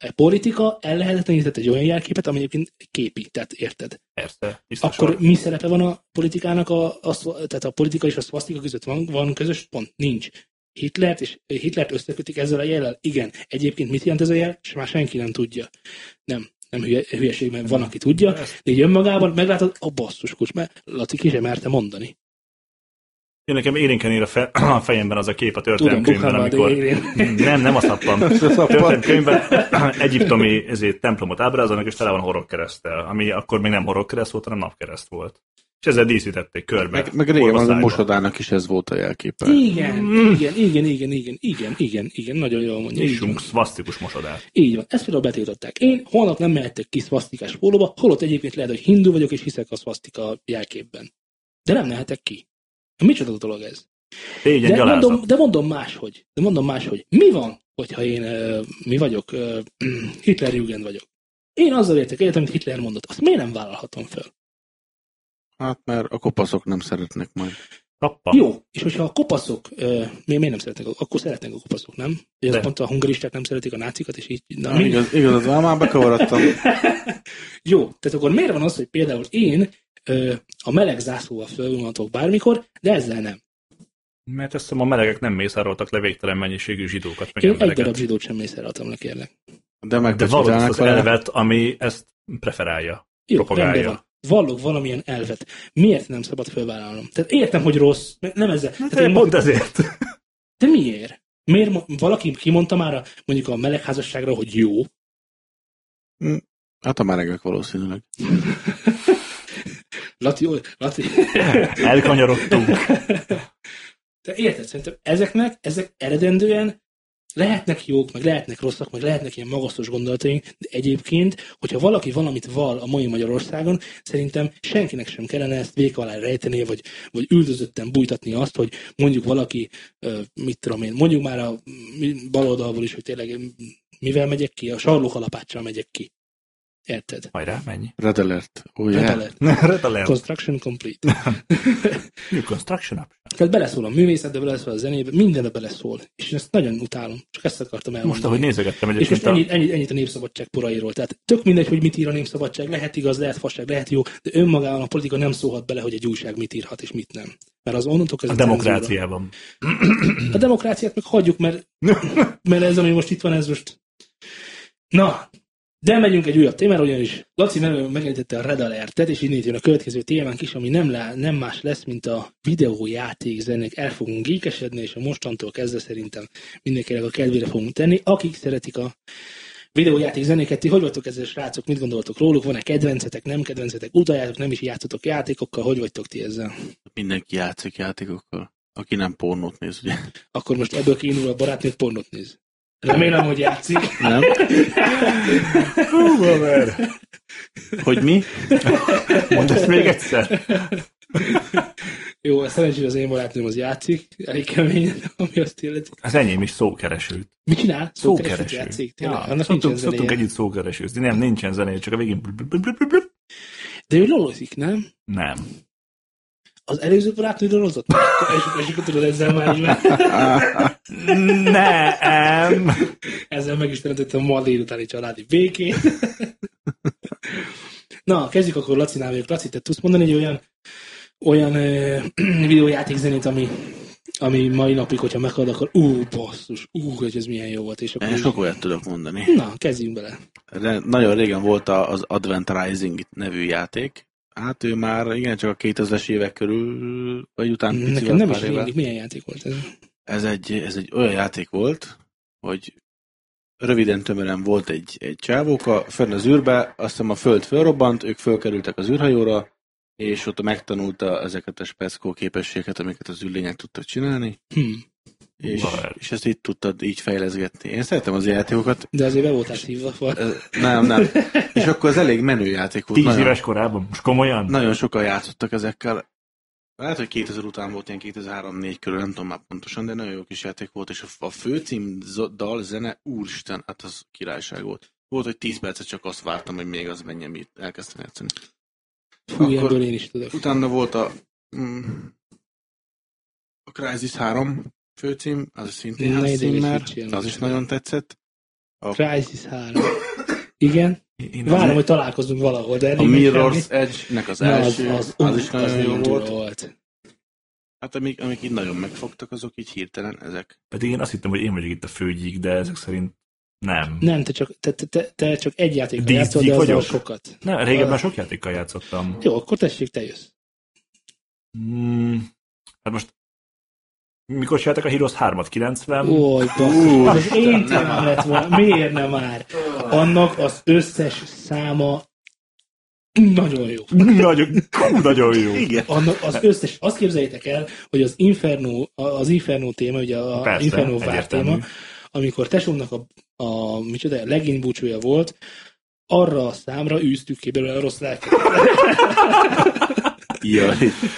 Speaker 3: a politika ellehetetlenített egy olyan jelképet, ami egyébként képi, tehát érted?
Speaker 2: Persze, hiszen
Speaker 3: Akkor
Speaker 2: akkor...
Speaker 3: mi szerepe van a politikának, a, a, szva- tehát a politika és a szvasztika között van, van közös pont? Nincs. Hitlert és Hitlert összekötik ezzel a jellel? Igen. Egyébként mit jelent ez a jel? És már senki nem tudja. Nem. nem hülye, hülyeség, mert van, aki tudja, de így önmagában meglátod, a basszus kus, mert Laci ki sem merte mondani.
Speaker 2: Én nekem élénken ér a, fe, *clears throat* a fejemben az a kép a
Speaker 3: Tudom,
Speaker 2: történelemkönyvben,
Speaker 3: Bukhama, de
Speaker 2: amikor... Mm,
Speaker 3: én,
Speaker 2: *laughs* Nem, nem a
Speaker 3: *laughs*
Speaker 2: szappan.
Speaker 4: a szappan.
Speaker 2: Történelemkönyvben *clears throat* egyiptomi ezért, templomot ábrázolnak, és tele van horogkereszttel, ami akkor még nem horogkereszt volt, hanem napkereszt volt. És ezzel díszítették körbe.
Speaker 4: Meg, meg régen az a
Speaker 2: Orvaszágban.
Speaker 4: mosodának is ez volt a jelképe.
Speaker 3: igen, igen, igen, igen, igen, igen, igen, igen, nagyon jól mondja. így van.
Speaker 2: Nyissunk szvasztikus mosodát.
Speaker 3: Így van, ezt például betiltották. Én holnap nem mehettek ki szvasztikás pólóba, holott egyébként lehet, hogy hindu vagyok, és hiszek a szvasztika jelképben. De nem mehetek ki. Micsoda dolog ez?
Speaker 2: Tégyen
Speaker 3: de,
Speaker 2: gyalázat.
Speaker 3: mondom, de mondom máshogy. De mondom máshogy. Mi van, hogyha én ö, mi vagyok, ö, *clears throat* Hitlerjugend vagyok? Én azzal értek egyet, amit Hitler mondott. Azt miért nem vállalhatom föl?
Speaker 4: Hát mert a kopaszok nem szeretnek majd.
Speaker 2: Tappa.
Speaker 3: Jó, és hogyha a kopaszok, ö, miért, miért nem szeretnek, akkor szeretnek a kopaszok, nem? Ugye
Speaker 2: De.
Speaker 3: az pont a hungaristák nem szeretik a nácikat, és így... Na,
Speaker 4: Na,
Speaker 3: mind,
Speaker 4: igaz, igaz, már, már bekavarodtam.
Speaker 3: Jó, tehát akkor miért van az, hogy például én ö, a meleg zászlóval fölvonhatok bármikor, de ezzel nem.
Speaker 2: Mert azt hiszem a melegek nem mészároltak le végtelen mennyiségű zsidókat, meg
Speaker 3: Én egy
Speaker 2: embereket.
Speaker 3: darab zsidót sem mészároltam le, kérlek.
Speaker 4: De meg
Speaker 2: De valóban az
Speaker 4: vele.
Speaker 2: elvet, ami ezt preferálja.
Speaker 3: Jó,
Speaker 2: Propagálja.
Speaker 3: rendben van. Vallok valamilyen elvet. Miért nem szabad fölvállalnom? Tehát értem, hogy rossz. mert Nem ezzel. Hát
Speaker 2: Hát
Speaker 3: én
Speaker 2: pont ezért.
Speaker 3: *laughs* de miért? Miért mo- valaki kimondta már a, mondjuk a melegházasságra, hogy jó?
Speaker 4: Hát a melegek valószínűleg.
Speaker 3: Laci, jó, Laci.
Speaker 2: Elkanyarodtunk.
Speaker 3: De érted, szerintem ezeknek, ezek eredendően lehetnek jók, meg lehetnek rosszak, meg lehetnek ilyen magasztos gondolataink, de egyébként, hogyha valaki valamit val a mai Magyarországon, szerintem senkinek sem kellene ezt vék alá rejteni, vagy, vagy üldözötten bújtatni azt, hogy mondjuk valaki, ö, mit tudom én, mondjuk már a mi- baloldalból is, hogy tényleg m- mivel megyek ki, a sarlókalapáccsal megyek ki. Érted?
Speaker 2: Hajrá, menj.
Speaker 4: Red alert. Oh, yeah.
Speaker 3: Yeah.
Speaker 2: Red alert.
Speaker 3: Construction complete.
Speaker 2: New construction option.
Speaker 3: Tehát beleszól a művészetbe, beleszól a zenébe, mindenbe beleszól. És én ezt nagyon utálom. Csak ezt akartam elmondani.
Speaker 2: Most, ahogy nézegettem
Speaker 3: és
Speaker 2: egyébként
Speaker 3: most
Speaker 2: a
Speaker 3: ennyit, ennyit, ennyit a népszabadság porairól. Tehát tök mindegy, hogy mit ír a népszabadság, lehet igaz, lehet fasság, lehet jó, de önmagában a politika nem szólhat bele, hogy egy újság mit írhat és mit nem. Mert az onnantól
Speaker 2: a
Speaker 3: kezdve cenzúra.
Speaker 2: demokráciában.
Speaker 3: A demokráciát meg hagyjuk, mert, mert ez, ami most itt van, ez most... Na, de megyünk egy újabb témára, ugyanis Laci meg- megemlítette a Red Alertet, és innét jön a következő témánk is, ami nem, lá, nem más lesz, mint a videójáték zenék. El fogunk geekesedni, és a mostantól kezdve szerintem mindenkinek a kedvére fogunk tenni. Akik szeretik a videójáték zenéket, ti hogy vagytok ezzel, srácok, mit gondoltok róluk? Van-e kedvencetek, nem kedvencetek, utáljátok, nem is játszotok játékokkal, hogy vagytok ti ezzel?
Speaker 4: Mindenki játszik játékokkal. Aki nem pornót néz, ugye?
Speaker 3: Akkor most ebből kiindul a barátnőt pornót néz. Remélem, hogy játszik.
Speaker 4: Nem? Hogy mi?
Speaker 2: *laughs* Mondd ezt még egyszer.
Speaker 3: Jó, szerencsére az én barátnőm az játszik, elég kemény, ami azt illeti.
Speaker 2: Az enyém is szókeresőt.
Speaker 3: Mi csinál? Szókeresőt
Speaker 2: Szókereső.
Speaker 3: játszik, tényleg,
Speaker 2: Ja,
Speaker 3: annak nincsen
Speaker 2: szoktunk, szoktunk
Speaker 3: zenéje.
Speaker 2: együtt szókeresőzni. Nem, nincsen zenéje, csak a végén... blub, blub, blub, blub, blub.
Speaker 3: De ő lolozik, nem?
Speaker 2: Nem.
Speaker 3: Az előző barátnő *laughs* lolozott? És akkor- És akkor tudod, ezzel már így már,
Speaker 2: Nem.
Speaker 3: ezzel meg is teremtettem ma délutáni családi békét. *laughs* Na, kezdjük akkor Lacinál vagyok. Laci, te tudsz mondani egy olyan, olyan ö, *clears throat* videójátékzenét, ami, ami mai napig, hogyha meghallod, akkor ú, basszus, ú, hogy ez milyen jó volt. És akkor
Speaker 4: Én
Speaker 3: így-
Speaker 4: Eh, sok olyat tudok mondani.
Speaker 3: Na, kezdjünk bele.
Speaker 4: Re- nagyon régen volt a- az Advent Rising nevű játék. Hát ő már igencsak a 2000-es évek körül, vagy után
Speaker 3: Nekem
Speaker 4: picivel
Speaker 3: nem
Speaker 4: pár
Speaker 3: is
Speaker 4: évvel.
Speaker 3: rémlik, milyen játék volt ez.
Speaker 4: ez egy, ez egy olyan játék volt, hogy röviden tömören volt egy, egy csávóka, fönn az űrbe, azt hiszem a föld fölrobbant, ők fölkerültek az űrhajóra, és ott megtanulta ezeket a speckó képességeket, amiket az űrlények tudtak csinálni,
Speaker 3: Hm.
Speaker 4: és,
Speaker 2: Bár.
Speaker 4: és ezt így tudtad így fejleszgetni. Én szeretem az ilyen játékokat,
Speaker 3: De azért be voltál hívva. Fel.
Speaker 4: Ö,
Speaker 3: *laughs*
Speaker 4: nem, nem. És akkor az elég menő játék volt.
Speaker 2: Tíz
Speaker 4: nagyon-
Speaker 2: éves korában, most komolyan?
Speaker 4: nagyon sokan játszottak ezekkel. Lehet, hogy 2000 után volt ilyen 2003-4 körül, nem tudom már pontosan, de nagyon jó kis játék volt, és a, a főcím zo- dal, zene, úristen, hát az királyság volt. Volt, hogy 10 percet csak azt vártam, hogy még az menjen, mit elkezdtem játszani.
Speaker 3: Fú,
Speaker 4: Akkor-
Speaker 3: ilyenből én is tudok.
Speaker 4: Utána volt a, mm, a Crysis 3 főcím, az is szintén
Speaker 3: Ne
Speaker 4: hát
Speaker 3: idegesíts
Speaker 4: címmel,
Speaker 3: ilyen
Speaker 4: az is
Speaker 3: most.
Speaker 4: nagyon tetszett.
Speaker 3: Crysis 3. Igen,
Speaker 2: Én nem-
Speaker 3: várom, hogy találkozunk valahol, de
Speaker 4: A
Speaker 3: eddig még
Speaker 4: Mirror's
Speaker 3: semmi.
Speaker 4: Edge-nek az
Speaker 3: Na, az,
Speaker 4: első,
Speaker 3: az,
Speaker 4: az is nagyon jó
Speaker 3: durva
Speaker 4: volt. Hát amik, amik így nagyon megfogtak, azok így hirtelen ezek.
Speaker 2: Pedig én azt hittem, hogy én vagyok itt a főgyík, de ezek szerint Nem.
Speaker 3: Nem, te csak, te, te- te, te csak egy játékkal
Speaker 2: Dísz-
Speaker 3: játszol,
Speaker 2: dík
Speaker 3: de azzal
Speaker 2: vagyok?
Speaker 3: sokat.
Speaker 2: Nem, régebben sok játékkal játszottam.
Speaker 3: Jó, akkor tessék, te jössz.
Speaker 2: Mm, hát most mikor csináltak a Heroes 3-at? 90?
Speaker 3: Oly, basszus, az én témám lett volna. Miért nem már? Annak az összes száma nagyon jó.
Speaker 2: Nagyon, kú, nagyon jó.
Speaker 4: Igen.
Speaker 3: Annak az összes, azt képzeljétek el, hogy az Inferno, az Inferno téma, ugye a
Speaker 2: Persze,
Speaker 3: Inferno vár
Speaker 2: egyértelmű.
Speaker 3: téma, amikor tesómnak a, a micsoda, a legény búcsúja volt, arra a számra űztük ki belőle a rossz lelket.
Speaker 4: Jaj.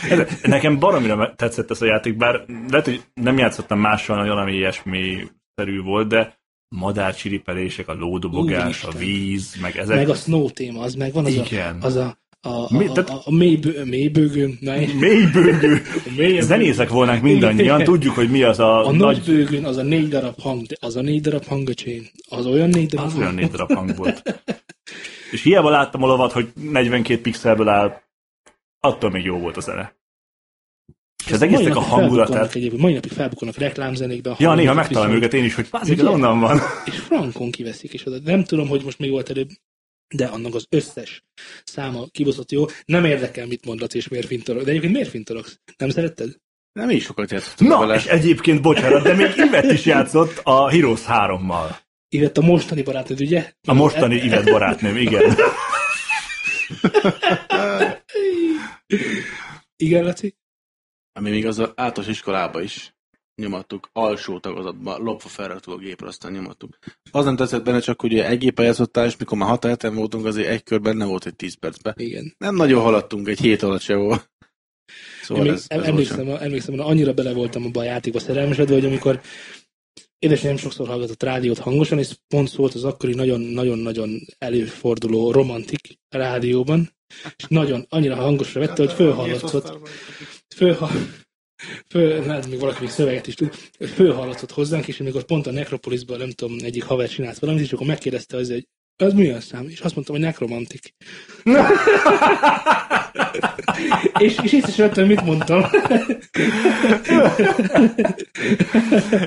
Speaker 2: Ez- Nekem baromira me- tetszett ez a játék, bár lehet, hogy nem játszottam mással nagyon, ami ilyesmi szerű volt, de madárcsiripelések, a lódobogás, a
Speaker 3: Úristen.
Speaker 2: víz, meg ezek.
Speaker 3: Meg a Snow téma, az meg van az
Speaker 2: Igen.
Speaker 3: a, az a a, a,
Speaker 2: Mi-
Speaker 3: a,
Speaker 2: tehát-
Speaker 3: a, a mélybő- mélybőgő, na,
Speaker 2: Mélybőgő.
Speaker 3: a mélybőgő.
Speaker 2: Zenészek volnánk mindannyian, tudjuk, hogy mi az a,
Speaker 3: A nagy
Speaker 2: nagy...
Speaker 3: bőgön az a négy darab hang, de az a négy darab hangöcsén, az olyan négy darab
Speaker 2: Az
Speaker 3: hang.
Speaker 2: olyan négy darab hang volt. És hiába láttam a lovat, hogy 42 pixelből áll, attól még jó volt a zene. És az
Speaker 3: Mai
Speaker 2: egésznek a
Speaker 3: napig felbukkannak
Speaker 2: hangulatát...
Speaker 3: Egyébként, mai napig felbukannak reklámzenékben. a
Speaker 2: Ja, néha
Speaker 3: hangokat
Speaker 2: megtalálom
Speaker 3: viszont,
Speaker 2: őket én is, hogy bázik, ez
Speaker 3: Ugye?
Speaker 2: onnan van.
Speaker 3: És frankon kiveszik, és oda. Nem tudom, hogy most még volt előbb, de annak az összes száma kibaszott jó. Nem érdekel, mit mondasz és miért fintorog. De egyébként miért fintorogsz? Nem szeretted?
Speaker 4: Nem is sokat játszottunk
Speaker 2: Na,
Speaker 4: vele.
Speaker 2: és e- egyébként, bocsánat, de még Ivet is játszott a Heroes 3-mal.
Speaker 3: Illet a mostani barátod, ugye?
Speaker 2: A mostani Ivet barátnőm, igen.
Speaker 3: Igen, Laci?
Speaker 4: Ami még az a átos iskolába is nyomattuk, alsó tagozatban, lopva felraktuk a gépre, aztán nyomattuk. Az nem tetszett benne, csak ugye egy gépen játszottál, és mikor már hat heten voltunk, azért egy kör benne volt egy 10 percben.
Speaker 3: Igen.
Speaker 4: Nem nagyon haladtunk, egy hét alatt se volt. Szóval
Speaker 3: Emlék,
Speaker 4: ez, ez volt
Speaker 3: emlékszem, emlékszem, hogy annyira bele voltam abba a játékba szerelmesedve, hogy amikor édesanyám sokszor hallgatott rádiót hangosan, és pont szólt az akkori nagyon-nagyon-nagyon előforduló romantik rádióban, és nagyon annyira hangosra vette, hogy fölhallatszott, fölhall, föl, hát még valaki még szöveget is tud, fölhallatszott hozzánk, és amikor pont a Necropolisban, nem tudom, egyik haver csinált valamit, és akkor megkérdezte az, hogy ez milyen szám? És azt mondtam, hogy nekromantik. és, és észre sem vettem, mit mondtam. *laughs*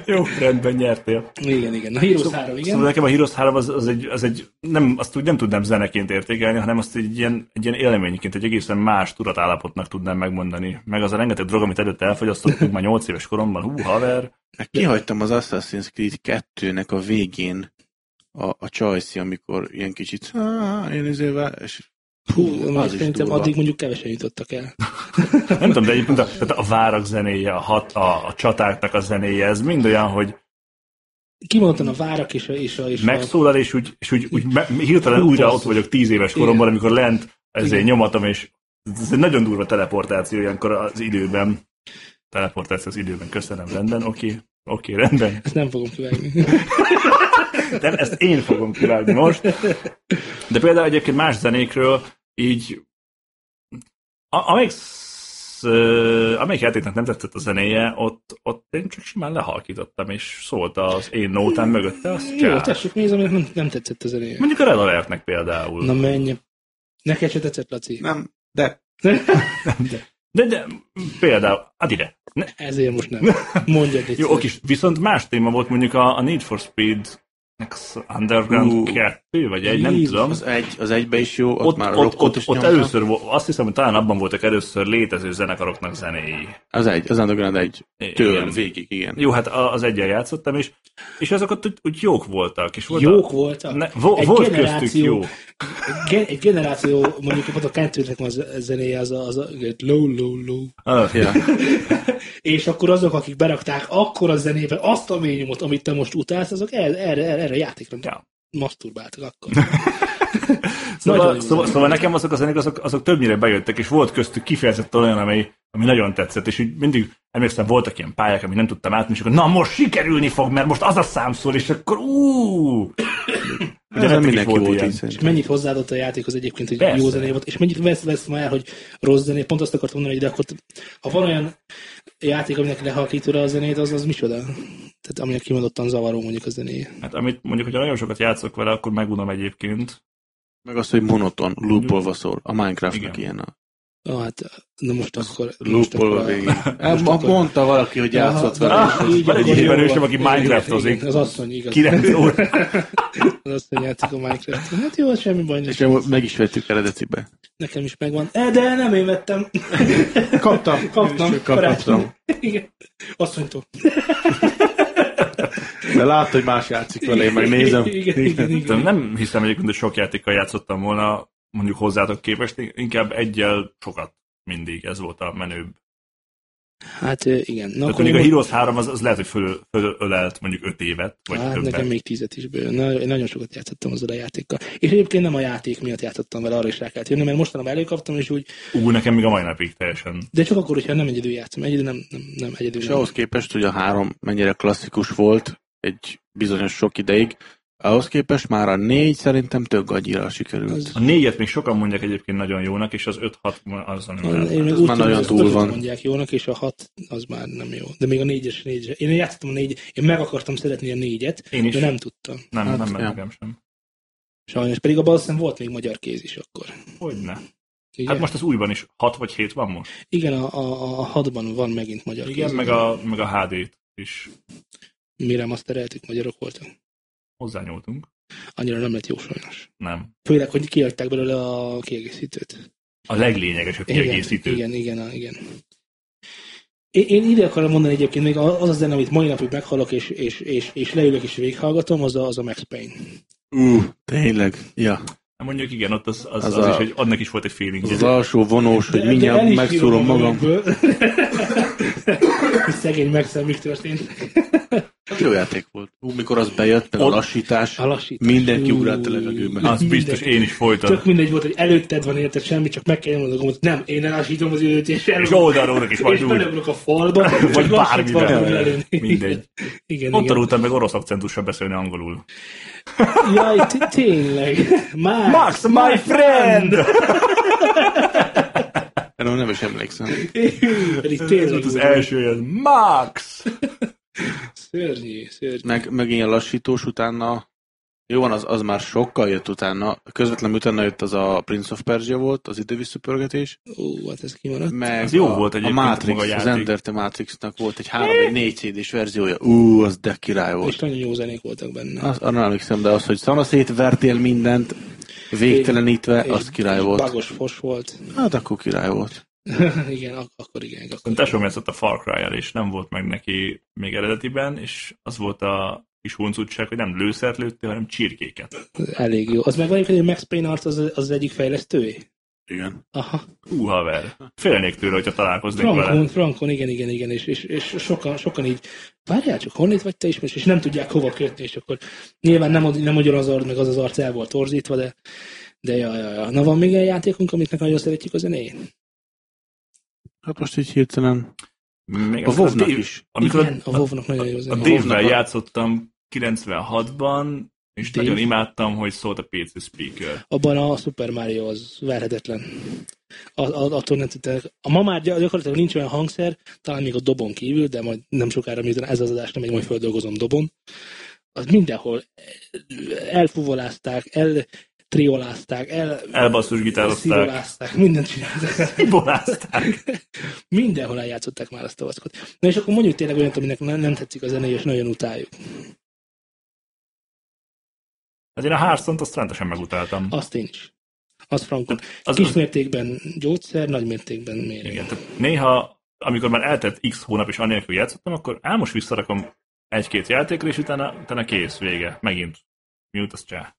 Speaker 2: Jó, rendben nyertél.
Speaker 3: Igen, igen. Na, Heroes 3, igen.
Speaker 2: Szóval nekem a Heroes 3 az, az, egy, az egy, nem, azt úgy nem tudnám zeneként értékelni, hanem azt egy ilyen, egy ilyen élményként, egy egészen más tudatállapotnak tudnám megmondani. Meg az a rengeteg drog, amit előtte elfogyasztottunk már 8 éves koromban, hú, haver.
Speaker 4: Meg Hát Kihagytam az Assassin's Creed 2-nek a végén a, a csajszi, amikor ilyen kicsit "Ah, én izével, és
Speaker 3: Hú,
Speaker 4: az
Speaker 3: az
Speaker 4: is
Speaker 3: szerintem
Speaker 4: durva.
Speaker 3: addig mondjuk kevesen jutottak el.
Speaker 2: Nem tudom, de egyébként a, tehát a várak zenéje, a, hat, a, a csatáknak a zenéje, ez mind olyan, hogy
Speaker 3: Kimondottan a várak és a... És a, és a
Speaker 2: megszólal, és úgy, és úgy, úgy me- hirtelen újra ott vagyok tíz éves koromban, amikor lent ezért
Speaker 3: Igen.
Speaker 2: nyomatom, és ez egy nagyon durva teleportáció ilyenkor az időben. Teleportáció az időben, köszönöm, rendben, oké, oké, rendben.
Speaker 3: ezt nem fogom kivágni.
Speaker 2: De ezt én fogom kivágni most. De például egyébként más zenékről így a- amelyik, sz- ö, amelyik játéknak nem tetszett a zenéje, ott, ott én csak simán lehalkítottam, és szólt az én nótám mögötte, azt
Speaker 3: Jó,
Speaker 2: csá.
Speaker 3: tessék, mi az, aminek nem, nem tetszett a zenéje?
Speaker 2: Mondjuk a Red Alert-nek például.
Speaker 3: Na menj. Neked se tetszett, Laci?
Speaker 4: nem, de
Speaker 2: De, de például, hát ide. Ne,
Speaker 3: Ezért most nem. Mondjad egy
Speaker 2: jó, oké, viszont más téma volt mondjuk a, a Need for Speed Underground
Speaker 4: Ú.
Speaker 2: 2, vagy egy, nem
Speaker 3: Jézus,
Speaker 2: tudom.
Speaker 4: az egy, az egybe is jó, ott,
Speaker 2: Ott,
Speaker 4: már
Speaker 2: ott,
Speaker 4: a
Speaker 2: ott,
Speaker 4: rockot
Speaker 2: ott,
Speaker 4: is
Speaker 2: ott
Speaker 4: nyomta.
Speaker 2: először, vo- azt hiszem, hogy talán abban voltak először létező zenekaroknak zenéi.
Speaker 4: Az egy, az Underground egy. Től
Speaker 2: Igen.
Speaker 4: végig, igen.
Speaker 2: Jó, hát a- az egyen játszottam, és, és azok ott úgy, úgy jók voltak. És volt
Speaker 3: Jók
Speaker 2: a,
Speaker 3: voltak.
Speaker 2: ne, vo,
Speaker 3: Egy
Speaker 2: volt köztük
Speaker 3: generáció-
Speaker 2: jó.
Speaker 3: Egy gen- Egy generáció, mondjuk pont a kettőnek van a zenéje, az a, az a low, low, low.
Speaker 2: Ah,
Speaker 4: Ja.
Speaker 3: És akkor azok, akik berakták akkor a zenébe azt a médiumot, amit te most utálsz, azok erre, erre, erre, erre a játékra
Speaker 2: Ja.
Speaker 3: maszturbáltak akkor. *laughs* Nagyon
Speaker 2: *laughs* Szóval, szóval,
Speaker 3: jó zenék.
Speaker 2: szóval nekem azok a zenék, azok, azok többnyire bejöttek, és volt köztük kifejezetten olyan, ami, ami nagyon tetszett, és így mindig emlékszem, voltak ilyen pályák, amit nem tudtam átni, és akkor na most sikerülni fog, mert most az a szám szól, és akkor ú.
Speaker 4: De nem
Speaker 2: Nektek is
Speaker 4: mindenki
Speaker 2: volt
Speaker 4: hát volt, volt
Speaker 2: ilyen.
Speaker 4: így
Speaker 3: És
Speaker 4: szerintem.
Speaker 3: mennyit hozzáadott a játékhoz egyébként, hogy
Speaker 2: Persze.
Speaker 3: jó zené volt, és mennyit vesz, vesz ma el, hogy rossz zené, pont azt akartam mondani, hogy de akkor ha van olyan játék, aminek lehalkítja a zenét, az az micsoda? Tehát aminek kimondottan zavaró mondjuk a zené.
Speaker 2: Hát amit mondjuk, hogyha nagyon sokat játszok vele, akkor megunom egyébként.
Speaker 4: Meg az, hogy monoton, loopolva szól. A Minecraftnak
Speaker 2: Igen.
Speaker 4: ilyen a
Speaker 3: Ah, hát, na most akkor... most
Speaker 1: Lúpol a
Speaker 3: akkor
Speaker 4: *laughs*
Speaker 1: végén.
Speaker 4: Hát, ma mondta valaki, hogy játszott
Speaker 3: Aha,
Speaker 4: vele.
Speaker 3: ah, így,
Speaker 2: Van egy
Speaker 3: akkor jó
Speaker 2: ismerősöm,
Speaker 3: van.
Speaker 2: aki
Speaker 3: Igen, igen,
Speaker 2: Minecraftozik. hát
Speaker 3: igen, Az asszony, igaz. *laughs*
Speaker 2: 9 óra.
Speaker 3: Az asszony játszik a Minecraft. Hát jó, semmi baj nincs.
Speaker 4: *laughs* És akkor meg is vettük eredetibe.
Speaker 3: Nekem is megvan. E, de nem én vettem. *laughs*
Speaker 4: *laughs* Kaptam.
Speaker 3: Kaptam.
Speaker 4: Csak kaptam.
Speaker 3: Igen. Asszonytól.
Speaker 4: De lát, hogy más játszik vele, én meg nézem.
Speaker 3: Igen, igen, igen.
Speaker 2: Tehát Nem hiszem egyébként, hogy sok játékkal játszottam volna, mondjuk hozzátok képest, inkább egyel sokat mindig, ez volt a menőbb.
Speaker 3: Hát ö, igen. Na,
Speaker 2: Tehát
Speaker 3: akkor
Speaker 2: mondjuk a
Speaker 3: most-
Speaker 2: Heroes 3 az, az lehet, hogy föl, fölölelt mondjuk 5 évet, vagy
Speaker 3: Hát
Speaker 2: többet.
Speaker 3: nekem még tízet is bő. Na, én nagyon sokat játszottam azzal a játékkal. És egyébként nem a játék miatt játszottam vele, arra is rá kellett jönni, mert mostanában előkaptam, és úgy,
Speaker 2: Ú, nekem még a mai napig teljesen.
Speaker 3: de csak akkor, hogyha nem egyedül játszom, egyedül nem, nem, nem egyedül.
Speaker 4: És
Speaker 3: nem.
Speaker 4: ahhoz képest, hogy a három mennyire klasszikus volt egy bizonyos sok ideig, ahhoz képest már a négy szerintem tök gagyira sikerült.
Speaker 3: Az-
Speaker 2: A négyet még sokan mondják egyébként nagyon jónak, és az 5-6 az nem
Speaker 3: Én
Speaker 2: lehet.
Speaker 3: még
Speaker 4: hát ez
Speaker 3: úgy tudom,
Speaker 4: már nagyon
Speaker 3: hogy
Speaker 4: túl
Speaker 3: ötöt
Speaker 4: van.
Speaker 3: mondják jónak, és a hat az már nem jó. De még a négyes, négyes. Én játszottam a négy, én meg akartam szeretni a négyet,
Speaker 2: Én is.
Speaker 3: de nem tudtam.
Speaker 2: Nem,
Speaker 4: Hát,
Speaker 2: nem, nem
Speaker 4: ja.
Speaker 2: nekem sem.
Speaker 3: Sajnos. Pedig abban azt hiszem volt még magyar kéz is akkor.
Speaker 2: Hogyne.
Speaker 3: Igen,
Speaker 2: Hát most az újban is 6 vagy 7 van most.
Speaker 3: Igen a, a, a, hatban van megint magyar
Speaker 2: Igen,
Speaker 3: kéz.
Speaker 2: meg a, meg a HD-t is
Speaker 3: Mire mastereltük, magyarok voltak.
Speaker 2: hozzányúltunk.
Speaker 3: Annyira nem lett jó sajnos.
Speaker 2: Nem.
Speaker 3: Főleg, hogy kiadták belőle a kiegészítőt.
Speaker 2: A leglényegesebb kiegészítő.
Speaker 3: Igen, igen, á, igen. Én, én ide akarom mondani egyébként, még az a zene, amit mai napig meghallok, és, és, és, és leülök és végighallgatom, az a, az a Max Payne.
Speaker 4: Ú, tényleg. Ja.
Speaker 2: Hát Mondjuk igen, ott az, az, az,
Speaker 4: Az
Speaker 2: az
Speaker 4: a-
Speaker 2: is, hogy annak is volt egy feeling.
Speaker 4: Az, az alsó vonós, hogy mindjárt megszúrom magam.
Speaker 3: Hogy *laughs* Szegény Maxel mi történt.
Speaker 4: Hát Jó játék volt. Ú, mikor az bejött, meg a
Speaker 2: Ott-
Speaker 4: lassítás,
Speaker 3: A lassítás.
Speaker 4: mindenki
Speaker 3: Ú.
Speaker 4: ugrált a levegőben.
Speaker 2: Az
Speaker 3: Mindegy.
Speaker 2: biztos, én is folyton.
Speaker 3: Tök mindegy volt, hogy előtted van érted semmi, csak meg kell mondani, hogy nem, én elassítom az időt, és
Speaker 2: És
Speaker 3: elrugom.
Speaker 2: oldalról is
Speaker 3: És
Speaker 2: vagy úgy.
Speaker 3: beleugrok a falba,
Speaker 2: Vagy
Speaker 3: csak lassítva
Speaker 2: bármivel.
Speaker 3: tudod lelőni.
Speaker 2: Mindegy.
Speaker 3: Igen,
Speaker 2: Ott
Speaker 3: igen.
Speaker 2: tanultam meg orosz akcentussal beszélni angolul.
Speaker 3: Jaj, t- tényleg. Max,
Speaker 2: Max, my friend!
Speaker 4: Erről nem is emlékszem.
Speaker 3: Pedig
Speaker 2: Ez
Speaker 3: tényleg
Speaker 2: volt az
Speaker 3: jó.
Speaker 2: első ilyen. Max!
Speaker 3: Szörnyű, szörnyű.
Speaker 4: Meg, meg ilyen lassítós utána, jó van, az, az már sokkal jött utána. Közvetlenül utána jött az a Prince of Persia volt, az idővisszapörgetés.
Speaker 3: Ó, hát ez kimaradt.
Speaker 4: Meg
Speaker 2: Az jó
Speaker 4: a,
Speaker 2: volt
Speaker 4: a
Speaker 2: egyébként
Speaker 4: Matrix,
Speaker 2: maga a
Speaker 4: az
Speaker 2: játék.
Speaker 4: Ender the Matrixnak volt egy 3 vagy 4 CD-s verziója. Ú, az de király
Speaker 3: És
Speaker 4: volt.
Speaker 3: nagyon jó zenék voltak benne.
Speaker 4: Az, arra nem emlékszem, de az, hogy szanaszét vertél mindent, végtelenítve,
Speaker 3: És-
Speaker 4: az király
Speaker 3: és
Speaker 4: volt.
Speaker 3: Bagos fos volt. *laughs*
Speaker 4: Hát akkor király volt.
Speaker 3: igen, ak- akkor igen. Akkor
Speaker 2: A tesóm játszott a Far Cry-el, és nem volt meg neki még eredetiben, és az volt a kis huncutság, hogy nem lőszert lőttél, hanem csirkéket.
Speaker 3: elég jó. Az meg van egyébként, hogy Max Payne Art az, az egyik fejlesztője?
Speaker 4: Igen.
Speaker 3: Aha.
Speaker 2: Hú, haver. Félnék tőle, hogyha találkoznék vele.
Speaker 3: Frankon, Frankon, igen, igen, igen, és, és, és sokan, sokan így, várjál csak, honnét vagy te ismersz, és nem tudják hova kötni, és akkor nyilván nem, nem ugyanaz az arc, meg az az arc el volt torzítva, de, de ja, ja, ja. Na van még egy játékunk, amit meg nagyon szeretjük a zenéjét?
Speaker 4: Hát most így hirtelen.
Speaker 2: Még
Speaker 4: A
Speaker 2: amikor
Speaker 4: WoW-nak
Speaker 2: Dave-
Speaker 4: is.
Speaker 2: Amikor
Speaker 3: igen, a
Speaker 2: a, a,
Speaker 3: WoW-nak nagyon jó
Speaker 2: a
Speaker 3: zenéje.
Speaker 2: Dave-vel
Speaker 4: WoW-nak a-
Speaker 2: játszottam 96-ban, és
Speaker 3: Dave?
Speaker 2: nagyon imádtam, hogy szólt a PC speaker.
Speaker 3: Abban a Super Mario az verhetetlen. A, a, attól nem tudták. A ma már gyak- gyakorlatilag nincs olyan hangszer, talán még a dobon kívül, de majd nem sokára, miután ez az adás nem egy majd földolgozom dobon. Az mindenhol elfuvolázták, el triolázták, el
Speaker 2: Elbasszus gitározták,
Speaker 3: szidolázták, mindent csinálták.
Speaker 2: *laughs* bolázták.
Speaker 3: *laughs* Mindenhol eljátszották már azt a vackot. Na és akkor mondjuk tényleg olyat, aminek nem, nem tetszik a zenéje, és nagyon utáljuk.
Speaker 2: Hát én a Hearthstone-t azt rendesen megutáltam.
Speaker 3: Azt én is. Az frankon.
Speaker 2: Az, az,
Speaker 3: Kismértékben gyógyszer, nagymértékben mérő.
Speaker 2: igen, tehát néha, amikor már eltelt x hónap és anélkül játszottam, akkor á, most visszarakom egy-két játékra, és utána, utána kész, vége, megint. Mute, az csá.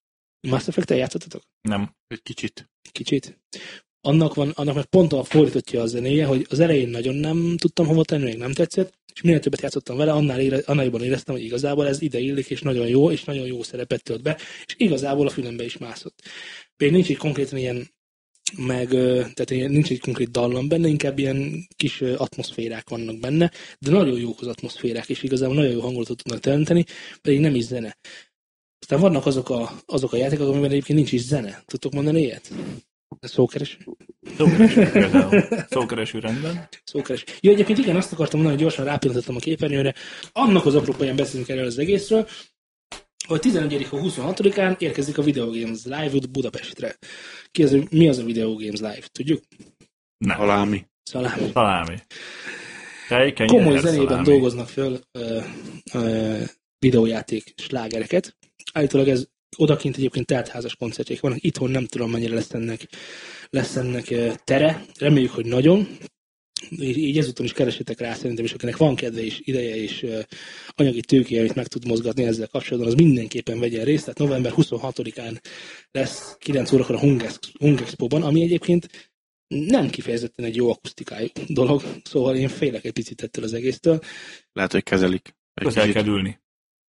Speaker 3: Mass Effect-tel játszottatok?
Speaker 2: Nem.
Speaker 4: Egy kicsit.
Speaker 3: kicsit. Annak, van, annak meg pont a fordítottja a zenéje, hogy az elején nagyon nem tudtam hova tenni, még nem tetszett, és minél többet játszottam vele, annál, ére, annál jobban éreztem, hogy igazából ez ide illik, és nagyon jó, és nagyon jó szerepet tölt be, és igazából a fülembe is mászott. Még nincs egy konkrétan ilyen meg, ö, tehát ilyen- nincs egy konkrét dallam benne, inkább ilyen kis ö, atmoszférák vannak benne, de nagyon jók az atmoszférák, és igazából nagyon jó hangulatot tudnak teremteni, pedig nem is zene. Aztán vannak azok a, azok a játékok, amiben egyébként nincs is zene. Tudtok mondani ilyet? Szókeres.
Speaker 2: Szókereső például. Szókereső rendben.
Speaker 3: Szókeres. Jó, egyébként igen, azt akartam mondani, hogy gyorsan rápillantottam a képernyőre. Annak az apropóján beszélünk erről az egészről, hogy 11 a 26-án érkezik a Video Games Live út Budapestre. Ki az, mi az a Video Games Live? Tudjuk? Szóval
Speaker 2: Nem.
Speaker 4: Halámi.
Speaker 3: Szalámi.
Speaker 2: Szalámi. Tej, kenyér,
Speaker 3: Komoly zenében
Speaker 2: szalámi.
Speaker 3: dolgoznak föl ö, ö, videójáték slágereket. Állítólag ez odakint egyébként teltházas koncertjék vannak. Itthon nem tudom, mennyire lesz ennek, lesz ennek ö, tere. Reméljük, hogy nagyon. Így, így ezúton is keresétek rá szerintem, és akinek van kedve és ideje és ö, anyagi tőkéje, amit meg tud mozgatni ezzel kapcsolatban, az mindenképpen vegyen részt. Tehát november 26-án lesz 9 órakor a Hungex, Hungexpo-ban, ami egyébként nem kifejezetten egy jó akusztikájú dolog, szóval én félek egy picit ettől az egésztől.
Speaker 4: Lehet, hogy kezelik. Egy
Speaker 2: Közel
Speaker 4: kicsit.
Speaker 2: kell ülni.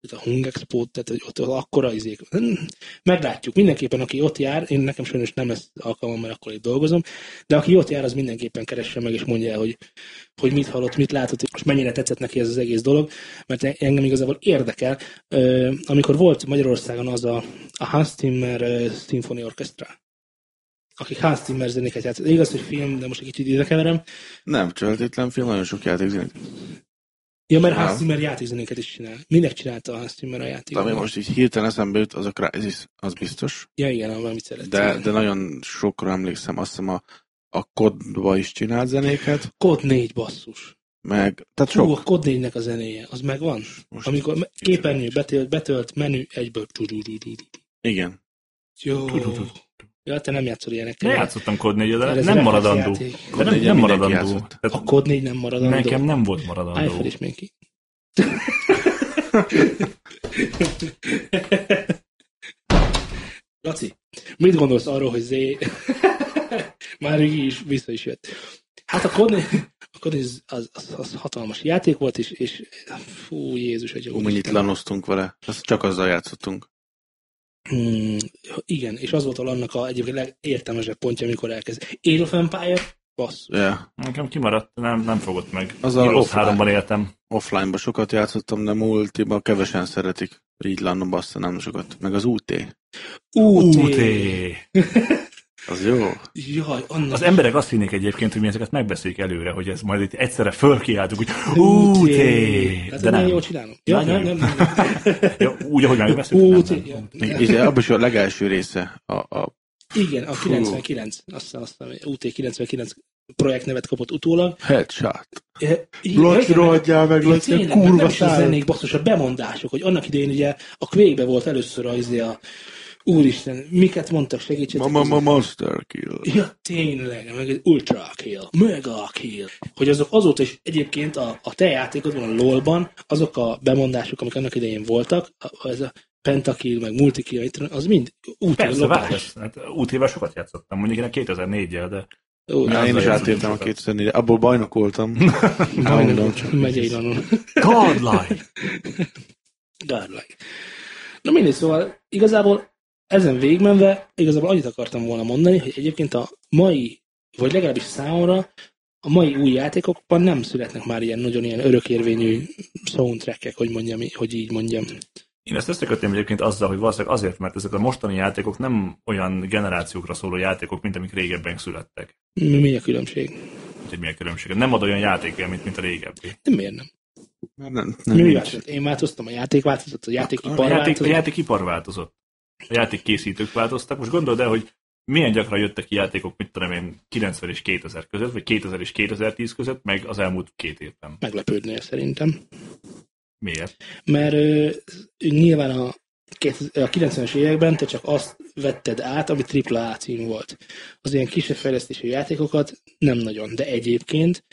Speaker 3: Ez a Hungexpo, tehát hogy ott akkora izék. Hmm, Meglátjuk. Mindenképpen, aki ott jár, én nekem sajnos nem lesz alkalmam, mert akkor itt dolgozom, de aki ott jár, az mindenképpen keresse meg és mondja el, hogy, hogy mit hallott, mit látott, és mennyire tetszett neki ez az egész dolog, mert e- engem igazából érdekel. Ö, Amikor volt Magyarországon az a, a Hans Zimmer ö, Symphony Orchestra, akik Hans Zimmer zenéket játszott. Igaz, hogy film, de most egy kicsit idekeverem,
Speaker 4: Nem, csöltétlen film, nagyon sok játékzenét.
Speaker 3: Ja, mert
Speaker 4: Nem.
Speaker 3: Hans Zimmer játékzenéket is csinál. Minek csinálta a Hans Zimmer a játékot?
Speaker 4: Ami most így hirtelen eszembe jut, az a Crysis, az biztos.
Speaker 3: Ja, igen, amivel amit szeret.
Speaker 4: De, de nagyon sokra emlékszem, azt hiszem a, a kodba is csinált zenéket,
Speaker 3: Kod 4 basszus.
Speaker 4: meg, tehát
Speaker 3: Hú,
Speaker 4: sok.
Speaker 3: a Kod 4-nek a zenéje, az megvan.
Speaker 4: Most
Speaker 3: Amikor me-
Speaker 4: kicsit-
Speaker 3: képernyő betölt, betölt menü, egyből.
Speaker 4: Igen.
Speaker 3: Jó.
Speaker 2: Tudududú.
Speaker 3: Ja, te nem játszol ilyenekkel.
Speaker 2: Ne játszottam kod 4
Speaker 3: Mert
Speaker 2: de
Speaker 3: ez
Speaker 2: nem
Speaker 3: reflex
Speaker 2: maradandó.
Speaker 3: játék.
Speaker 2: De nem,
Speaker 4: Ugye
Speaker 2: nem
Speaker 4: mindenki
Speaker 2: maradandó.
Speaker 4: játszott.
Speaker 2: Tehát
Speaker 3: A Kod 4 nem maradandó.
Speaker 2: nekem nem volt maradandó.
Speaker 3: Eiffel is még ki. *laughs* Laci, mit gondolsz arról, hogy Zé *laughs* már így is vissza is jött? Hát a Kodni, a Kodni az, az, az, az, hatalmas játék volt, és, és fú, Jézus, hogy jó.
Speaker 4: Ú, mennyit lanoztunk vele. Azt csak azzal játszottunk.
Speaker 3: Hmm, igen, és az volt a annak a egyébként legértelmesebb pontja, amikor elkezd. Age of Empire, bassz.
Speaker 4: Yeah.
Speaker 2: Nekem kimaradt, nem, nem fogott meg. Az
Speaker 4: Az a
Speaker 2: a
Speaker 4: offline.
Speaker 2: háromban éltem.
Speaker 4: Offline-ba sokat játszottam, de multiba kevesen szeretik. Így lanom azt nem sokat. Meg az UT.
Speaker 3: UT.
Speaker 2: UT.
Speaker 4: Az jó.
Speaker 3: Jaj, annak
Speaker 2: Az emberek azt hinnék egyébként, hogy mi ezeket megbeszéljük előre, hogy ez majd itt egyszerre fölkiáltuk, hogy
Speaker 3: UT.
Speaker 2: UT.
Speaker 3: Hát
Speaker 2: De
Speaker 3: de nem.
Speaker 2: nem.
Speaker 3: jól csinálom. Ja,
Speaker 2: Nagyon
Speaker 3: nem, nem,
Speaker 2: jó.
Speaker 3: nem. nem.
Speaker 4: *laughs*
Speaker 2: Ja, Úgy, ahogy megbeszéltük.
Speaker 3: UT.
Speaker 2: nem, nem.
Speaker 3: ja.
Speaker 4: Még így Izé, abban is a legelső része. A, a,
Speaker 3: Igen, a
Speaker 4: Fú.
Speaker 3: 99, azt hiszem, azt hiszem, UT 99 projektnevet kapott utólag.
Speaker 4: headshot.
Speaker 3: E, igen,
Speaker 4: Laci,
Speaker 3: igen,
Speaker 4: rohadjál meg,
Speaker 3: igen,
Speaker 4: Laci, a
Speaker 3: tényleg, nem
Speaker 4: kurva
Speaker 3: is a
Speaker 4: szállat.
Speaker 3: zenék, basszus, a bemondások, hogy annak idején ugye a quake volt először a, izé a Úristen, miket mondtak, segítsetek.
Speaker 4: Mama, ma monster kill.
Speaker 3: Ja, tényleg, meg egy Ultra Kill, Mega Kill. Hogy azok azóta is egyébként a, a te játékodban, a LOL-ban, azok a bemondások, amik annak idején voltak, a, ez a Pentakill, meg Multikill, mit tudom, az mind úti
Speaker 2: Persze,
Speaker 3: lopás.
Speaker 2: várj, hát útével sokat játszottam, mondjuk én a 2004-jel, de
Speaker 3: Ó,
Speaker 4: Ja,
Speaker 2: azzal
Speaker 4: én is
Speaker 2: játszottam
Speaker 4: átértem a
Speaker 2: sokat.
Speaker 4: 2004 -re. abból bajnok voltam. Állandóan csak.
Speaker 3: Megyei lanon.
Speaker 2: Godlike!
Speaker 3: Godlike. Na mindegy, szóval igazából ezen végigmenve, igazából annyit akartam volna mondani, hogy egyébként a mai, vagy legalábbis számomra, a mai új játékokban nem születnek már ilyen nagyon ilyen örökérvényű soundtrackek, hogy mondjam, hogy így mondjam.
Speaker 2: Én ezt összekötném egyébként azzal, hogy valószínűleg azért, mert ezek a mostani játékok nem olyan generációkra szóló játékok, mint amik régebben születtek.
Speaker 3: Mi, mi a különbség?
Speaker 2: Úgyhogy mi a különbség? Nem ad olyan játék, mint, mint a régebbi.
Speaker 3: Nem miért nem?
Speaker 4: Mert Nem, nem
Speaker 3: Mi
Speaker 4: nincs.
Speaker 3: változott? Én változtam, a játék változott, a
Speaker 2: A
Speaker 3: játékipar
Speaker 2: játék, a
Speaker 3: változott.
Speaker 2: játékipar változott. A játékkészítők változtak. Most gondold el, hogy milyen gyakran jöttek ki játékok, mit tudom én, 90 és 2000 között, vagy 2000 és 2010 között, meg az elmúlt két évben.
Speaker 3: Meglepődnél szerintem.
Speaker 2: Miért?
Speaker 3: mert ö, nyilván a, két- a 90-es években te csak azt vetted át, ami AAA cím volt. Az ilyen kisebb fejlesztésű játékokat nem nagyon, de egyébként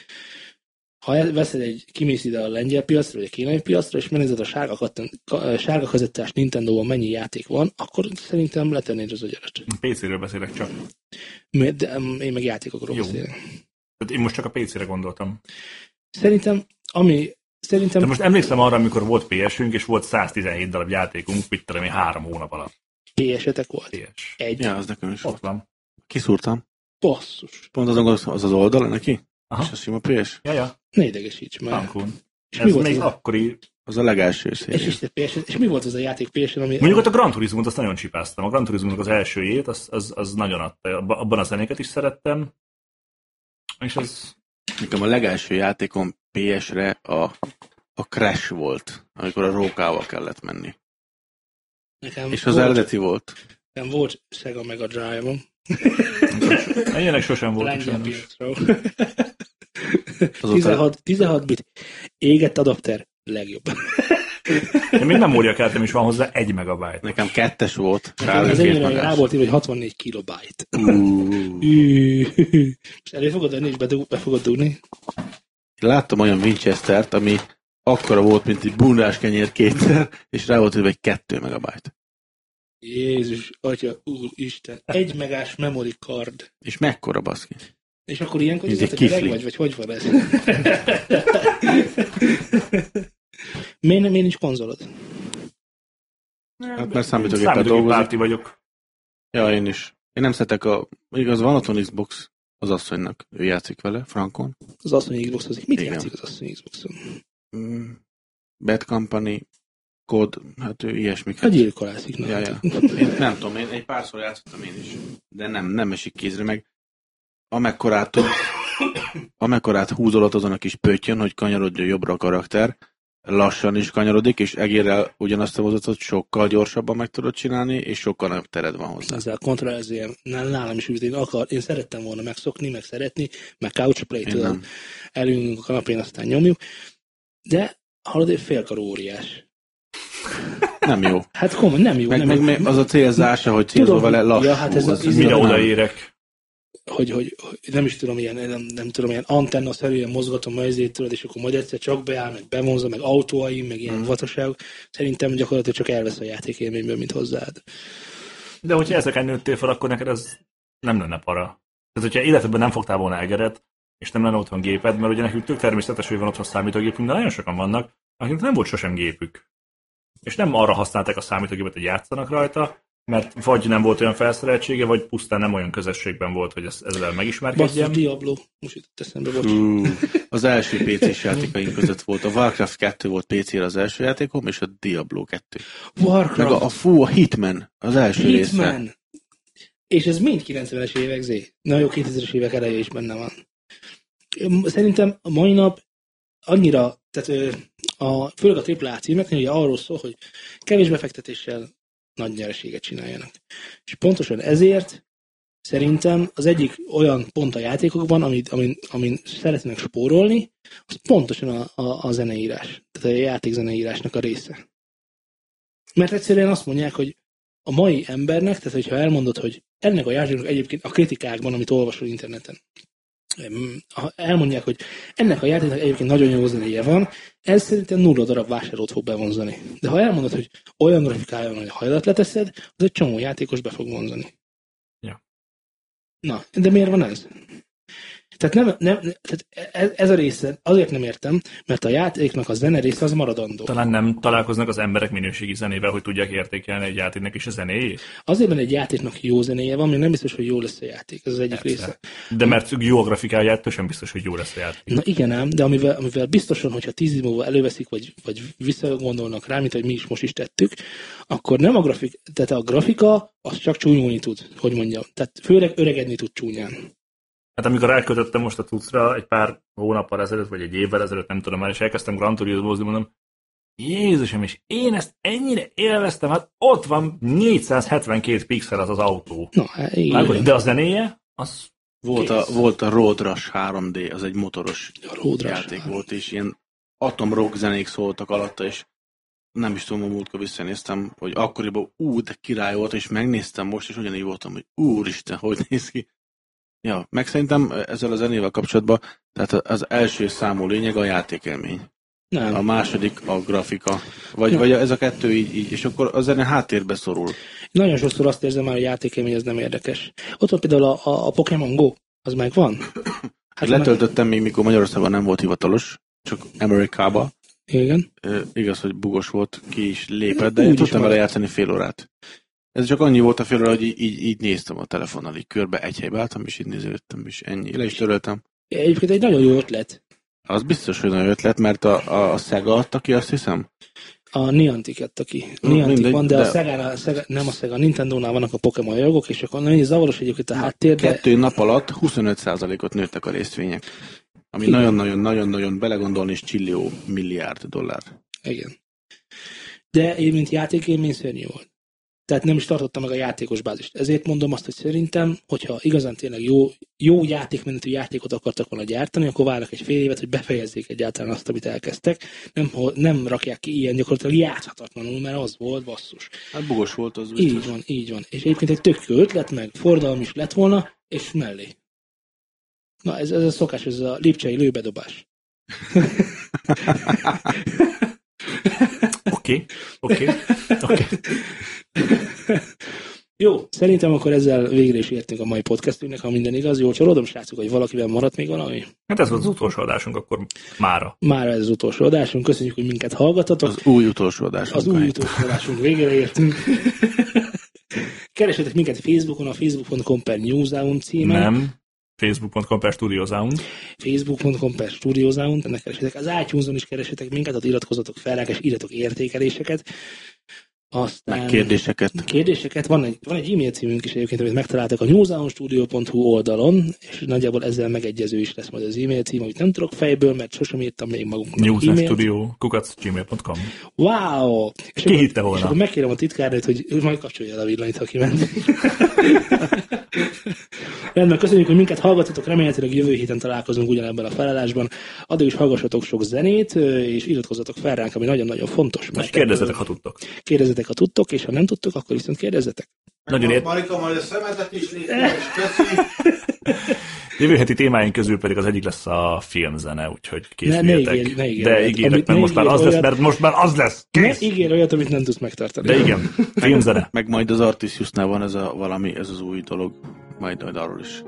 Speaker 3: ha el- veszed egy, kimész ide a lengyel piacra, vagy a kínai piacra, és megnézed a sárga, katten, ka, sárga kazettás Nintendo-ban mennyi játék van, akkor szerintem letennéd az agyarat.
Speaker 2: PC-ről beszélek csak.
Speaker 3: Mert- De em, én meg játékokról
Speaker 2: Jó.
Speaker 3: beszélek.
Speaker 2: Tehát én most csak a PC-re gondoltam.
Speaker 3: Szerintem, ami szerintem
Speaker 2: De most emlékszem arra, amikor volt PS-ünk, és volt 117 darab játékunk, mit tudom én, három hónap alatt.
Speaker 3: PS-etek volt.
Speaker 2: PS.
Speaker 3: Egy.
Speaker 4: Ja, az nekem is.
Speaker 2: Ott van.
Speaker 4: Kiszúrtam.
Speaker 3: Basszus.
Speaker 4: Pont azon gondolkoztam, az az oldala neki?
Speaker 2: Aha.
Speaker 4: És a sima PS?
Speaker 2: Ja, ja,
Speaker 3: Ne idegesíts már.
Speaker 2: Cancun.
Speaker 3: És mi
Speaker 2: Ez
Speaker 3: volt
Speaker 2: még
Speaker 3: az a-
Speaker 2: akkori...
Speaker 4: Az a legelső
Speaker 3: És,
Speaker 4: széria.
Speaker 3: és, és, és mi volt az a játék PS-en, ami...
Speaker 2: Mondjuk ott a Gran Turismo-t azt nagyon csipáztam. A Gran turismo az elsőjét, az, az, az nagyon adta. Abba- Abban a zenéket is szerettem. És az...
Speaker 4: Nekem a legelső játékom PS-re a, a Crash volt, amikor a rókával kellett menni.
Speaker 3: nekem
Speaker 4: És az
Speaker 3: volt,
Speaker 4: eredeti volt.
Speaker 3: Nekem volt Sega Mega Drive-om.
Speaker 2: Ilyenek sosem voltak
Speaker 3: Lengyel
Speaker 2: sajnos.
Speaker 3: piacról.
Speaker 4: Azóta
Speaker 3: 16, 16 bit. Égett adapter. Legjobb.
Speaker 2: Én még memóriakártyám is van hozzá egy megabyte.
Speaker 4: nekem kettes volt.
Speaker 3: Hát Az
Speaker 4: Rálőtt
Speaker 3: enyémre rá
Speaker 4: magás.
Speaker 3: volt írva, hogy 64 kilobájt.
Speaker 4: Ú.
Speaker 3: Ű, És elő fogod venni, és bedug, be fogod dugni.
Speaker 4: Láttam olyan Winchester-t, ami akkora volt, mint egy bundás kenyér kétszer, és rá volt írva egy kettő megabyte.
Speaker 3: Jézus, atya, úristen. Egy megás memory card.
Speaker 4: És mekkora baszki?
Speaker 3: És akkor ilyenkor
Speaker 4: Ez
Speaker 3: tudod,
Speaker 4: egy
Speaker 3: hogy öreg
Speaker 4: kifli.
Speaker 3: vagy, vagy hogy van ez? *laughs* miért, nem, miért nincs konzolod?
Speaker 4: Hát mert számítógéppel
Speaker 2: Számítógép
Speaker 4: dolgozik.
Speaker 2: párti vagyok.
Speaker 4: Ja, én is. Én nem szeretek a... Igaz, van otthon Xbox az asszonynak. Ő játszik vele, Frankon.
Speaker 3: Az asszony Xboxozik. Mit
Speaker 4: Igen.
Speaker 3: játszik az asszony Xboxon?
Speaker 4: Mm, Bad Company, Cod, hát ő ilyesmiket.
Speaker 3: A gyilkolászik. hát.
Speaker 4: Ja,
Speaker 3: Ja,
Speaker 4: ja. Én nem tudom, én egy párszor játszottam én is, de nem, nem esik kézre, meg amekkorát, tud- amekkorát húzolat azon a kis pöttyön, hogy kanyarodjon jobbra a karakter, lassan is kanyarodik, és egérrel ugyanazt a mozatot sokkal gyorsabban meg tudod csinálni, és sokkal nagyobb tered van hozzá.
Speaker 3: Ezzel kontrollezőjem. Nálam is üdít. Én, akar, én szerettem volna megszokni, meg szeretni, meg couchplay,
Speaker 4: Én
Speaker 3: tudod,
Speaker 4: nem.
Speaker 3: elülünk a kanapén, aztán nyomjuk. De hallod, egy félkarú óriás.
Speaker 4: Nem jó.
Speaker 3: Hát komoly, nem jó.
Speaker 4: Meg,
Speaker 3: nem
Speaker 4: meg,
Speaker 3: jó.
Speaker 4: meg az a célzása, hogy célzol
Speaker 3: Tudom,
Speaker 4: vele lassú.
Speaker 3: ja, hát ez az
Speaker 4: az
Speaker 3: izgalom.
Speaker 2: Mire
Speaker 4: nem.
Speaker 2: odaérek?
Speaker 3: hogy, hogy, hogy nem is tudom, ilyen, nem, nem tudom, ilyen antenna szerűen mozgatom a ezét, tudod, és akkor majd egyszer csak beáll, meg bevonza, meg autóaim, meg ilyen mm. vataságok. Szerintem gyakorlatilag csak elvesz a játék élményből, mint hozzád.
Speaker 2: De hogyha ezeken nőttél fel, akkor neked ez nem lenne para. Tehát, hogyha életedben nem fogtál volna egeret, és nem lenne otthon géped, mert ugye nekünk tök természetes, hogy van otthon számítógépünk, de nagyon sokan vannak, akiknek nem volt sosem gépük. És nem arra használták a számítógépet, hogy játszanak rajta, mert vagy nem volt olyan felszereltsége, vagy pusztán nem olyan közösségben volt, hogy ezt- ezzel
Speaker 3: Basszus,
Speaker 2: megismerkedjen.
Speaker 3: Diablo, most jutott eszembe, bocs.
Speaker 4: Ú, Az első PC-s játékaink között volt. A Warcraft 2 volt PC-re az első játékom, és a Diablo 2. Meg
Speaker 3: Warcraft,
Speaker 4: a, a fú, a Hitman, az első része.
Speaker 3: Hitman! És ez mind 90-es évek zé. Na jó, 2000-es évek eleje is benne van. Szerintem a mai nap annyira, tehát ö, a, főleg a AAA címeknél ugye arról szól, hogy kevés befektetéssel nagy nyereséget csináljanak. És pontosan ezért szerintem az egyik olyan pont a játékokban, amit, amin, amin szeretnének spórolni, az pontosan a, a, a zeneírás. Tehát a játékzeneírásnak a része. Mert egyszerűen azt mondják, hogy a mai embernek, tehát hogyha elmondod, hogy ennek a játéknak egyébként a kritikákban, amit olvasol interneten, em, ha elmondják, hogy ennek a játéknak egyébként nagyon jó zenéje van, ez szerintem nulla darab vásárlót fog bevonzani. De ha elmondod, hogy olyan grafikája van, hogy hajlat leteszed, az egy csomó játékos be fog vonzani.
Speaker 2: Ja.
Speaker 3: Na, de miért van ez? Tehát, nem, nem, tehát ez, ez a része, azért nem értem, mert a játéknak a zene része az maradandó.
Speaker 2: Talán nem találkoznak az emberek minőségi zenével, hogy tudják értékelni egy játéknak is a zenéjét.
Speaker 3: Azért, mert egy játéknak jó zenéje van, még nem biztos, hogy jó lesz a játék. Ez az egyik
Speaker 2: Persze.
Speaker 3: része.
Speaker 2: De mert jó a grafikája, ettől sem biztos, hogy jó lesz a játék.
Speaker 3: Na igen ám, de amivel, amivel biztosan, hogyha tíz év múlva előveszik, vagy, vagy visszagondolnak rá, mint hogy mi is most is tettük, akkor nem a grafik, tehát a grafika az csak csúnyulni tud, hogy mondjam. Tehát főleg öregedni tud csúnyán.
Speaker 2: Hát amikor rákötöttem most a cuccra egy pár hónappal ezelőtt, vagy egy évvel ezelőtt, nem tudom már, és elkezdtem Gran Turismozni, mondom, Jézusom, és én ezt ennyire élveztem, hát ott van 472 pixel az az autó.
Speaker 3: Na, hát igen.
Speaker 2: Vágod? De a zenéje, az
Speaker 4: Volt a, volt a Road Rush 3D, az egy motoros
Speaker 3: A Road Rush.
Speaker 4: játék volt, és ilyen atomrock zenék szóltak alatta, és nem is tudom, a múltkor visszanéztem, hogy akkoriban ú, de király volt, és megnéztem most, és ugyanígy voltam, hogy úristen, hogy néz ki. Ja, meg szerintem ezzel a zenével kapcsolatban, tehát az első számú lényeg a játékélmény.
Speaker 3: Nem.
Speaker 4: A második a grafika. Vagy,
Speaker 3: Ja.
Speaker 4: vagy ez a kettő így, így, és akkor a zene háttérbe szorul.
Speaker 3: Nagyon sokszor azt érzem már, hogy játékélmény ez nem érdekes. Ott van például a, a, a Pokémon Go, az megvan.
Speaker 4: Hát letöltöttem még, mikor Magyarországon nem volt hivatalos, csak Amerikába.
Speaker 3: Igen.
Speaker 4: Ö, igaz, hogy bugos volt, ki is lépett, de
Speaker 3: Úgy
Speaker 4: én
Speaker 3: is
Speaker 4: tudtam vele
Speaker 3: marad.
Speaker 4: játszani fél órát. Ez csak annyi volt a fél óra, hogy í- így, így néztem a telefonnal, így körbe egy helybe álltam, és így néződtem, és ennyi. Le is töröltem.
Speaker 3: Egyébként egy nagyon jó ötlet.
Speaker 4: Az biztos, hogy nagy ötlet, mert a, a, a Sega adta ki, azt hiszem.
Speaker 3: A Niantic adta ki.
Speaker 4: Na,
Speaker 3: Niantic
Speaker 4: Hm, mindegy,
Speaker 3: van, de, de...
Speaker 4: de-
Speaker 3: a Sega, a Sega, nem a Sega, a Nintendo-nál vannak a Pokémon jogok, és akkor nagyon zavaros egyébként a
Speaker 4: Hm,
Speaker 3: háttér, de
Speaker 4: Kettő nap alatt 25%-ot nőttek a részvények. Ami
Speaker 3: Igen.
Speaker 4: nagyon-nagyon-nagyon-nagyon belegondolni is csillió milliárd dollár.
Speaker 3: igen. De én, mint játékélmény szörnyű volt. tehát nem is tartotta meg a játékos bázist. Ezért mondom azt, hogy szerintem, hogyha igazán tényleg jó, jó játékmenetű játékot akartak volna gyártani, akkor várnak egy fél évet, hogy befejezzék egyáltalán azt, amit elkezdtek. Nem, ho- nem rakják ki ilyen gyakorlatilag játhatatlanul, mert az volt basszus.
Speaker 4: Hát bugos volt az
Speaker 3: Így van, így van. És egyébként egy tök jó ötlet, meg fordalom is lett volna, és mellé. Na, ez, ez a szokás, ez a lipcsei lőbedobás.
Speaker 2: Oké, oké, oké.
Speaker 3: *laughs* Jó, szerintem akkor ezzel végre is értünk a mai podcastünknek, ha minden igaz. Jól csalódom, srácok, hogy valakiben maradt még valami.
Speaker 2: Hát ez volt az utolsó adásunk akkor mára.
Speaker 3: Már ez az utolsó adásunk, köszönjük, hogy minket hallgatatok.
Speaker 4: Az új utolsó adás.
Speaker 3: Az új utolsó adásunk végére értünk. Keresetek minket Facebookon, a facebook.com per newsound címen,
Speaker 2: Nem. Facebook.com per Studio Sound.
Speaker 3: facebook.com per studiosound, ennek keresetek, az iTunes-on is keresetek minket, ott iratkozatok fel, és írjatok értékeléseket. Aztán...
Speaker 4: Meg kérdéseket.
Speaker 3: kérdéseket. Van egy, van egy e-mail címünk is egyébként, amit megtaláltak a newsoundstudio.hu oldalon, és nagyjából ezzel megegyező is lesz majd az e-mail cím, amit nem tudok fejből, mert sosem írtam még magunknak
Speaker 2: News
Speaker 3: e-mailt.
Speaker 2: Studio, kukacgmail.com.
Speaker 3: Wow! És
Speaker 2: Ki hitte volna?
Speaker 3: És akkor megkérem a titkárnőt, hogy ő majd kapcsolja el a villanyt, ha
Speaker 2: *laughs*
Speaker 3: kiment. Rendben, köszönjük, hogy minket hallgatotok, remélhetőleg jövő héten találkozunk ugyanebben a felállásban. Addig is hallgassatok sok zenét, és iratkozzatok fel ránk, ami nagyon-nagyon fontos.
Speaker 2: És kérdezzetek, ha tudtok.
Speaker 3: kérdezzetek, ha tudtok, és ha nem tudtok, akkor viszont kérdezzetek.
Speaker 2: Nagyon ért.
Speaker 1: Marika majd a szemetet is lépte, és köszi.
Speaker 2: Jövő heti témáink közül pedig az egyik lesz a filmzene, úgyhogy készüljetek.
Speaker 3: ígérj- ne ígérj
Speaker 2: De
Speaker 3: olyat,
Speaker 2: ígérek, mert
Speaker 3: amit ne
Speaker 2: most már
Speaker 3: ígérj
Speaker 2: az lesz,
Speaker 3: olyat.
Speaker 2: mert most már az lesz.
Speaker 3: Ne
Speaker 2: Kész!
Speaker 3: ígér olyat, amit nem tudsz megtartani.
Speaker 2: De igen, filmzene.
Speaker 4: Meg majd az Artisiusnál van ez a valami, ez az új dolog. Majd, majd arról is.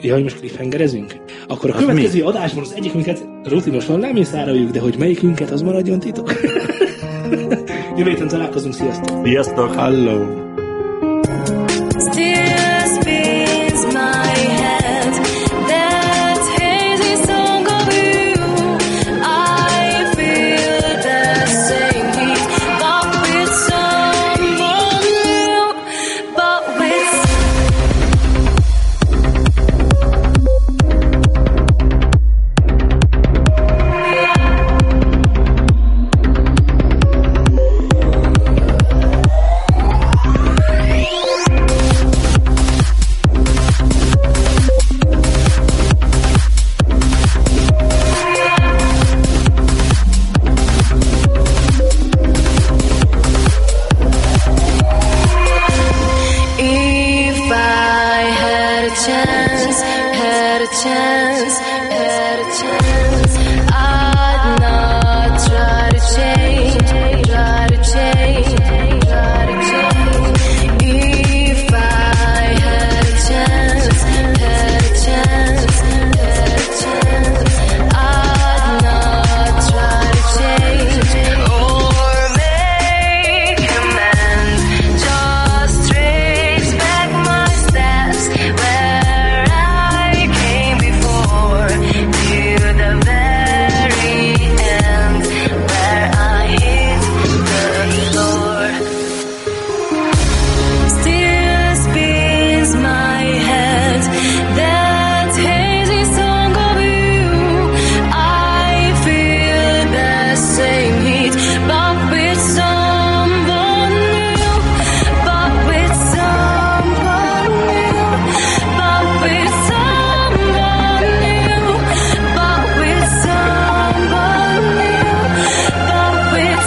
Speaker 3: Ja, hogy most cliffhangerezünk? Akkor a
Speaker 4: Az
Speaker 3: következő adásban az egyikünket rutinosan lemészároljuk, de hogy melyikünket, az maradjon titok. *laughs* Jövő héten találkozunk, sziasztok!
Speaker 2: Sziasztok!
Speaker 4: Hello!
Speaker 5: Still spins my head. That hazy song of you. I feel the same heat, but with someone new. But with If I had a chance, had a chance, had a chance, I'd not try to change, try to change, try to change. If I had a chance, had a chance, had a chance, I'd not try to change or make amends. Just trace back my steps where I came before to the very end where I hit the floor. Still spins my head. That hazy song of you. I feel the same heat, but with someone new. But with someone new. But with someone new. But with someone new. But with someone new.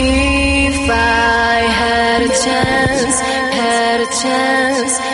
Speaker 5: If I had a chance, had a chance,